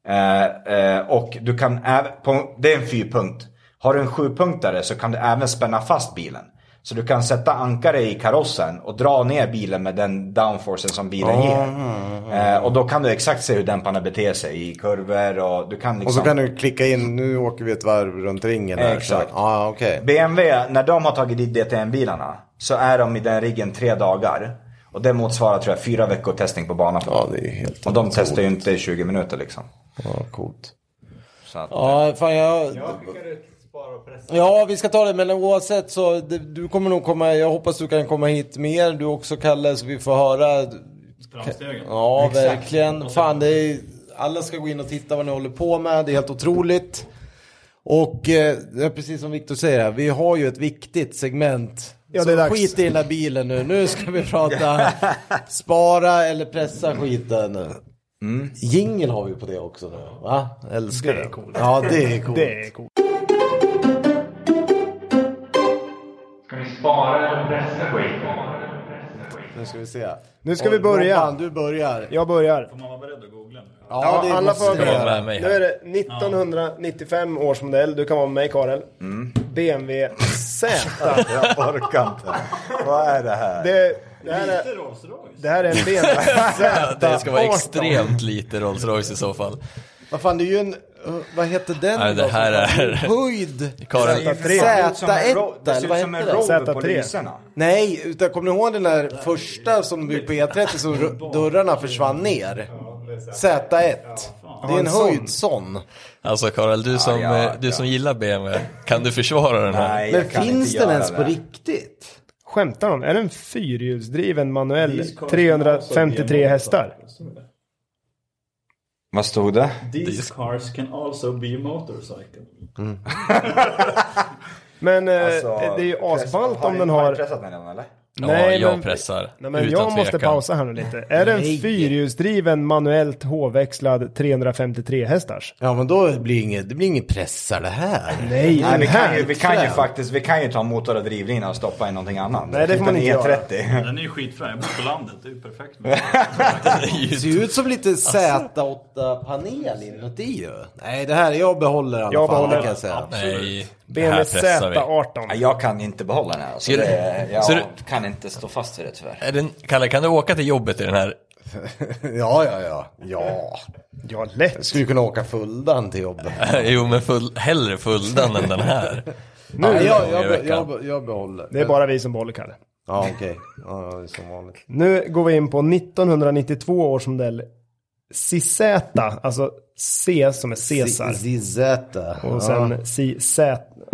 Speaker 4: Eh, eh, och du kan även, på, det är en fyrpunkt. Har du en sjupunktare så kan du även spänna fast bilen. Så du kan sätta ankare i karossen och dra ner bilen med den downforcen som bilen
Speaker 1: Mm,
Speaker 4: ger. Eh, och då kan du exakt se hur dämparna beter sig i kurvor och du kan liksom...
Speaker 1: Och så kan du klicka in, nu åker vi ett varv runt ringen. här, så-
Speaker 4: Exakt.
Speaker 1: Ja, okej.
Speaker 4: BMW, när de har tagit dit DTM-bilarna så är de i den riggen tre dagar. Och det motsvarar tror jag fyra veckor testning på banan.
Speaker 1: Ja, det är ju helt
Speaker 4: och de testar ju inte i 20 minuter liksom.
Speaker 1: Ja, coolt.
Speaker 4: Så att,
Speaker 1: Ja, fan jag...
Speaker 5: Jag skickar ut Spara och Pressa.
Speaker 1: Ja, vi ska ta det, men oavsett så det- du kommer nog komma, jag hoppas du kan komma hit mer, du också Kalle, så vi får höra.
Speaker 6: Framstegen.
Speaker 1: Ja, verkligen. Fan, det är, alla ska gå in och titta vad ni håller på med, det är helt otroligt. Och eh, det är precis som Viktor säger, här, vi har ju ett viktigt segment.
Speaker 3: Ja,
Speaker 1: så
Speaker 3: det är dags.
Speaker 1: skit i den där bilen nu, nu ska vi prata spara eller pressa skiten. Mm. Jingel har vi på det också nu, va? Älskar det. Är coolt. Ja, det är coolt.
Speaker 3: Det är coolt.
Speaker 8: Ska ni spara eller pressa skiten?
Speaker 1: Nu ska vi se.
Speaker 3: Nu ska vi börja.
Speaker 1: Robban, du börjar.
Speaker 3: Jag börjar.
Speaker 6: Får man vara beredd att googla nu?
Speaker 1: Ja, det
Speaker 3: alla
Speaker 1: måste
Speaker 3: får
Speaker 1: jag
Speaker 2: vara
Speaker 1: göra.
Speaker 2: med mig
Speaker 3: Nu
Speaker 2: här.
Speaker 3: är det 1995 års modell. Du kan vara med mig, Karel. BMW Z.
Speaker 4: Mm. jag orkar inte. Vad är det här?
Speaker 3: Det, det, här är,
Speaker 6: Lite Rolls Royce.
Speaker 3: det här är en BMW Z.
Speaker 2: Det ska vara extremt lite Rolls Royce i så fall.
Speaker 1: Vad fan, det är ju en... uh, Vad heter den?
Speaker 2: Nej, det
Speaker 1: då?
Speaker 2: här är-
Speaker 1: Höjd!
Speaker 2: Karin,
Speaker 1: Z1,
Speaker 4: Det
Speaker 1: eller
Speaker 4: ser
Speaker 1: vad
Speaker 4: ut som en
Speaker 1: heter det?
Speaker 4: rover på
Speaker 3: Z3.
Speaker 4: lyserna.
Speaker 1: Nej, utan kommer ni ihåg den där första som byggde på E E30 så r- dörrarna försvann ner? Z1. Det är en höjd sån.
Speaker 2: alltså Karel, du som,
Speaker 4: ja,
Speaker 2: eh, du som gillar BMW, kan du försvara den här?
Speaker 4: Nej, jag
Speaker 1: Men
Speaker 4: kan
Speaker 1: finns
Speaker 4: inte
Speaker 1: den
Speaker 4: göra
Speaker 1: ens
Speaker 4: det.
Speaker 1: på riktigt?
Speaker 3: Skämtar de? Är det en fyrhjulsdriven manuell 353 hästar?
Speaker 4: Vad stod
Speaker 3: Eh,
Speaker 4: det?
Speaker 6: These cars can also be motorcycle.
Speaker 3: Men eh,
Speaker 4: Alltså,
Speaker 3: det är ju
Speaker 4: press-
Speaker 3: asballt om
Speaker 4: ni-
Speaker 3: den
Speaker 4: ni
Speaker 3: har...
Speaker 4: pressat med den eller?
Speaker 2: Ja,
Speaker 3: Nej,
Speaker 2: jag
Speaker 3: men-
Speaker 2: pressar.
Speaker 3: Nej, men
Speaker 2: utan
Speaker 3: jag måste
Speaker 2: tvekan.
Speaker 3: pausa här nu lite. Är det en
Speaker 1: Nej.
Speaker 3: fyrhjulsdriven manuellt H-växlad 353 hästars?
Speaker 1: Ja, men då blir det inget, det blir inget pressar det här.
Speaker 3: Nej,
Speaker 4: Nej, vi
Speaker 3: den
Speaker 4: kan, ju,
Speaker 3: här.
Speaker 4: vi kan ju faktiskt, vi kan ju ta motor och drivlina och stoppa i någonting annat. E
Speaker 3: Nej, det får man inte göra.
Speaker 4: E30.
Speaker 6: Den är ju skitfrän. Jag bor på landet. Det är ju perfekt. Med.
Speaker 1: Det ser ju ut som lite
Speaker 2: Alltså-
Speaker 1: Z8-panel inuti ju. Nej, det här, jag behåller den.
Speaker 3: Jag
Speaker 1: fan,
Speaker 3: behåller
Speaker 1: det kan jag
Speaker 3: den.
Speaker 1: säga.
Speaker 2: Nej, det
Speaker 3: BMW
Speaker 2: här pressar vi.
Speaker 4: Nej,
Speaker 3: Z18.
Speaker 4: Jag kan inte behålla den här. Alltså,
Speaker 2: Ser du-
Speaker 4: det, jag
Speaker 2: ser du-
Speaker 4: kan inte stå fast vid det tyvärr.
Speaker 2: Är den, Kalle, kan du åka till jobbet i den här?
Speaker 1: Ja, ja, ja. Ja.
Speaker 3: Ja, lätt.
Speaker 1: Skulle kunna åka fulldan till jobbet.
Speaker 2: jo, men full, hellre fuldan än den här.
Speaker 1: Nu, ja, jag,
Speaker 2: gånger i
Speaker 1: jag,
Speaker 2: veckan.
Speaker 1: jag, jag behåller.
Speaker 3: Det är bara vi som behåller Kalle.
Speaker 1: Ja, okej. Ja, det är som vanligt.
Speaker 3: Nu går vi in på 1992 års modell CZ, alltså C som är Caesar.
Speaker 1: Zizeta.
Speaker 3: Och sen CZ,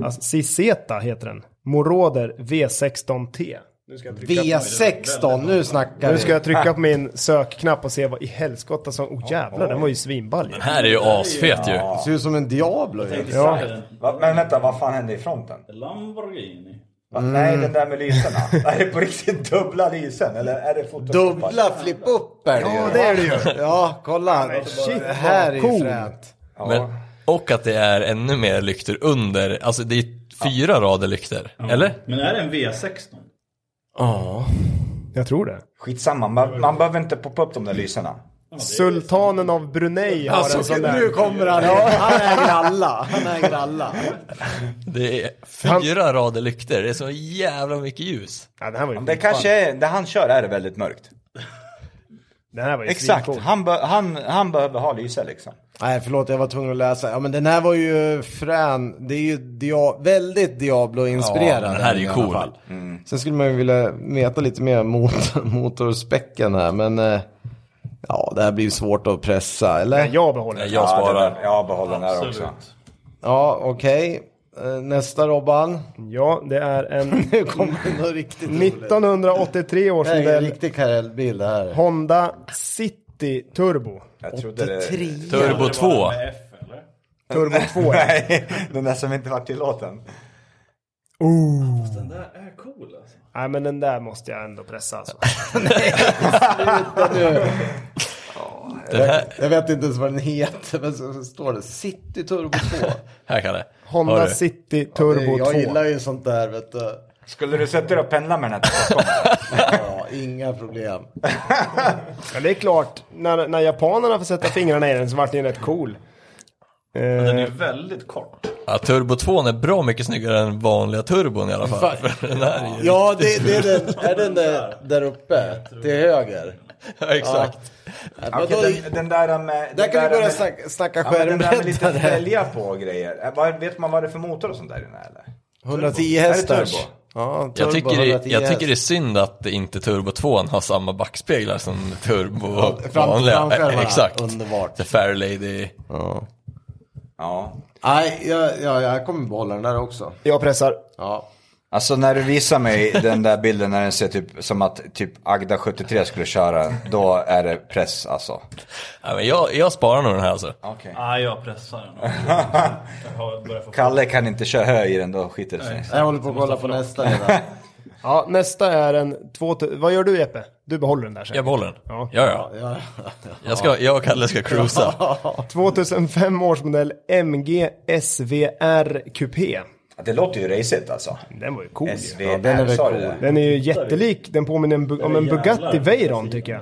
Speaker 3: alltså CZ heter den. Moroder V16T. Nu ska jag trycka på min-
Speaker 1: V16, nu snackar
Speaker 3: Nu ska
Speaker 1: vi.
Speaker 3: jag trycka på min sökknapp och se vad i helskotta som... Oh jävlar, den var ju svinball ju.
Speaker 2: Den här är ju asfet ju.
Speaker 1: Det ser ut som en Diablo ju.
Speaker 3: Ja.
Speaker 6: Exakt.
Speaker 4: Va, men vänta, vad fan hände i fronten?
Speaker 6: Lamborghini.
Speaker 4: Va, Nej, den där med lyserna. är det på riktigt dubbla lysen? Eller är det Photoshop?
Speaker 1: Dubbla flip-up är det ju.
Speaker 3: Ja, det är det ju.
Speaker 1: Ja, kolla.
Speaker 3: shit,
Speaker 1: det här är ju
Speaker 3: vad
Speaker 1: fränt.
Speaker 2: Men, och att det är ännu mer lykter under, alltså det är fyra rader lykter, eller?
Speaker 6: Men är det en V16?
Speaker 3: Jag tror det.
Speaker 4: Skitsamma, man, man behöver inte poppa upp de där lyserna.
Speaker 3: Sultanen av Brunei har en sån
Speaker 1: Alltså, nu
Speaker 3: där.
Speaker 1: kommer han. Ja. Han äger alla. Han äger alla.
Speaker 2: Det är fyra rader lykter, det är så jävla mycket ljus.
Speaker 3: Ja, den här var ju
Speaker 4: Det kanske är, det han kör är det väldigt mörkt.
Speaker 3: Den här var ju
Speaker 4: Exakt,
Speaker 3: svincool.
Speaker 4: han, be, han, han behöver ha lyse liksom.
Speaker 1: Nej, förlåt, jag var tvungen att läsa. Ja, men den här var ju frän. Det är ju dia- väldigt Diablo-inspirerad.
Speaker 2: Ja, den här är ju
Speaker 1: i alla
Speaker 2: cool.
Speaker 1: fall.
Speaker 3: Mm.
Speaker 1: Sen skulle man ju vilja veta lite mer om mot- motorspecken här, men eh, ja, det här blir ju svårt att pressa, eller?
Speaker 3: Nej, Jag behåller den.
Speaker 2: Jag
Speaker 4: Ja,
Speaker 2: sparar.
Speaker 4: den där- jag behåller den där också.
Speaker 6: Absolut.
Speaker 1: Ja, okej. Eh, Nästa Robban.
Speaker 3: Ja, det är en
Speaker 1: Nu kommer det något riktigt roligt.
Speaker 3: 1983 års
Speaker 1: Det här är en
Speaker 3: modell
Speaker 1: riktig karellbil det här.
Speaker 3: Honda City Turbo.
Speaker 4: Jag trodde det...
Speaker 2: Turbo 2.
Speaker 6: Med F eller?
Speaker 3: Turbo 2.
Speaker 4: Nej, den där som inte var tillåten.
Speaker 6: Den där är cool alltså.
Speaker 3: Nej, men den där måste jag ändå pressa alltså.
Speaker 2: Den här,
Speaker 1: Jag vet inte ens vad den heter, men så så står det City Turbo 2.
Speaker 2: här Kalle. Hör
Speaker 3: Honda
Speaker 2: du?
Speaker 3: City Turbo
Speaker 1: jag
Speaker 3: 2.
Speaker 1: gillar ju sånt där, vet du.
Speaker 4: Skulle du sätta dig och pendla med den här till Stockholm?
Speaker 1: Ja, inga problem.
Speaker 3: Ja, det är klart, när, när japanerna får sätta fingrarna i den så vart den ju rätt cool.
Speaker 6: Den
Speaker 3: Eh,
Speaker 6: är väldigt kort.
Speaker 2: Ja, turbo 2 är bra mycket snyggare än vanliga turbon i alla fall. den här är ju...
Speaker 1: Ja, det, det är den, är den där, där uppe till höger.
Speaker 2: ja, exakt.
Speaker 1: Ja, men då,
Speaker 4: Okej, den, den där med... den
Speaker 1: där kan vi börja
Speaker 4: med-
Speaker 1: snacka, snacka
Speaker 4: Ja, men den där med lite
Speaker 1: skärmbreddare.
Speaker 4: fälgar på och grejer. Eh, vad- Vet man vad det är för motor och sånt där i den här eller?
Speaker 1: 110
Speaker 4: Är det
Speaker 1: hästar.
Speaker 4: turbo?
Speaker 1: Ja, turbo
Speaker 2: Jag tycker, det,
Speaker 1: 110
Speaker 2: jag tycker det är
Speaker 1: häst.
Speaker 2: synd att inte Turbo 2 har samma backspeglar som Turbo
Speaker 1: fram-
Speaker 2: vanliga.
Speaker 1: framskärmarna.
Speaker 2: Exakt.
Speaker 1: Underbart.
Speaker 2: The Fair Lady.
Speaker 1: Ja.
Speaker 4: Ja.
Speaker 1: Nej, jag, jag, jag kommer behålla den där också.
Speaker 3: jag pressar.
Speaker 1: Ja.
Speaker 4: Alltså när du visar mig den där bilden när den ser typ som att typ Agda 73 skulle köra, då är det press alltså.
Speaker 2: Ja, men jag, jag sparar nog den här alltså.
Speaker 4: Okej.
Speaker 6: Nej, jag pressar den. Jag har börjat få
Speaker 4: Kalle kan inte köra hö i den, då skiter det sig.
Speaker 1: Jag håller på att kolla på nästa redan.
Speaker 3: Ja, nästa är en... Två, vad gör du Epe? Du behåller den där sen.
Speaker 2: Jag behåller den.
Speaker 3: Ja.
Speaker 2: Ja, ja.
Speaker 1: Ja.
Speaker 2: Jag, ska, jag och Kalle ska cruisa.
Speaker 3: 2005 års modell MG SVR Coupé.
Speaker 4: Det låter ju racigt alltså.
Speaker 3: Den var ju cool ju.
Speaker 4: SVR,
Speaker 1: den är väl
Speaker 4: sa du
Speaker 1: cool.
Speaker 4: det?
Speaker 3: Den är ju jättelik, den påminner en Bu- om en Bugatti Veyron tycker jag.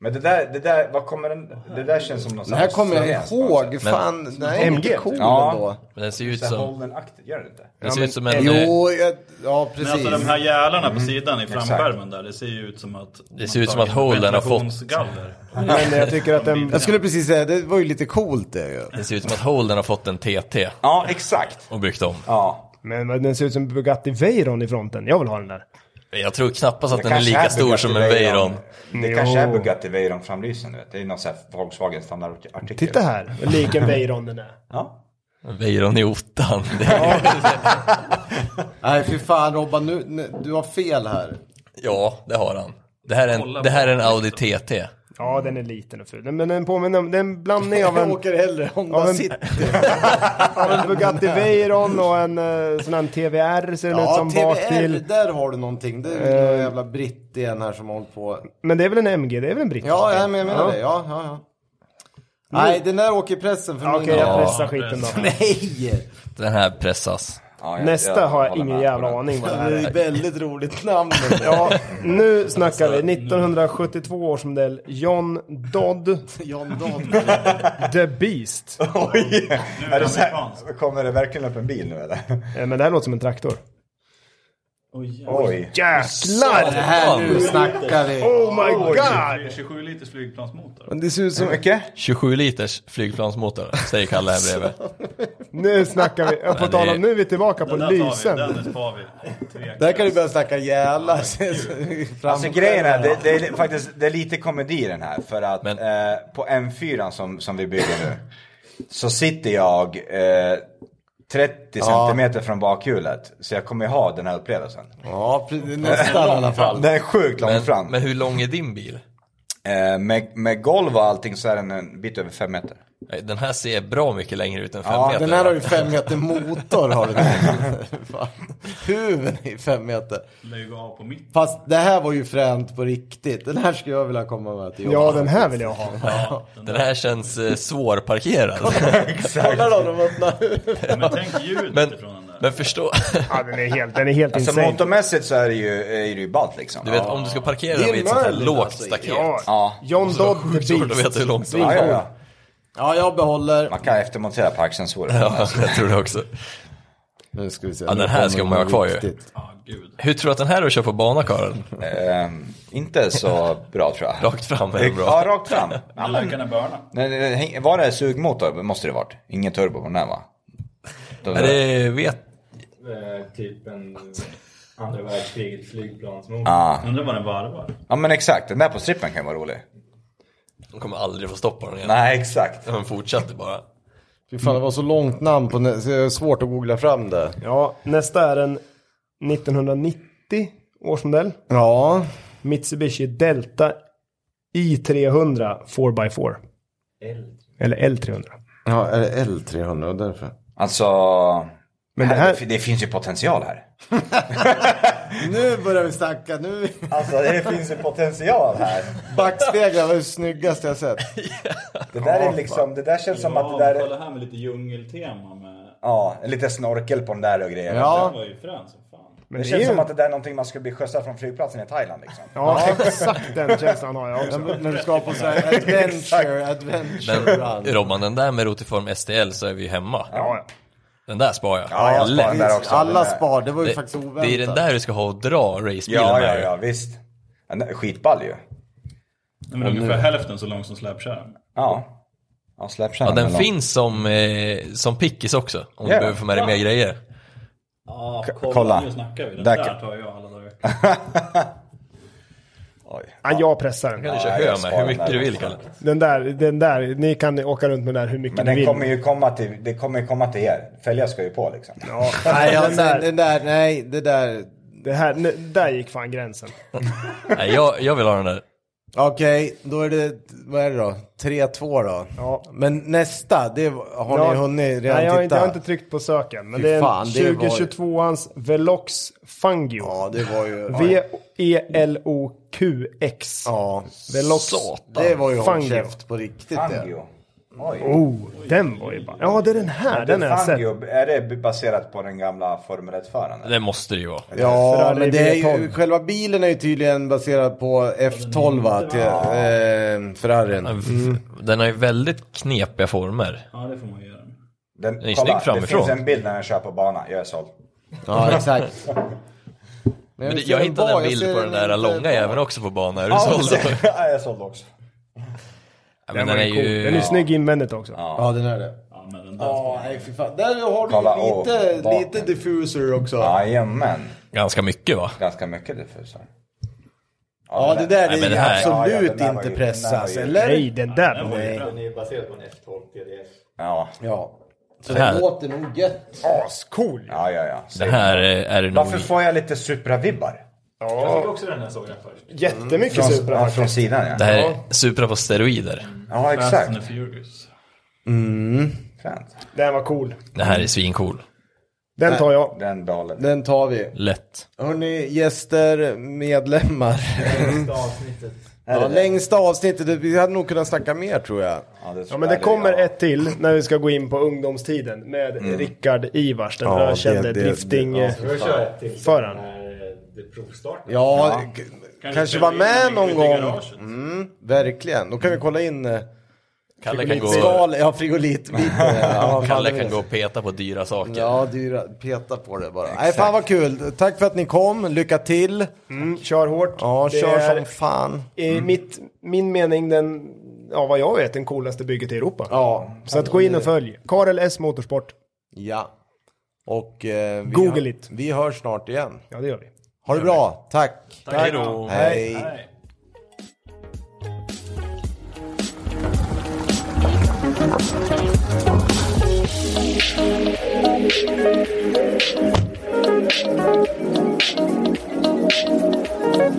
Speaker 4: Men det där, det där, vad kommer den, det där känns som någon alltså.
Speaker 1: Det här kommer jag ihåg. Fan, den här är
Speaker 3: MG.
Speaker 1: MG. cool
Speaker 4: Ja.
Speaker 1: ändå.
Speaker 2: Men den ser ju ut som,
Speaker 4: Holden-aktigt, gör det inte?
Speaker 2: den ser ut som en... eh,
Speaker 1: Jo, jag, ja
Speaker 6: Men alltså de
Speaker 1: precis.
Speaker 6: här jälarna på sidan i framskärmen där, det ser ju ut som att...
Speaker 2: Det ser ut som att Holden har fått-
Speaker 6: ventilationsgaller.
Speaker 3: Men jag tycker att den...
Speaker 1: Jag skulle precis säga, det var ju lite coolt det ju.
Speaker 2: det ser ut som att Holden har fått en TT
Speaker 4: Ja, exakt.
Speaker 2: och byggt om.
Speaker 4: Ja.
Speaker 3: Men den ser ut som en Bugatti Veyron i fronten. Jag vill ha den där.
Speaker 2: Jag tror knappast att
Speaker 4: Det
Speaker 2: den är
Speaker 4: kanske
Speaker 2: lika stor
Speaker 4: Bugatti
Speaker 2: som en Veyron.
Speaker 4: Det kanske är
Speaker 3: Jo.
Speaker 4: Bugatti Veyron framlysen, du vet. Det är någon sån här Volkswagen standardartikel.
Speaker 3: Titta här, vad lik en Veyron den är.
Speaker 4: Ja.
Speaker 2: Veyron i ottan. Det är,
Speaker 1: Nej, fy fan Robban, nu, nu, du har fel här.
Speaker 2: ja, det har han. Det här är en, det här är en Audi TT.
Speaker 3: Ja, den är liten och ful. Men den påminner om... Det är en blandning av
Speaker 1: Jag
Speaker 3: en,
Speaker 1: åker hellre Honda
Speaker 3: Ja, men-
Speaker 1: City.
Speaker 3: av en Bugatti Veyron och en eh, sån här TVR ser den ut som Eh. bak till.
Speaker 1: där har du någonting. Det är någon jävla britt igen här som har hållit på.
Speaker 3: Men det är väl en MG? Det är väl en brittisk?
Speaker 1: Ja, ja men jag menar
Speaker 3: Ja.
Speaker 1: det. Ja, ja, ja. Nej, den där åker i pressen för
Speaker 3: Ja,
Speaker 1: min
Speaker 3: Okej, jag
Speaker 1: del.
Speaker 3: pressar skiten då.
Speaker 1: Nej!
Speaker 2: Den här pressas.
Speaker 4: Ja, jag-
Speaker 3: Nästa
Speaker 4: jag
Speaker 3: har jag
Speaker 4: håller
Speaker 3: ingen
Speaker 4: med.
Speaker 3: jävla aning vad
Speaker 1: Det
Speaker 3: det här
Speaker 1: är
Speaker 3: är.
Speaker 1: ett väldigt roligt namn. den där.
Speaker 3: Ja, nu snackar vi. 1972 års modell John Dodd
Speaker 1: John Dahl.
Speaker 3: The Beast.
Speaker 4: Oj! Är det så här,
Speaker 6: amerikanskt.
Speaker 4: kommer det verkligen upp en bil nu eller?
Speaker 3: Eh, Men det här låter som en traktor.
Speaker 4: Oj.
Speaker 3: Jäklar!
Speaker 1: Här nu snackar vi.
Speaker 3: Oh my god!
Speaker 6: 27 liters flygplansmotor.
Speaker 1: Men det ser ut som...
Speaker 4: Hur mycket?
Speaker 2: 27 liters flygplansmotor, säger Kalle här bredvid.
Speaker 3: Nu snackar vi. Jag får
Speaker 2: Men
Speaker 3: tala
Speaker 2: det-
Speaker 3: om, nu är vi tillbaka på
Speaker 6: Den där tar vi,
Speaker 3: lysen.
Speaker 6: den tar vi. Tveklöst.
Speaker 1: Där kan du börja snacka jävlar.
Speaker 4: Alltså grejen är, det, det är faktiskt det är lite komedi i den här. För att
Speaker 2: Men-
Speaker 4: eh, på M4 som, som vi bygger nu. Så sitter jag eh, 30 centimeter från bakhjulet. Så jag kommer ju ha den här upplevelsen.
Speaker 1: Ja, pre- nästan i alla fall.
Speaker 4: Det är sjukt långt
Speaker 2: Men,
Speaker 4: fram.
Speaker 2: men hur lång är din bil?
Speaker 4: Eh, med, med golv och allting så är den en bit över fem meter.
Speaker 2: Nej, Den här ser bra mycket längre ut än fem
Speaker 4: Ja,
Speaker 2: meter.
Speaker 1: Den här har ju fem meter motor har den. Fan. Huven är ju fem meter.
Speaker 6: Lär ju gå av på mitt.
Speaker 1: Fast det här var ju fränt på riktigt. Den här skulle jag vilja komma med till
Speaker 3: Ja, den här vill jag ha.
Speaker 2: Den här känns eh, svårparkerad.
Speaker 1: Kolla då, de öppnar
Speaker 6: Men tänk ljudet
Speaker 2: Men,
Speaker 6: ifrån den där.
Speaker 2: men förstå,
Speaker 3: Ja, den är helt, den är helt
Speaker 4: Så
Speaker 3: insane.
Speaker 4: motormässigt så är det ju, är det ju ballt liksom.
Speaker 2: du vet om du ska parkera den vid ett sånt här lågt staket.
Speaker 3: Ja,
Speaker 4: Ja.
Speaker 3: John Dodd the
Speaker 2: Svårt att
Speaker 3: Beast.
Speaker 2: veta hur långt det
Speaker 4: Ja,
Speaker 2: är.
Speaker 4: ja, ja.
Speaker 1: Ja, jag behåller.
Speaker 4: Man kan eftermontera parksensorer.
Speaker 2: Ja, jag tror det också.
Speaker 1: Nu ska vi se.
Speaker 2: Ja, den här ska man ha kvar ju.
Speaker 6: Ja, gud.
Speaker 2: Hur tror du att den här är att köra på bana, Karl?
Speaker 4: Ehm, inte så bra tror jag.
Speaker 2: Rakt fram är det bra.
Speaker 4: Ja, rakt fram. Ja,
Speaker 6: Alla
Speaker 4: men,
Speaker 6: kan börna.
Speaker 4: nej, nej, häng- var det sugmotor? Måste det varit. Ingen turbo på den här va? De-
Speaker 2: Nej, det vet...
Speaker 5: Eh, typ en andra världskriget flygplansmotor.
Speaker 6: Undrar vad den varvar.
Speaker 4: Ja men exakt, den där på strippen kan vara rolig.
Speaker 2: De kommer aldrig få stoppa den igen.
Speaker 4: Nej exakt.
Speaker 2: De fortsätter bara.
Speaker 1: Fy fan, det var så långt namn på nä- så det är svårt att googla fram det.
Speaker 3: Ja, nästa är en 1990 års modell.
Speaker 1: Ja,
Speaker 3: Mitsubishi Delta I300 4x4.
Speaker 5: L.
Speaker 3: Eller L300.
Speaker 1: ja är det L300 och därför?
Speaker 4: Alltså,
Speaker 3: Men
Speaker 4: det,
Speaker 3: det här-
Speaker 4: det finns ju potential här.
Speaker 1: Nu börjar vi snacka, nu
Speaker 4: Alltså det finns ju potential här.
Speaker 1: backspeglar var det snyggaste jag sett.
Speaker 4: Det där är liksom, det där känns som
Speaker 6: Ja,
Speaker 4: att det där är,
Speaker 6: kolla här med lite djungeltema med...
Speaker 4: ja, lite snorkel på den där och grejer.
Speaker 6: Den
Speaker 1: Ja,
Speaker 6: var ju frän som fan.
Speaker 3: Men det,
Speaker 4: Det
Speaker 3: är
Speaker 4: känns
Speaker 3: ju...
Speaker 4: som att det där är någonting man skulle bli skjutsad från flygplatsen i Thailand liksom.
Speaker 3: Ja, exakt den känslan har jag också.
Speaker 1: när du ska på så här adventure, adventure
Speaker 2: Men
Speaker 1: run.
Speaker 2: Robban, den där med rotiform STL så är vi ju hemma.
Speaker 3: Ja,
Speaker 2: Den där sparar jag.
Speaker 4: Ja, jag sparar den där också.
Speaker 1: Alltså, Alla
Speaker 4: Den där.
Speaker 1: spar, det var ju
Speaker 2: Det,
Speaker 1: faktiskt oväntat.
Speaker 2: det är den där du ska ha och dra racebilen
Speaker 4: Ja, ja,
Speaker 2: med.
Speaker 4: ja, visst. Den där är Skitball ju.
Speaker 6: Den var ungefär hälften så lång som släpkärran.
Speaker 4: Ja. Ja, släppkärran.
Speaker 2: Ja, den
Speaker 4: eller-
Speaker 2: finns som, eh, som pickis också. Om
Speaker 4: Ja.
Speaker 2: du behöver få med dig mer grejer.
Speaker 6: Ja,
Speaker 4: kolla, kolla.
Speaker 6: Nu snackar vi. Den
Speaker 4: Där
Speaker 6: där,
Speaker 4: kan-
Speaker 6: tar jag alla dagar i veckan.
Speaker 4: Oj.
Speaker 3: ja, jag pressar
Speaker 2: kan
Speaker 3: den.
Speaker 2: du köra
Speaker 4: jag
Speaker 2: hö med
Speaker 4: sparar
Speaker 2: hur
Speaker 4: den
Speaker 2: mycket
Speaker 4: där
Speaker 2: du vill,
Speaker 4: också.
Speaker 2: Kalle.
Speaker 3: Den där, den där. Ni kan åka runt med den där hur mycket
Speaker 4: Men
Speaker 3: ni
Speaker 4: den
Speaker 3: vill.
Speaker 4: kommer ju komma till, det kommer ju komma till er. Fälgar ska ju på liksom.
Speaker 3: Ja,
Speaker 1: Nej,
Speaker 3: den
Speaker 1: alltså,
Speaker 3: där,
Speaker 1: den där, nej, det där.
Speaker 3: det här, nu, där gick fan gränsen.
Speaker 2: Nej, jag, jag vill ha den där.
Speaker 1: Okej, då är det, vad är det då? 3-2 då.
Speaker 3: Ja.
Speaker 1: Men nästa, det har ni hunnit redan
Speaker 3: nej, jag, har inte-
Speaker 1: titta?
Speaker 3: jag har inte tryckt på söken. Men
Speaker 1: Fy
Speaker 3: det är
Speaker 1: fan,
Speaker 3: en
Speaker 1: det var ju-
Speaker 3: 2022ans Velox Fangio. E
Speaker 1: Ja, det var ju...
Speaker 3: V-E-L-O-Q-X.
Speaker 1: Ja,
Speaker 3: Velox.
Speaker 1: det var ju håll
Speaker 3: Fangio.
Speaker 1: käft på riktigt det.
Speaker 4: Fangio. Oj.
Speaker 3: Oh, den var ju bara... Ja, det är den här. Den har jag sett.
Speaker 4: Fangio, är det baserat på den gamla Formel 1-föraren?
Speaker 2: Det måste det ju vara.
Speaker 1: Ja,
Speaker 3: Ferrari
Speaker 1: men det är ju,
Speaker 3: V12.
Speaker 1: själva bilen är ju tydligen baserad på F12 va, till eh, Ferrarin.
Speaker 2: Den har ju väldigt knepiga former.
Speaker 6: Ja, det får man göra.
Speaker 4: Den,
Speaker 2: är snygg
Speaker 4: kolla, det
Speaker 2: framifrån.
Speaker 4: finns en bild när den kör på banan. Jag är såld.
Speaker 1: Ja, exakt.
Speaker 2: Men jag hittade en bild på den där långa jäveln också på banan. Är du såld?
Speaker 4: Ja, jag är såld också.
Speaker 2: Ja, men
Speaker 3: Den, var ju cool. den är ju snygg invändigt också.
Speaker 1: Ja, den är det.
Speaker 6: Ja, men den där
Speaker 1: Ja, nej fy fan. Där har du
Speaker 4: Kolla,
Speaker 1: ju
Speaker 4: åh,
Speaker 1: lite,
Speaker 4: baken.
Speaker 1: lite diffuser också.
Speaker 4: Jajamän.
Speaker 2: Ganska mycket va?
Speaker 4: Ganska mycket diffusar.
Speaker 1: Ja, det där
Speaker 2: Nej,
Speaker 1: är
Speaker 2: men
Speaker 1: ju
Speaker 2: det här-
Speaker 4: Ja, ja,
Speaker 1: absolut
Speaker 4: den där
Speaker 1: inte
Speaker 4: var ju- den där var
Speaker 1: pressas,
Speaker 4: ju-
Speaker 1: eller?
Speaker 3: Nej, den där var
Speaker 6: Den var
Speaker 3: ju...
Speaker 6: ju frän.
Speaker 5: Den är ju baserad på en F12 TDF.
Speaker 4: Ja,
Speaker 1: Ja. Så
Speaker 2: Det här-
Speaker 1: det låter nog gött.
Speaker 3: Ascool!
Speaker 4: ja, ja. ja.
Speaker 2: Det här eh, är det nog...
Speaker 4: Varför får jag lite Supra-vibbar?
Speaker 6: Jag fick också den när jag såg den först.
Speaker 3: Jättemycket
Speaker 4: Från,
Speaker 3: Supra.
Speaker 4: ja, från sidan ja.
Speaker 2: Det här är Supra på steroider.
Speaker 4: Ja,
Speaker 6: Fast
Speaker 4: exakt.
Speaker 6: and the Furious.
Speaker 4: Fränt.
Speaker 3: Den var cool.
Speaker 2: Det här är svincool.
Speaker 3: Den tar jag.
Speaker 4: Den dalen.
Speaker 1: Den tar vi.
Speaker 2: Lätt.
Speaker 1: Hörni, gäster, medlemmar.
Speaker 5: Sista avsnittet.
Speaker 1: Ja, längsta avsnittet, vi hade nog kunnat snacka mer tror jag.
Speaker 4: Ja, det,
Speaker 3: Ja, men det kommer ett till när vi ska gå in på ungdomstiden med Rickard Ivars, den
Speaker 1: Ja, det-
Speaker 3: ökände
Speaker 1: det- det-
Speaker 5: Ska vi
Speaker 3: drifting-föraren.
Speaker 5: köra ett till?
Speaker 3: Föraren.
Speaker 5: När, eh, Det provstartar.
Speaker 1: Ja, k- kanske,
Speaker 6: ställa
Speaker 1: vara
Speaker 6: in
Speaker 1: med
Speaker 6: den
Speaker 1: någon
Speaker 6: i
Speaker 1: gång.
Speaker 6: garaget.
Speaker 1: Mm, verkligen, då kan vi kolla in eh,
Speaker 2: Kalle kan gå,
Speaker 1: skal, ja frigolitbitar. Ja, vad fan
Speaker 2: Kalle
Speaker 1: är det?
Speaker 2: kan gå och peta på dyra saker.
Speaker 1: Ja, dyra, peta på det bara. Nej, fan vad kul. Tack för att ni kom, lycka till.
Speaker 3: Mm, kör hårt.
Speaker 1: Ja,
Speaker 3: Det
Speaker 1: kör
Speaker 3: är,
Speaker 1: som mm. fan.
Speaker 3: I mitt, min mening den, ja vad jag vet, den coolaste bygget i Europa.
Speaker 1: Ja,
Speaker 3: Så att gå in och följ. Karel S Motorsport.
Speaker 1: ja. Och eh, vi,
Speaker 3: Google
Speaker 1: hör-
Speaker 3: it.
Speaker 1: vi hörs snart igen.
Speaker 3: Ja, det gör vi.
Speaker 1: Ha det bra, tack.
Speaker 2: Hej då.
Speaker 1: Hej.
Speaker 6: Nej.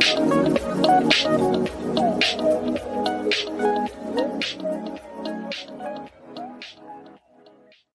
Speaker 9: Thank you.